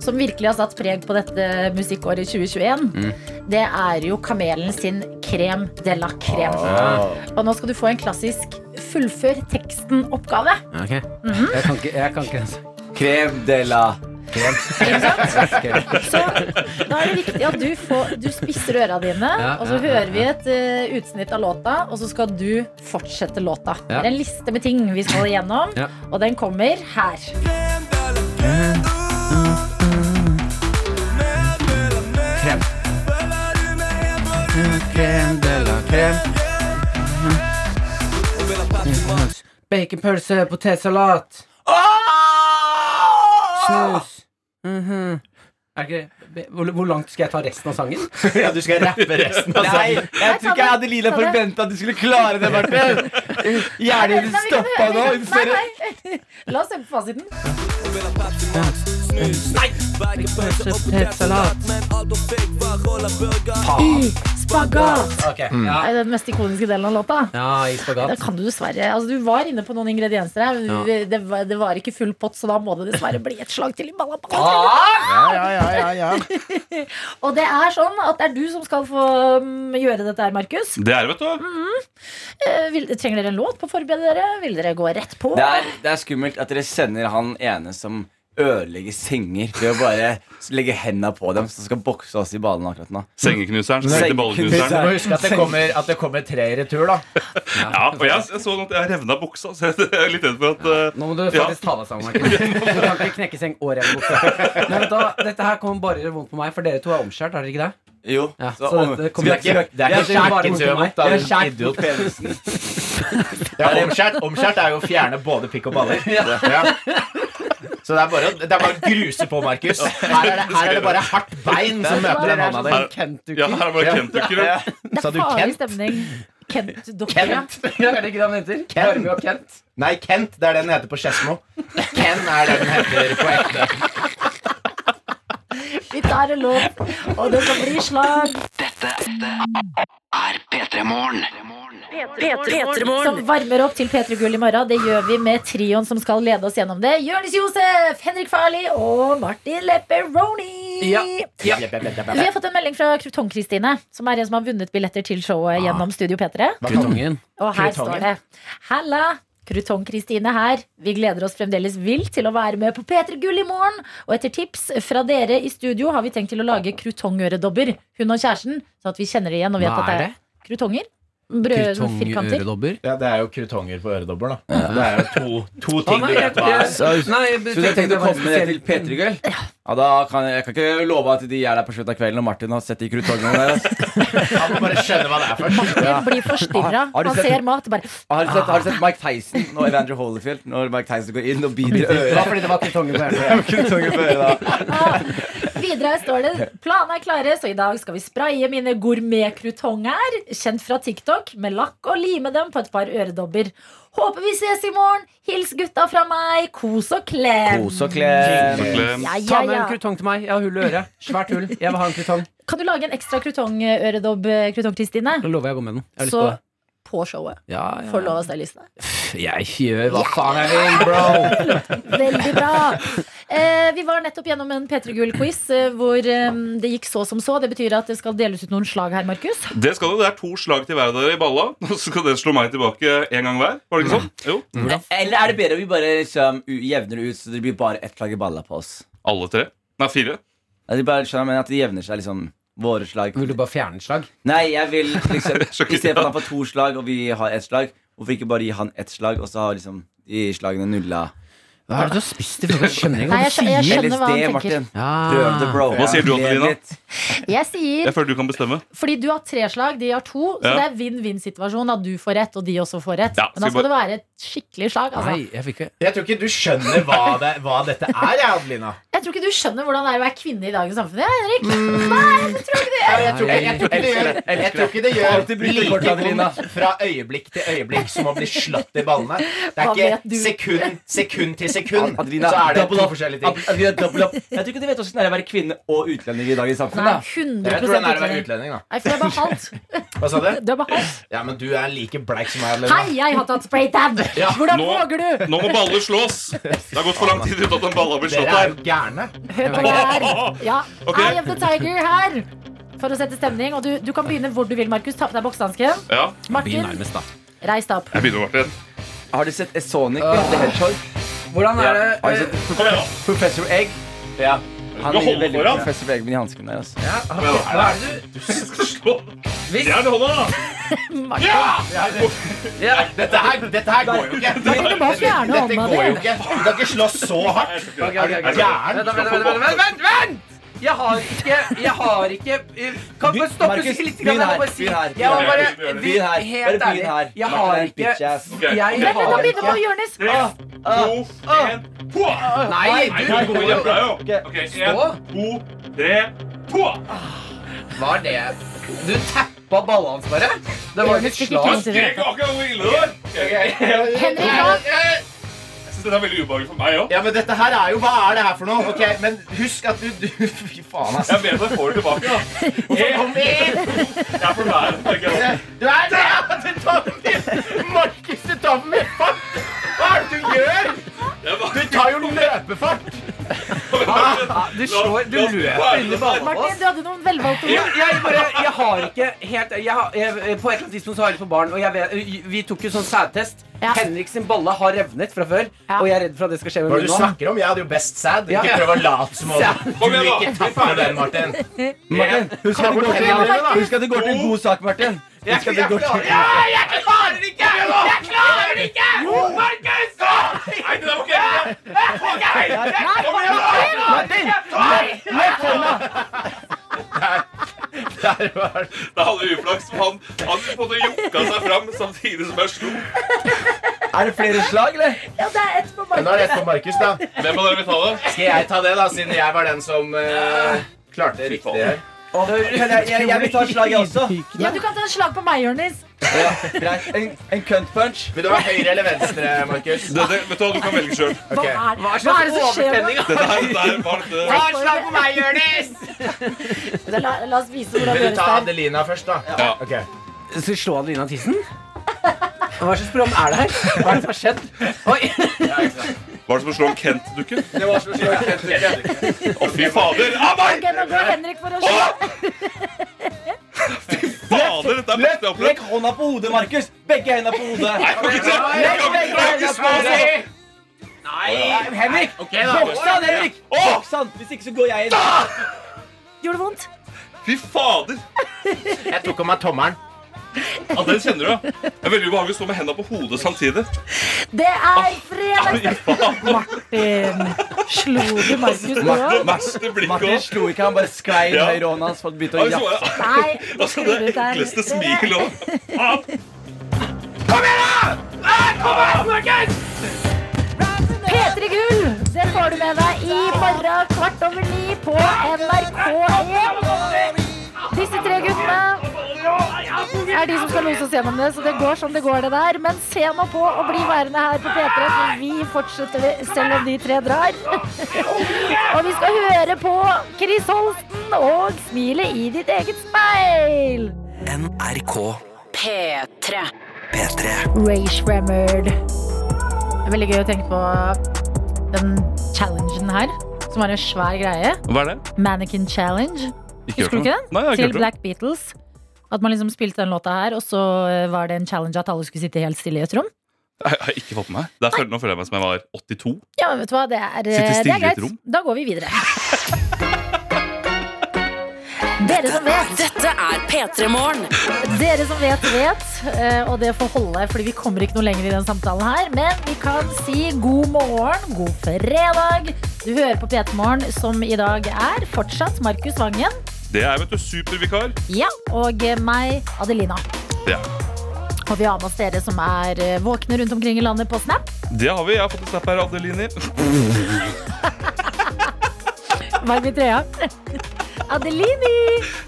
Speaker 2: som virkelig har satt preg på dette musikkåret 2021, det er jo Kamelen sin 'Krem de la Krem'.
Speaker 8: Ah.
Speaker 2: Og nå skal du få en klassisk 'fullfør teksten'-oppgave.
Speaker 9: Ok. jeg, kan ikke, jeg kan ikke den sangen.
Speaker 10: Krem de la
Speaker 2: Så da er det viktig at du, får, du spisser øra dine,
Speaker 9: Ja,
Speaker 2: og så
Speaker 9: ja, ja,
Speaker 2: hører vi
Speaker 9: ja.
Speaker 2: et eh, utsnitt av låta, og så skal du fortsette låta. Det
Speaker 9: Ja.
Speaker 2: er en liste med ting vi skal igjennom,
Speaker 9: Ja.
Speaker 2: og den kommer her.
Speaker 9: Krem. Krem de la krem. Baconpølse, potetsalat, snus. Mhm. Er det ikke det? Hvor, hvor langt skal jeg ta resten av sangen?
Speaker 8: Ja, du skal rappe resten av
Speaker 10: Nei,
Speaker 8: sangen.
Speaker 10: jeg tror ikke jeg hadde Lila
Speaker 2: Ta det.
Speaker 10: forventa at du skulle klare det, Martin.
Speaker 2: Nei,
Speaker 10: Hjernen din
Speaker 2: vi kan
Speaker 10: stoppa nå.
Speaker 2: høre-
Speaker 10: Hun
Speaker 2: Nei,
Speaker 10: ser-
Speaker 2: nei. La oss se på fasiten.
Speaker 9: Baconpølse, potetsalat.
Speaker 2: I spagat!
Speaker 9: Ok, ja.
Speaker 2: Det er den mest ikoniske delen av låta.
Speaker 9: Ja, i
Speaker 2: Da
Speaker 9: spagat.
Speaker 2: kan du dessverre altså, Du var inne på noen ingredienser her. men
Speaker 9: Ja.
Speaker 2: Det, var, det var ikke full pott, så da må det dessverre bli et slag til i balla.
Speaker 8: Ja, ja, ja, ja, ja.
Speaker 2: Og det er sånn at det er du som skal få mm, gjøre dette her, Markus.
Speaker 3: Det er det, vet du.
Speaker 2: Eh, vil- Trenger dere en låt på å forberede dere? Vil dere gå rett på?
Speaker 10: Det er, det er skummelt at dere sender han ene som ødelegger senger ved å bare legge henda på dem, som skal bokse oss i ballene akkurat nå.
Speaker 3: Sengeknuseren. Sengeknuseren.
Speaker 8: Du må huske at det kommer, at det kommer tre i retur, da.
Speaker 3: Ja, og jeg, jeg så at jeg revna buksa, så jeg er litt redd for at eh,
Speaker 9: Nå må du faktisk ta deg sammen. Markus. Du kan ikke knekke seng og revne buksa. Men vet du, hva, dette her kommer bare vondt på meg, for dere to er omskjært, er dere ikke det?
Speaker 10: Jo,
Speaker 9: Ja,
Speaker 10: så,
Speaker 9: så
Speaker 10: om,
Speaker 9: dette
Speaker 10: så vi
Speaker 9: kommer
Speaker 10: har ikke,
Speaker 8: Det er
Speaker 9: Ja,
Speaker 8: ikke
Speaker 9: det er bare
Speaker 8: skjært
Speaker 9: vondt for meg.
Speaker 8: insumt, da,
Speaker 10: vi har
Speaker 8: din
Speaker 10: skjært bort
Speaker 8: idiot.
Speaker 10: penisen.
Speaker 8: Ja, omskjært, omskjært er jo å fjerne både pikk og baller. Ja. Så det er bare å- det er bare å gruse på, Markus. Her er det, her er det bare hardt bein som møter den hånda di.
Speaker 3: Her- Ja, her er bare Kentucky. da.
Speaker 2: Det
Speaker 8: Sa
Speaker 2: er
Speaker 8: du
Speaker 2: farlig
Speaker 8: Kent?
Speaker 2: stemning. Kent Dokker.
Speaker 8: Kent?
Speaker 9: Ja, er det ikke det han heter? Kent. Og Kent.
Speaker 8: Nei, Kent. Det er det den heter på Skedsmo. Ken er det den heter på ekte.
Speaker 2: Vi tar en låt, og det skal bli slag
Speaker 4: er P3 Morgen.
Speaker 2: som varmer opp til P3 Gull i morgen. Det gjør vi med trioen som skal lede oss gjennom det. Jonis Josef, Henrik Farley og Martin Lepperoni.
Speaker 9: Ja.
Speaker 8: Ja, ja, ja, ja,
Speaker 2: Vi
Speaker 8: ja.
Speaker 2: har fått en melding fra Krutong-Kristine, som er en som har vunnet billetter til showet gjennom Studio P3.
Speaker 8: Hva kan-
Speaker 2: Og her
Speaker 8: Krutongen.
Speaker 2: står det Halla, Krutong-Kristine her. Vi gleder oss fremdeles vilt til å være med på P3 Gull i morgen. Og etter tips fra dere i studio har vi tenkt til å lage krutongøredobber, hun og kjæresten, så at vi kjenner det igjen og vet
Speaker 9: Hva
Speaker 2: at det
Speaker 9: er
Speaker 2: er krutonger. Brød, firkanter.
Speaker 9: Krutongøredobber?
Speaker 8: Ja, det er jo krutonger på øredobber, da. Det er jo to, to
Speaker 9: Å,
Speaker 8: ting
Speaker 9: nei,
Speaker 8: du
Speaker 9: jeg,
Speaker 8: vet hva er.
Speaker 9: jeg, nei, jeg,
Speaker 10: Så du har tenkt å
Speaker 9: var en
Speaker 10: komme ned til
Speaker 9: spesiell-
Speaker 10: P3 Gull? Ja, da kan jeg, jeg kan ikke love at de er der på slutten av kvelden, og Martin har sett de krutongene der. altså.
Speaker 8: Han må bare skjønne hva det er først.
Speaker 2: Martin blir forstyrra.
Speaker 10: Har- har du
Speaker 2: Han
Speaker 10: sett-
Speaker 2: ser mat og bare
Speaker 10: Har du sett, har du sett Mike Tyson og Evander Holyfield? Når Mike Tyson går inn og biter
Speaker 9: Det var
Speaker 10: øret.
Speaker 9: fordi det var krutonger på hele
Speaker 10: Krutonger på øret da.
Speaker 2: ah. Videre her står det Planene er klare, så i dag skal vi spraye mine gourmetkrutonger, kjent fra TikTok, med lakk og lime dem på et par øredobber. Håper vi ses i morgen. Hils gutta fra meg. Kos og klem.
Speaker 10: Kos og klem.
Speaker 3: Klem.
Speaker 2: Ja, ja,
Speaker 9: Ta med en
Speaker 2: ja.
Speaker 9: krutong til meg. Jeg har hull i øret. Svært hull. Jeg vil ha en krutong.
Speaker 2: Kan du lage en ekstra krutongøredobb, eh, krutong-Kristine?
Speaker 9: Da lover jeg å gå med den. Jeg har lyst
Speaker 2: Så
Speaker 9: på det.
Speaker 2: på showet.
Speaker 9: Ja,
Speaker 2: Får lov av stylistene.
Speaker 9: Jeg gjør hva faen jeg vil, bro.
Speaker 2: Veldig bra. Eh, vi var nettopp gjennom en P3 Gull-quiz eh, hvor eh, det gikk så som så. Det betyr at det skal deles ut noen slag her, Markus.
Speaker 3: Det skal det, det er to slag til hver av dere i balla. Og så skal dere slå meg tilbake en gang hver. Var det ikke sånn? Jo,
Speaker 10: Eller er det bedre om vi bare liksom, u- jevner det ut, så det blir bare ett lag i balla på oss?
Speaker 3: Alle tre. Nei, fire.
Speaker 10: At de bare skjønner, men at det jevner seg liksom våre slag.
Speaker 9: Vil du bare fjerne et slag?
Speaker 10: Nei, jeg vil liksom
Speaker 3: Så ikke-
Speaker 10: I stedet for at han får to slag og vi har ett slag, hvorfor ikke bare gi han ett slag, og så har liksom de slagene nulla
Speaker 9: Hva er det du har spist i frokost? Jeg Skjønner ikke
Speaker 2: Nei,
Speaker 9: hva
Speaker 2: jeg
Speaker 9: du
Speaker 2: skjø- jeg
Speaker 9: sier.
Speaker 2: skjønner hva han LSD, tenker. Ah. Martin.
Speaker 3: Prøv det, bro. Hva sier du, Angelina?
Speaker 2: Jeg sier
Speaker 3: Jeg føler du kan bestemme.
Speaker 2: Fordi du har tre slag, de har to. Så
Speaker 3: Ja.
Speaker 2: det er vinn-vinn-situasjon. At du får rett, og de også får rett.
Speaker 8: Ja,
Speaker 2: Men da
Speaker 8: skal vi
Speaker 2: skal det være et skikkelig slag. Altså.
Speaker 9: jeg fikk ikke
Speaker 8: Jeg tror ikke du skjønner hva, det, hva dette er, jeg, Adelina.
Speaker 2: Jeg tror ikke du skjønner hvordan det er å være kvinne i dagens samfunn. Ja, Henrik? Nei, jeg tror ikke det.
Speaker 8: Jeg tror ikke, jeg tror ikke det gjør, jeg tror ikke det gjør
Speaker 2: Alltid bryter
Speaker 8: like
Speaker 2: kort, Adelina.
Speaker 8: vondt fra øyeblikk til øyeblikk som å bli slått i ballene. Det
Speaker 2: Hva
Speaker 8: er
Speaker 2: vet
Speaker 8: ikke
Speaker 2: du?
Speaker 8: sekund, sekund til sekund,
Speaker 10: Adelina,
Speaker 8: så er det
Speaker 10: double
Speaker 8: to
Speaker 10: up.
Speaker 8: forskjellige ting.
Speaker 10: Adelina, double up. Jeg tror ikke de vet åssen det er å være kvinne og utlending i dag i
Speaker 2: Nei,
Speaker 10: samfunnet.
Speaker 2: 100
Speaker 8: Jeg tror den er å være utlending, da.
Speaker 2: Nei, for det er bare halvt.
Speaker 8: Hva sa du?
Speaker 2: Det er bare halvt.
Speaker 8: Ja, men du er like bleik som meg,
Speaker 2: Hei, jeg har tatt spraytab!
Speaker 8: Ja,
Speaker 2: Hvordan
Speaker 8: nå-
Speaker 2: våger du?
Speaker 3: Nå må baller slås! Det har gått for lang tid uten at en ball har blitt slått
Speaker 8: Dere er
Speaker 3: her.
Speaker 8: jo gærne.
Speaker 2: Hør på det her. Ja.
Speaker 3: Ok.
Speaker 2: Eye of the Tiger her. For å sette stemning. Og du, du kan begynne hvor du vil, Markus. Ta på deg boksehansken.
Speaker 3: Ja.
Speaker 2: Martin. Bli
Speaker 10: nærmest, da.
Speaker 2: Reis deg opp.
Speaker 3: Jeg begynner, Martin.
Speaker 10: Har du sett Sonic the Hedgehog?
Speaker 9: Hvordan
Speaker 10: er
Speaker 8: Eh,
Speaker 10: det Har du sett Professor Egg? Ja. Han
Speaker 9: Du holder
Speaker 10: ligner veldig
Speaker 9: foran.
Speaker 10: på Professor Egg med de hanskene der. Altså.
Speaker 9: Hva er det du
Speaker 3: Fjern hånda, da!
Speaker 10: Ja,
Speaker 8: Dette her, dette her går jo ikke.
Speaker 2: Martin, du må fjerne
Speaker 8: Dette
Speaker 2: hånda
Speaker 8: går jo
Speaker 2: di.
Speaker 8: ikke. Du kan ikke slåss så hardt.
Speaker 9: Ok, ok, ok.
Speaker 8: Er du gæren?
Speaker 9: Vent, vent, vent, vent, vent, vent! Jeg har ikke Jeg har ikke eh, Kan du stoppe
Speaker 10: Markus,
Speaker 9: litt? Grann, jeg må bare si
Speaker 10: begynn her, begynn
Speaker 9: Jeg må
Speaker 10: her.
Speaker 9: bare
Speaker 10: Begynn her.
Speaker 9: vi-
Speaker 10: Bare
Speaker 9: Helt
Speaker 10: begynn
Speaker 9: ærlig.
Speaker 10: her.
Speaker 9: Jeg
Speaker 10: Martin
Speaker 9: har
Speaker 10: er en
Speaker 9: ikke
Speaker 10: bitch ass. Ok. Vent, vent,
Speaker 9: Jeg
Speaker 2: Da
Speaker 9: har
Speaker 2: begynner
Speaker 9: ikke
Speaker 2: vi på Jonis.
Speaker 9: Ah, ah, ah.
Speaker 3: Nei,
Speaker 9: Nei, du
Speaker 3: du går jo bra, jo.
Speaker 9: jo
Speaker 3: Ok, en, to, tre, to!
Speaker 9: Hva er det? Du tappa ballene hans bare? Det var ikke et
Speaker 3: Jeg
Speaker 9: slag.
Speaker 3: skrek akkurat hvor ille det var.
Speaker 2: Henrik, da?
Speaker 3: Jeg synes dette er veldig ubehagelig for meg òg.
Speaker 8: Ja, men dette her er jo Hva er det her for noe? Ok, Men husk at du, du Fy faen, ass.
Speaker 3: Jeg ber deg få det tilbake, da.
Speaker 8: Kom inn!
Speaker 3: Jeg er for nær. tenker jeg.
Speaker 8: Du er der! Du tar den min! Markus, du tar den min fart! Hva er det du gjør?
Speaker 3: Jeg bare-
Speaker 8: Du tar jo løpefart!
Speaker 9: Ah, Du slår Du løper inn i ballene.
Speaker 2: Martin, du hadde noen velvalgte
Speaker 9: Jeg,
Speaker 2: ord.
Speaker 9: jeg, bare, jeg har ikke helt jeg har, jeg, eh, På et eller annet tidspunkt så har jeg litt på barn. Og jeg vet, vi tok jo sånn sædtest.
Speaker 2: Ja.
Speaker 9: Henrik sin balle har revnet fra før. Og jeg er redd for at det skal skje
Speaker 8: Hva
Speaker 9: med
Speaker 8: er det
Speaker 9: min
Speaker 8: du
Speaker 9: nå.
Speaker 8: snakker om? Jeg hadde jo best sad.
Speaker 9: Ja.
Speaker 8: Ikke prøv å late som om
Speaker 3: Kom
Speaker 8: du
Speaker 3: igjen, da.
Speaker 8: ikke tapper den, Martin.
Speaker 10: Martin, husk at det går til,
Speaker 8: Martin, Martin.
Speaker 10: husk at det går til en god sak, Martin. Husk at det går til
Speaker 3: Nei, det der var ikke helt bra. Kom igjen, da!
Speaker 8: Der var det.
Speaker 3: Det hadde uflaks. for Han, han på en måte jukka seg fram samtidig som jeg slo.
Speaker 10: Er det flere slag, eller?
Speaker 2: Ja, det er ett på
Speaker 8: Nå er det
Speaker 2: Markus.
Speaker 8: ett på Markus, da.
Speaker 3: Hvem av dere vil ta det?
Speaker 8: Skal jeg ta det, da, siden jeg var den som eh, klarte det riktig her?
Speaker 10: Åh, men jeg, jeg, jeg vil ta slaget også.
Speaker 2: Ja, du kan ta et slag på meg, Jonis.
Speaker 10: Ja, greit. En, en cunt punch.
Speaker 8: Vil du ha høyre eller venstre, Markus?
Speaker 3: Det, det, vet du hva, du kan velge sjøl.
Speaker 2: Hva
Speaker 8: Ok.
Speaker 2: er, hva
Speaker 9: Hva
Speaker 2: er
Speaker 9: er slags
Speaker 2: det som skjer nå?
Speaker 9: overtenning?
Speaker 3: Det der, det der var det.
Speaker 2: Ta et slag på meg, Jonis! La, la oss vise hvordan
Speaker 8: Vil du
Speaker 2: det
Speaker 8: ta
Speaker 2: gjøres der.
Speaker 8: Adelina først, da?
Speaker 3: Ja.
Speaker 8: Ok.
Speaker 9: Skal vi slå Adelina i tissen? Hva slags program er det her? Hva er det som har skjedd? Oi.
Speaker 3: Var det som å slå en Kent-dukke?
Speaker 10: Det var så slag.
Speaker 3: Å, fy fader! Ah, nei!
Speaker 2: Ok, nå går Henrik for å slå.
Speaker 3: Fader, dette er mektig opplegg.
Speaker 10: Legg hånda på hodet, Markus. Begge hendene på hodet.
Speaker 3: Nei, jeg kan ikke- jeg kan ikke- jeg kan ikke slå sånn.
Speaker 10: Nei, Henrik! Boks han, Henrik! Boks han! Hvis ikke så går jeg inn.
Speaker 2: Gjorde det vondt?
Speaker 3: Fy fader!
Speaker 8: Jeg tok av meg tommelen.
Speaker 3: Ja, den kjenner du, ja. Det er veldig ubehagelig å stå med hendene på hodet samtidig.
Speaker 2: Det er fredag! Martin, slo du Markus nå?
Speaker 3: Verste blikket
Speaker 10: Martin
Speaker 3: også.
Speaker 10: slo ikke, han bare sklei inn
Speaker 3: Ja.
Speaker 10: høyre hånda hans for å begynne å
Speaker 3: Oi, så
Speaker 10: jaffe.
Speaker 3: var jeg-
Speaker 2: Nei,
Speaker 3: Altså, det ekleste smilet òg.
Speaker 2: P3 Gull, det får du med deg i morgen kvart over ni på NRK1. Disse tre guttene er de som skal lose oss gjennom det, så det går som det går, det der. Men se nå på og bli værende her på P3, for vi fortsetter selv om de tre drar. Og vi skal høre på Chris Holsten og smilet i ditt eget speil.
Speaker 4: NRK
Speaker 5: P3.
Speaker 4: P3
Speaker 2: Rage Rammered. Det er veldig gøy å tenke på den challengen her, som var en svær greie.
Speaker 3: Hva er det?
Speaker 2: Mannequin Challenge. Husker du ikke den?
Speaker 3: Nei, jeg har ikke
Speaker 2: Til
Speaker 3: hørt om.
Speaker 2: Black Beatles. At man liksom spilte den låta her, og så eh, var det en challenge at alle skulle sitte helt stille i et rom.
Speaker 3: Nei, Jeg har ikke fått med meg. Der føler, nå føler jeg meg som jeg var 82.
Speaker 2: Ja, men vet du hva, det er,
Speaker 3: Sitte
Speaker 2: eh, det
Speaker 3: stille i
Speaker 2: er
Speaker 3: et
Speaker 2: greit.
Speaker 3: rom?
Speaker 2: Da går vi videre. Dere som vet.
Speaker 5: Dette er P3 Morgen.
Speaker 2: Dere som vet, vet. eh, Og det får holde, fordi vi kommer ikke noe lenger i den samtalen her. Men vi kan si god morgen, god fredag. Du hører på P3 Morgen, som i dag er fortsatt Markus Vangen.
Speaker 3: Det er vet du, supervikar.
Speaker 2: Ja, og meg, Adelina.
Speaker 3: Det,
Speaker 2: Og vi har med oss dere som er eh, våkne rundt omkring i landet på Snap.
Speaker 3: det har vi. Jeg har fått en snap her, Adelini.
Speaker 2: Varm i trøya. Adelini!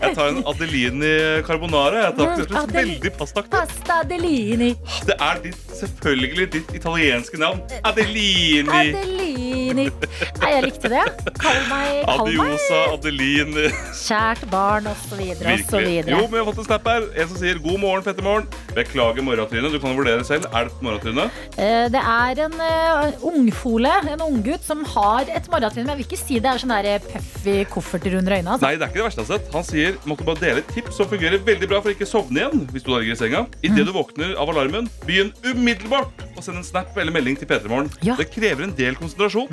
Speaker 3: Jeg tar en Adelini carbonara. Jeg tar
Speaker 2: Mm,
Speaker 3: det er
Speaker 2: Adel-
Speaker 3: veldig pastaktig.
Speaker 2: Pasta Adelini.
Speaker 3: Det er ditt, selvfølgelig ditt italienske navn. Adelini.
Speaker 2: Adelini. Nei, jeg likte det. Kall meg, kall meg
Speaker 3: Adiosa Adelin.
Speaker 2: kjært barn, osv. osv.
Speaker 3: Virkelig. Jo, men jeg har fått en snap her. En som sier 'God morgen, Fettermorgen'. Beklager morgentrynet. Du kan jo vurdere selv. Er det et morgentryne?
Speaker 2: Eh, Det er en eh, ungfole, en unggutt, som har et morgentrinn. Men jeg vil ikke si det er sånn der eh, puffy kofferter under øynene. Altså.
Speaker 3: Nei, det er ikke det verste jeg har sett. Han sier måtte bare dele et tips som fungerer veldig bra for ikke å sovne igjen hvis du da ligger i senga. Idet du våkner av alarmen, begynn umiddelbart å sende en snap eller melding til P3 Morgen. Det krever en del konsentrasjon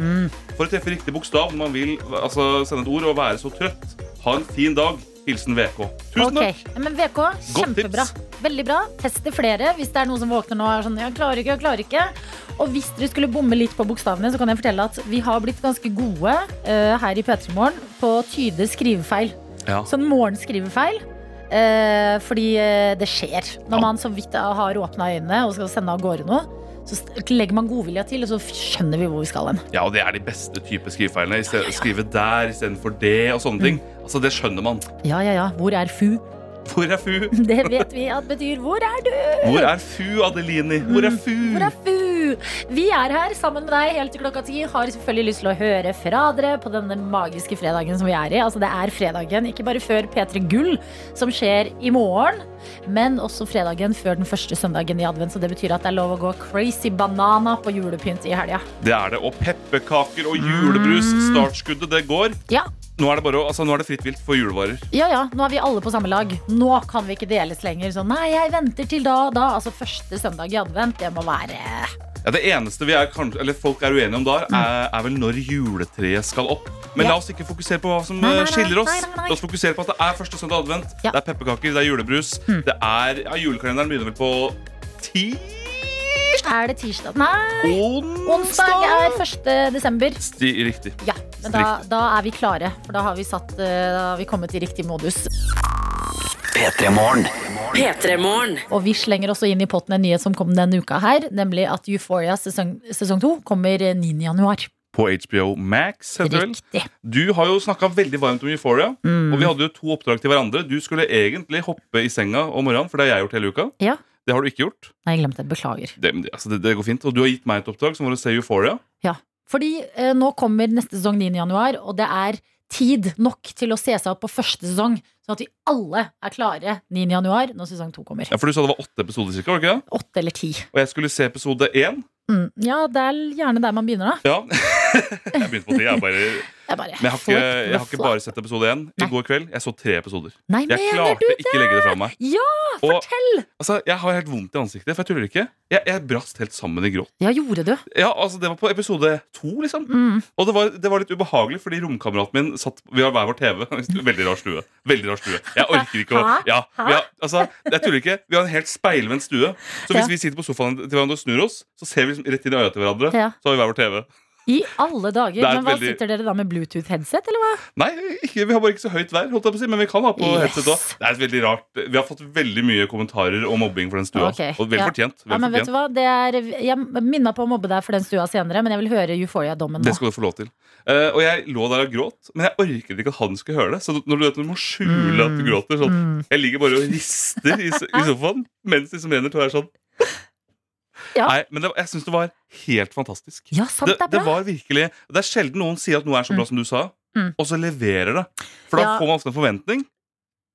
Speaker 3: for å treffe riktig bokstav når man vil altså, sende et ord og være så trøtt. Ha en fin dag. Hilsen VK. Tusen
Speaker 2: Ok.
Speaker 3: takk.
Speaker 2: Ja, Men VK,
Speaker 3: Godt tips.
Speaker 2: kjempebra. Veldig bra. Test det flere hvis det er noen som våkner nå og er sånn Jeg klarer ikke, jeg klarer ikke. Og hvis dere skulle bomme litt på bokstavene, så kan jeg fortelle at vi har blitt ganske gode eh, her i P3 Morgen på å tyde skrivefeil.
Speaker 9: Ja.
Speaker 2: Sånn morgenskriverfeil. Eh, fordi eh, det skjer. Når man så vidt har åpna øynene og skal sende av gårde noe, så st- legger man godvilja til, og så f- skjønner vi hvor vi skal hen.
Speaker 3: Ja, og det er de beste type skrivefeilene. I stedet- Skrive der istedenfor det og sånne ting. Altså, Det skjønner man.
Speaker 2: Ja, ja, ja. Hvor er fu?
Speaker 3: Hvor er fu?
Speaker 2: Det vet vi at betyr 'hvor er du?'
Speaker 3: Hvor er fu, Adelini? Hvor er fu?
Speaker 2: Mm. Hvor er Fu? Vi er her sammen med deg helt til klokka ti. Har selvfølgelig lyst til å høre fra dere på denne magiske fredagen som vi er i. Altså Det er fredagen, ikke bare før P3 Gull, som skjer i morgen, men også fredagen før den første søndagen i advent. Så det betyr at det er lov å gå crazy banana på julepynt i helga.
Speaker 3: Det er det. Og pepperkaker og julebrus.
Speaker 2: Mm.
Speaker 3: Startskuddet, det går.
Speaker 2: Ja.
Speaker 3: Nå er det, bare, å- altså, nå er det fritt vilt for julevarer.
Speaker 2: Ja, ja, nå er vi alle på samme lag. Nå kan vi ikke deles lenger. Sånn, nei, jeg venter til da og da. Altså første søndag i advent, det må være
Speaker 3: Ja, det eneste vi er, kanskje, eller folk er uenige
Speaker 2: Mm.
Speaker 3: om der, er, er vel når juletreet skal opp. Men la oss ikke fokusere på hva som
Speaker 2: Nei, nei,
Speaker 3: eh,
Speaker 2: nei,
Speaker 3: skiller oss.
Speaker 2: nei, nei, nei.
Speaker 3: La oss fokusere på at det er første søndag advent. Det er pepperkaker, det er julebrus.
Speaker 2: Mm.
Speaker 3: Det er, ja, Julekalenderen begynner vel på ti?
Speaker 2: Er det tirsdag? Nei!
Speaker 3: Onsdag,
Speaker 2: er 1. desember.
Speaker 3: Ti, Riktig.
Speaker 2: Ja, men da, da er vi klare, for da har vi, satt, eh, da har vi kommet i riktig modus.
Speaker 4: P3-morgen.
Speaker 5: P3-morgen.
Speaker 2: Og vi slenger også inn i potten en nyhet som kom denne uka her, nemlig at Euphoria sesong, sesong 2 kommer eh, 9. januar.
Speaker 3: På HBO Max. heter det vel? Du har jo snakka veldig varmt om Euphoria.
Speaker 2: Mm.
Speaker 3: Og vi hadde jo to oppdrag til hverandre. Du skulle egentlig hoppe i senga om morgenen, for det har jeg gjort hele uka.
Speaker 2: Ja.
Speaker 3: Det har du ikke gjort.
Speaker 2: Nei, jeg glemte det. Beklager.
Speaker 3: Det, men det- altså, det, det går fint. Og du har gitt meg et oppdrag som var å se Euphoria.
Speaker 2: Ja, fordi eh, nå kommer neste sesong 9. januar, og det er tid nok til å se seg opp på første sesong, sånn at vi alle er klare 9. januar når sesong 2 kommer.
Speaker 3: Ja, for du sa det var åtte episoder cirka, var det ikke det?
Speaker 2: Åtte eller ti.
Speaker 3: Og jeg skulle se episode én.
Speaker 2: Mm, ja, det er gjerne der man begynner da.
Speaker 3: Ja. jeg begynte på ti. Jeg bare...
Speaker 2: Jeg bare
Speaker 3: Men jeg har,
Speaker 2: får
Speaker 3: ikke,
Speaker 2: et
Speaker 3: jeg har ikke
Speaker 2: blåfla-
Speaker 3: bare sett episode én. I går kveld jeg så tre episoder.
Speaker 2: Nei,
Speaker 3: jeg
Speaker 2: mener
Speaker 3: klarte
Speaker 2: du
Speaker 3: ikke legge det fra meg.
Speaker 2: Ja,
Speaker 3: Og-
Speaker 2: fortell!
Speaker 3: Altså, Jeg har helt vondt i ansiktet, for jeg tuller ikke. Jeg, jeg brast helt sammen i gråt.
Speaker 2: Ja, gjorde du?
Speaker 3: Ja, altså, Det var på episode to, liksom.
Speaker 2: Mm.
Speaker 3: Og det var, det var litt ubehagelig, fordi romkameraten min satt Vi har hver vår TV. Veldig rar stue. Veldig rar stue. Jeg orker ikke å
Speaker 12: Hæ?
Speaker 3: ja,
Speaker 12: Hæ?
Speaker 3: vi har, altså, Jeg tuller ikke. Vi har en helt speilvendt stue. Så hvis
Speaker 2: Ja.
Speaker 3: vi sitter på sofaen til hverandre og snur oss, så ser vi liksom rett inn i øya til hverandre.
Speaker 2: Ja.
Speaker 3: Så har vi hver vår TV.
Speaker 2: I alle dager.
Speaker 3: Det er et
Speaker 2: Men hva
Speaker 3: veldig-
Speaker 2: sitter dere da med Bluetooth-headset, eller hva?
Speaker 3: Nei, ikke, vi har bare ikke så høyt vær, holdt jeg på å si, men vi kan ha på
Speaker 2: Yes.
Speaker 3: headset òg. Det er et veldig rart. Vi har fått veldig mye kommentarer og mobbing for den stua.
Speaker 2: Ok,
Speaker 3: Og vel
Speaker 2: ja.
Speaker 3: fortjent.
Speaker 2: Ja,
Speaker 3: Vel
Speaker 2: men vet du
Speaker 3: fortjent.
Speaker 2: hva? Det er, jeg minna på å mobbe deg for den stua senere, men jeg vil høre Euphoria-dommen
Speaker 3: Det
Speaker 2: nå.
Speaker 3: skal du få lov til. Eh, og jeg lå der og gråt, men jeg orket ikke at han skulle høre det. Så når du vet når du må skjule at du gråter sånn
Speaker 2: Mm.
Speaker 3: Jeg ligger bare og rister i, so- i sofaen mens de som renner to er sånn. Nei, men det, jeg syns det var helt fantastisk.
Speaker 2: Ja, sant,
Speaker 3: det,
Speaker 2: det er bra.
Speaker 3: var virkelig Det er sjelden noen sier at noe er så bra som du sa,
Speaker 2: Mm.
Speaker 3: og så leverer det. For da
Speaker 2: Ja.
Speaker 3: får man ofte en forventning.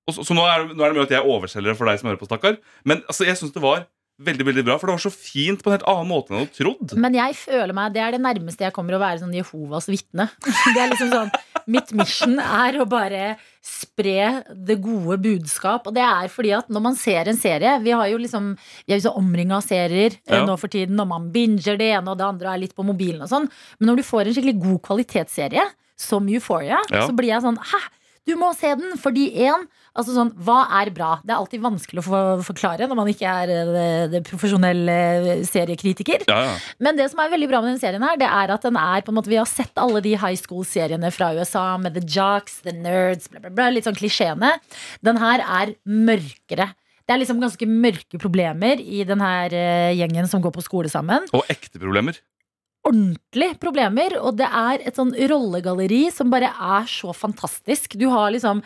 Speaker 3: Og så, så nå, er, det- nå er det mye at jeg overselger det for deg som hører på, stakkar. Men altså, jeg syns det var veldig veldig bra, for det var så fint på en helt annen måte enn jeg hadde trodd.
Speaker 2: Men jeg føler meg, det er det nærmeste jeg kommer å være sånn Jehovas vitne. Det er liksom sånn, Mitt mission er å bare spre det gode budskap. Og det er fordi at når man ser en serie Vi har jo liksom, vi er jo så omringa av serier eh,
Speaker 13: Ja.
Speaker 2: nå for tiden, og man binger det ene og det andre og er litt på mobilen og sånn. Men når du får en skikkelig god kvalitetsserie, som Euphoria,
Speaker 13: Ja.
Speaker 2: så blir jeg sånn Hæ! Du Du må se den, fordi én altså sånn, Hva er bra? Det er alltid vanskelig å få- forklare når man ikke er eh, det, det profesjonelle eh, seriekritiker.
Speaker 12: Ja, ja.
Speaker 2: Men det som er veldig bra med den serien her, det er at den er på en måte Vi har sett alle de high school-seriene fra USA med the jocks, the nerds, bla, bla, bla. Litt sånn klisjeene. Den her er mørkere. Det er liksom ganske mørke problemer i den her eh, gjengen som går på skole sammen
Speaker 3: Og ekte problemer.
Speaker 2: ordentlig problemer, og det er et sånn rollegalleri som bare er så fantastisk. Du har liksom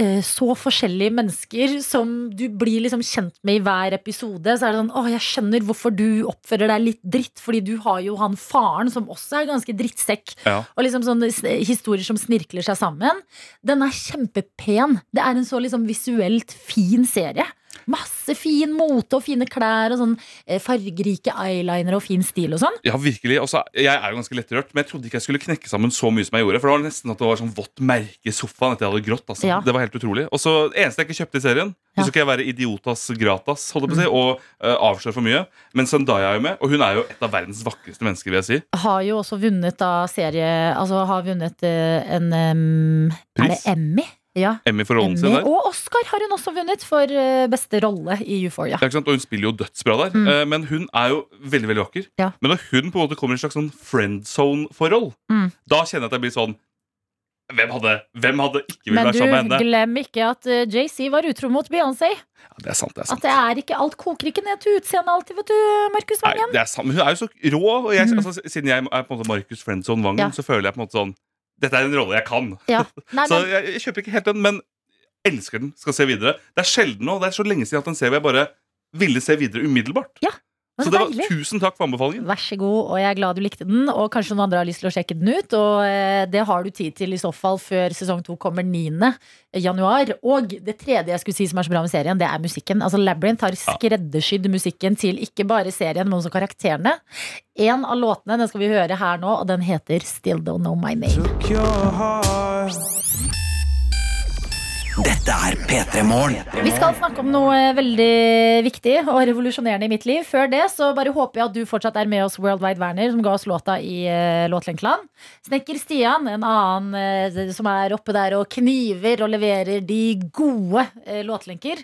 Speaker 2: eh, så forskjellige mennesker som du blir liksom kjent med i hver episode. Så er det sånn Å, jeg skjønner hvorfor du oppfører deg litt dritt, fordi du har jo han faren som også er ganske drittsekk.
Speaker 12: Ja.
Speaker 2: Og liksom sånne s- historier som snirkler seg sammen. Den er kjempepen. Det er en så liksom visuelt fin serie. Masse fin mote og fine klær og sånn eh, fargerike eyeliner og fin stil og sånn.
Speaker 3: Ja, virkelig. Og så- jeg er jo ganske lettrørt, men jeg trodde ikke jeg skulle knekke sammen så mye som jeg gjorde. For det var nesten at det var sånn vått merke i sofaen etter jeg hadde grått. Altså.
Speaker 2: Ja.
Speaker 3: Det var helt utrolig. Og så det eneste jeg ikke kjøpte i serien, og så skal jeg være idiotas gratas holdt jeg på å si,
Speaker 2: Mm.
Speaker 3: og eh, avsløre for mye. Men Zendaya er jo med, og hun er jo et av verdens vakreste mennesker, vil jeg si.
Speaker 2: Har jo også vunnet da serie Altså har vunnet eh, en em, Er det
Speaker 3: Pris?
Speaker 2: Emmy? Ja.
Speaker 3: Emmy for rollen sin
Speaker 2: Emmy.
Speaker 3: der.
Speaker 2: Og Oscar har hun også vunnet for eh, beste rolle i Euphoria.
Speaker 3: Ja, ikke sant? Og hun spiller jo dødsbra der.
Speaker 2: Mm.
Speaker 3: eh, Men hun er jo veldig veldig vakker.
Speaker 2: Ja.
Speaker 3: Men når hun på en måte kommer i et slags sånn friend zone-forhold,
Speaker 2: Mm.
Speaker 3: da kjenner jeg at jeg blir sånn Hvem hadde, hvem hadde ikke villet
Speaker 2: Men
Speaker 3: være
Speaker 2: du,
Speaker 3: sammen med henne?
Speaker 2: glem ikke at eh, JC var utro mot Beyoncé.
Speaker 3: Ja, det er sant, det er
Speaker 2: At
Speaker 3: sant.
Speaker 2: det er ikke alt koker ikke ned til utseendet alltid, vet du, Markus
Speaker 3: Nei,
Speaker 2: Vangen. Mhm.
Speaker 3: det er sant. Men hun er jo så rå. Og jeg, altså, siden jeg er på en måte Markus Friendzone Vangen,
Speaker 2: Ja.
Speaker 3: så føler jeg på en måte sånn Dette er en rolle jeg kan.
Speaker 2: Ja. Nei,
Speaker 3: så
Speaker 2: men-
Speaker 3: jeg, jeg kjøper ikke helt den, men elsker den. Skal se videre. Det er sjelden nå. Det er så lenge siden jeg har hatt en serie hvor jeg bare ville se videre umiddelbart.
Speaker 2: men
Speaker 3: så
Speaker 2: så
Speaker 3: det var,
Speaker 2: deilig.
Speaker 3: tusen takk for anbefalingen.
Speaker 2: Vær så god, og jeg er glad du likte den. Og kanskje noen andre har lyst til å sjekke den ut. Og eh, det har du tid til i så fall før sesong to kommer 9. januar. Og det tredje jeg skulle si som er så bra med serien, det er musikken. Altså Labyrinth har skreddersydd musikken til ikke bare serien, men også karakterene. En av låtene den skal vi høre her nå, og den heter Still Don't Know My Name.
Speaker 4: Dette er P3 Morgen.
Speaker 2: Vi skal snakke om noe eh, veldig viktig og revolusjonerende i mitt liv. Før det så bare håper jeg at du fortsatt er med oss Worldwide Werner, som ga oss låta i eh, Låtlenkeland. Snekker Stian, en annen eh, som er oppe der og kniver og leverer de gode eh, låtlenker,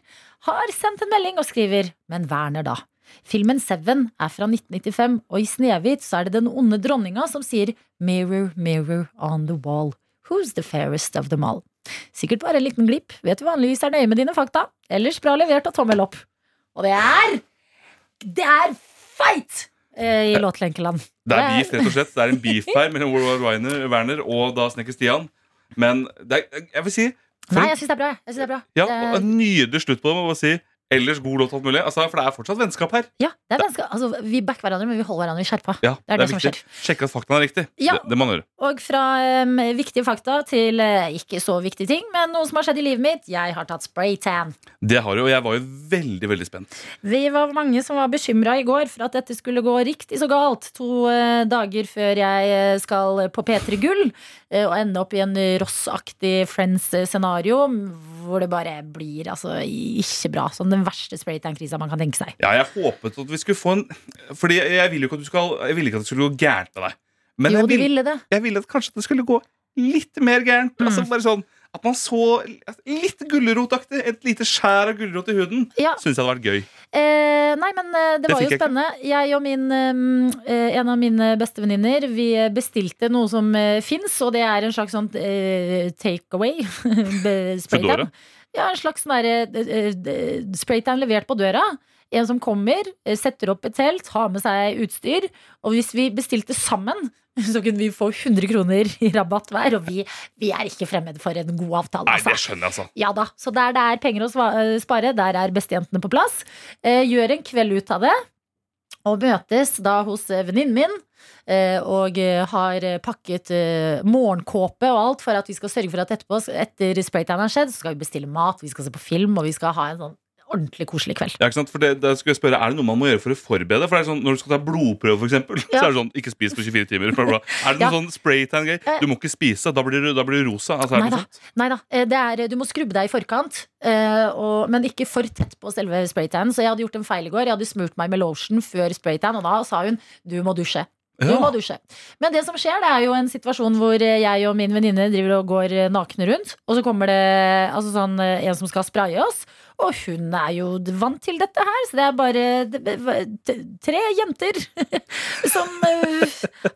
Speaker 2: har sendt en melding og skriver Men Werner, da. Filmen Seven er fra 1995, og i Snehvit så er det den onde dronninga som sier Mirror, mirror on the wall. Who's the fairest of them all? Sikkert bare en liten glipp. Vet du vanligvis er nøye med dine fakta. Ellers bra levert og tommel opp. Og det er Det er fight! eh, I Låtlenkeland.
Speaker 3: Det er beef, rett og slett. Det er en beef her mellom World War Werner, Werner og da Snekker Stian. Men det er, jeg vil si for
Speaker 2: Nei,
Speaker 3: en-
Speaker 2: jeg syns det er bra. jeg. Jeg synes det er bra. Eh,
Speaker 3: ja,
Speaker 2: Det
Speaker 3: og
Speaker 2: er-
Speaker 3: En nydelig slutt på det. Må jeg bare si. Ellers god låt, alt mulig. Altså, for det er fortsatt vennskap her.
Speaker 2: ja, det er ganske, altså, vi backer hverandre, men vi holder hverandre i skjerpa.
Speaker 3: Ja,
Speaker 2: det er det som skjer.
Speaker 3: viktig. Sjekke at faktaene er riktig.
Speaker 2: Ja.
Speaker 3: Det, det må man gjøre.
Speaker 2: Og fra em, viktige fakta til eh, ikke så viktige ting, men noe som har skjedd i livet mitt. Jeg har tatt spraytan.
Speaker 3: Det har jo, og jeg var jo veldig, veldig spent.
Speaker 2: Vi var mange som var bekymra i går for at dette skulle gå riktig så galt. To eh, dager før jeg eh, skal på P3 Gull eh, og ende opp i en Ross-aktig Friends-scenario hvor det bare blir altså, ikke bra. Sånn den verste spraytan-krisa man kan tenke seg.
Speaker 3: Ja, jeg håpet at vi skulle få en Fordi jeg ville jo ikke at, du skal, jeg ville ikke at det skulle gå gærent med deg.
Speaker 2: jo,
Speaker 3: jeg
Speaker 2: du
Speaker 3: vil-
Speaker 2: ville det.
Speaker 3: jeg ville at kanskje det skulle gå litt mer gærent.
Speaker 2: Mm.
Speaker 3: Altså bare sånn At man så litt gulrotaktig. Et lite skjær av gulrot i huden.
Speaker 2: Ja.
Speaker 3: Syns jeg hadde vært gøy.
Speaker 2: Eh, nei, men eh, det, var
Speaker 3: Det
Speaker 2: jo
Speaker 3: fikk jeg ikke.
Speaker 2: spennende. Jeg og min, eh, eh, en av mine bestevenninner Vi eh, bestilte noe som eh, fins, og det er en slags sånn eh, takeaway. Be-
Speaker 12: Foodora?
Speaker 2: spraytan. Ja, en slags sånn der, eh, eh, spraytan levert på døra. En som kommer, eh, setter opp et telt, har med seg utstyr. Og hvis vi bestilte sammen, så kunne vi få 100 kroner i rabatt hver. Og vi, vi er ikke fremmed for en god avtale.
Speaker 3: Nei,
Speaker 2: altså.
Speaker 3: det skjønner jeg, altså.
Speaker 2: Ja da, så der det er penger å sva- eh, spare, der er bestejentene på plass. Eh, gjør en kveld ut av det, og møtes da hos eh, venninnen min. eh, Og eh, har eh, pakket eh, morgenkåpe og alt for at vi skal sørge for at etterpå, etter spraytan har skjedd, så skal vi bestille mat, vi skal se på film, og vi skal ha en sånn ordentlig koselig kveld.
Speaker 3: Ja, ikke sant? For det, da skulle jeg spørre, Er det noe man må gjøre for å forberede? For det er sånn, Når du skal ta blodprøve, for eksempel,
Speaker 2: Ja.
Speaker 3: så er det sånn Ikke spis på 24 timer. Bla bla. Er det
Speaker 2: Ja. Eh.
Speaker 3: noe sånn spraytan-greier? Du må ikke spise, da blir du, da blir du rosa. Altså, er
Speaker 2: Nei
Speaker 3: det
Speaker 2: da.
Speaker 3: noe sånt?
Speaker 2: Nei da. Eh, Det er, du må skrubbe deg i forkant, eh, og, men ikke for tett på selve spraytanen. Så jeg hadde gjort en feil i går. Jeg hadde smurt meg med lotion før spraytan, og da sa hun du må dusje. Jo, må dusje. Men det som skjer, det er jo en situasjon hvor eh, jeg og min venninne driver og går eh, nakne rundt. Og så kommer det altså sånn, en som skal spraye oss. Og hun er jo vant til dette her, så det er bare t- tre jenter som eh,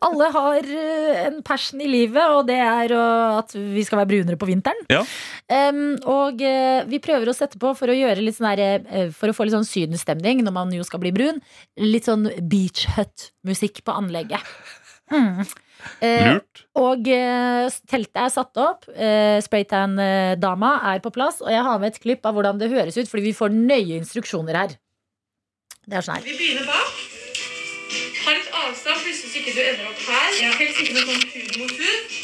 Speaker 2: alle har eh, en passion i livet, og det er å- at vi skal være brunere på vinteren.
Speaker 3: Ja.
Speaker 2: Em, og eh, vi prøver oss etterpå for å, gjøre litt sånn der, eh, for å få litt sånn sydenstemning når man jo skal bli brun. Litt sånn beach hut-musikk på anlegget. Mm. Eh,
Speaker 3: Lurt.
Speaker 2: og eh, teltet er satt opp. Eh, Spraytan-dama er på plass. Og jeg har med et klipp av hvordan det høres ut, fordi vi får nøye instruksjoner her. Det er sånn her.
Speaker 12: Vi begynner bak. Ha litt avstand, plutselig så ikke du ender opp her. Helst ikke noe sånn hud mot hud.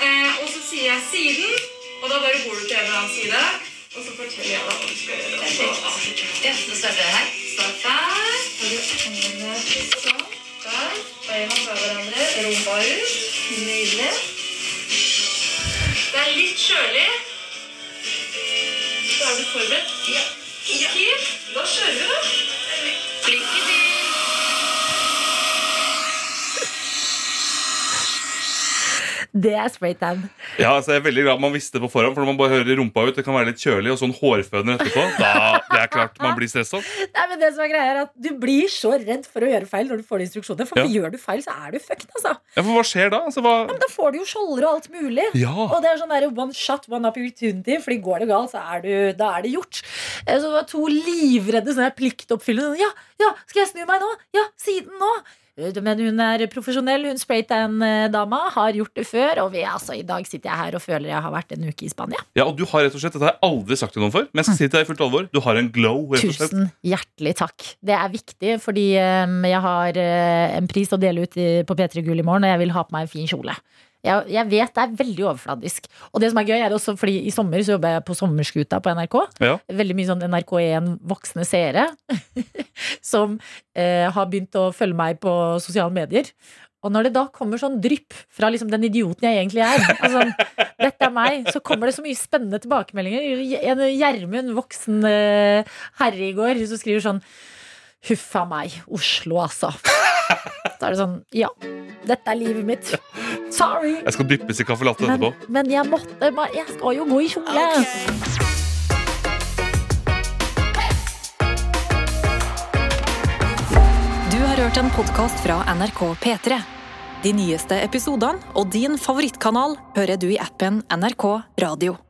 Speaker 12: Eh, og så sier jeg siden, og da bare går du til en eller annen side. Og så forteller jeg deg hva du skal gjøre. Og så avslutter vi. Nå starter jeg her. Start der. Får du hendene sånn. Der. Beina fra hverandre. Rumba ut. Nydelig. Det er litt kjølig. Så er du forberedt. Ja. Ikke. Da kjører vi, da. Lykke til.
Speaker 2: Det er spraytan.
Speaker 3: Ja, altså Jeg er veldig glad man visste det på forhånd, for når man bare hører rumpa ut, det kan være litt kjølig, og sånn hårføner etterpå, da det er klart man blir stressa.
Speaker 2: Nei, men det som er greia er at Du blir så redd for å gjøre feil når du får de instruksjonene. For
Speaker 3: Ja.
Speaker 2: gjør du feil, så er du fucked. altså
Speaker 3: Ja, for hva skjer da? Altså, hva...
Speaker 2: Men Da får du jo skjolder og alt mulig.
Speaker 3: Ja.
Speaker 2: Og det er sånn der one shot, one opportunity. Fordi går det galt, så er, du, da er det gjort. Eh, Så det var to livredde sånne her pliktoppfyllende. sånn, Ja, ja, skal jeg snu meg nå? Ja, siden nå. Eh, Men hun er profesjonell, hun spraytan-dama. Har gjort det før. Og vi, altså, i dag sitter jeg her og føler jeg har vært en uke i Spania.
Speaker 3: Ja, og du har rett og slett, Dette har jeg aldri sagt til noen før, men jeg skal si til deg i fullt alvor. Du har en glow. rett og slett
Speaker 2: Tusen hjertelig takk. Det er viktig, fordi eh, jeg har eh, en pris å dele ut i- på P3 Gull i morgen, og jeg vil ha på meg en fin kjole. Jeg, jeg vet det er veldig overfladisk. Og det som er gøy, er også fordi i sommer så jobber jeg på Sommerskuta på NRK.
Speaker 3: Ja.
Speaker 2: Veldig mye sånn NRK1 voksne seere som eh, har begynt å følge meg på sosiale medier. Og når det da kommer sånn drypp fra liksom den idioten jeg egentlig er, altså, dette er meg, så kommer det så mye spennende tilbakemeldinger. En Gjermund, voksen eh, herre i går, som skriver sånn Huffa meg, Oslo, altså. Da er det sånn Ja, dette er livet mitt. Sorry.
Speaker 3: Jeg skal dyppes i caffè latte etterpå.
Speaker 2: Men jeg måtte bare- Jeg skal jo gå i kjole.
Speaker 1: Du har hørt en podkast fra NRK P3. De nyeste episodene og din favorittkanal hører du i appen NRK Radio.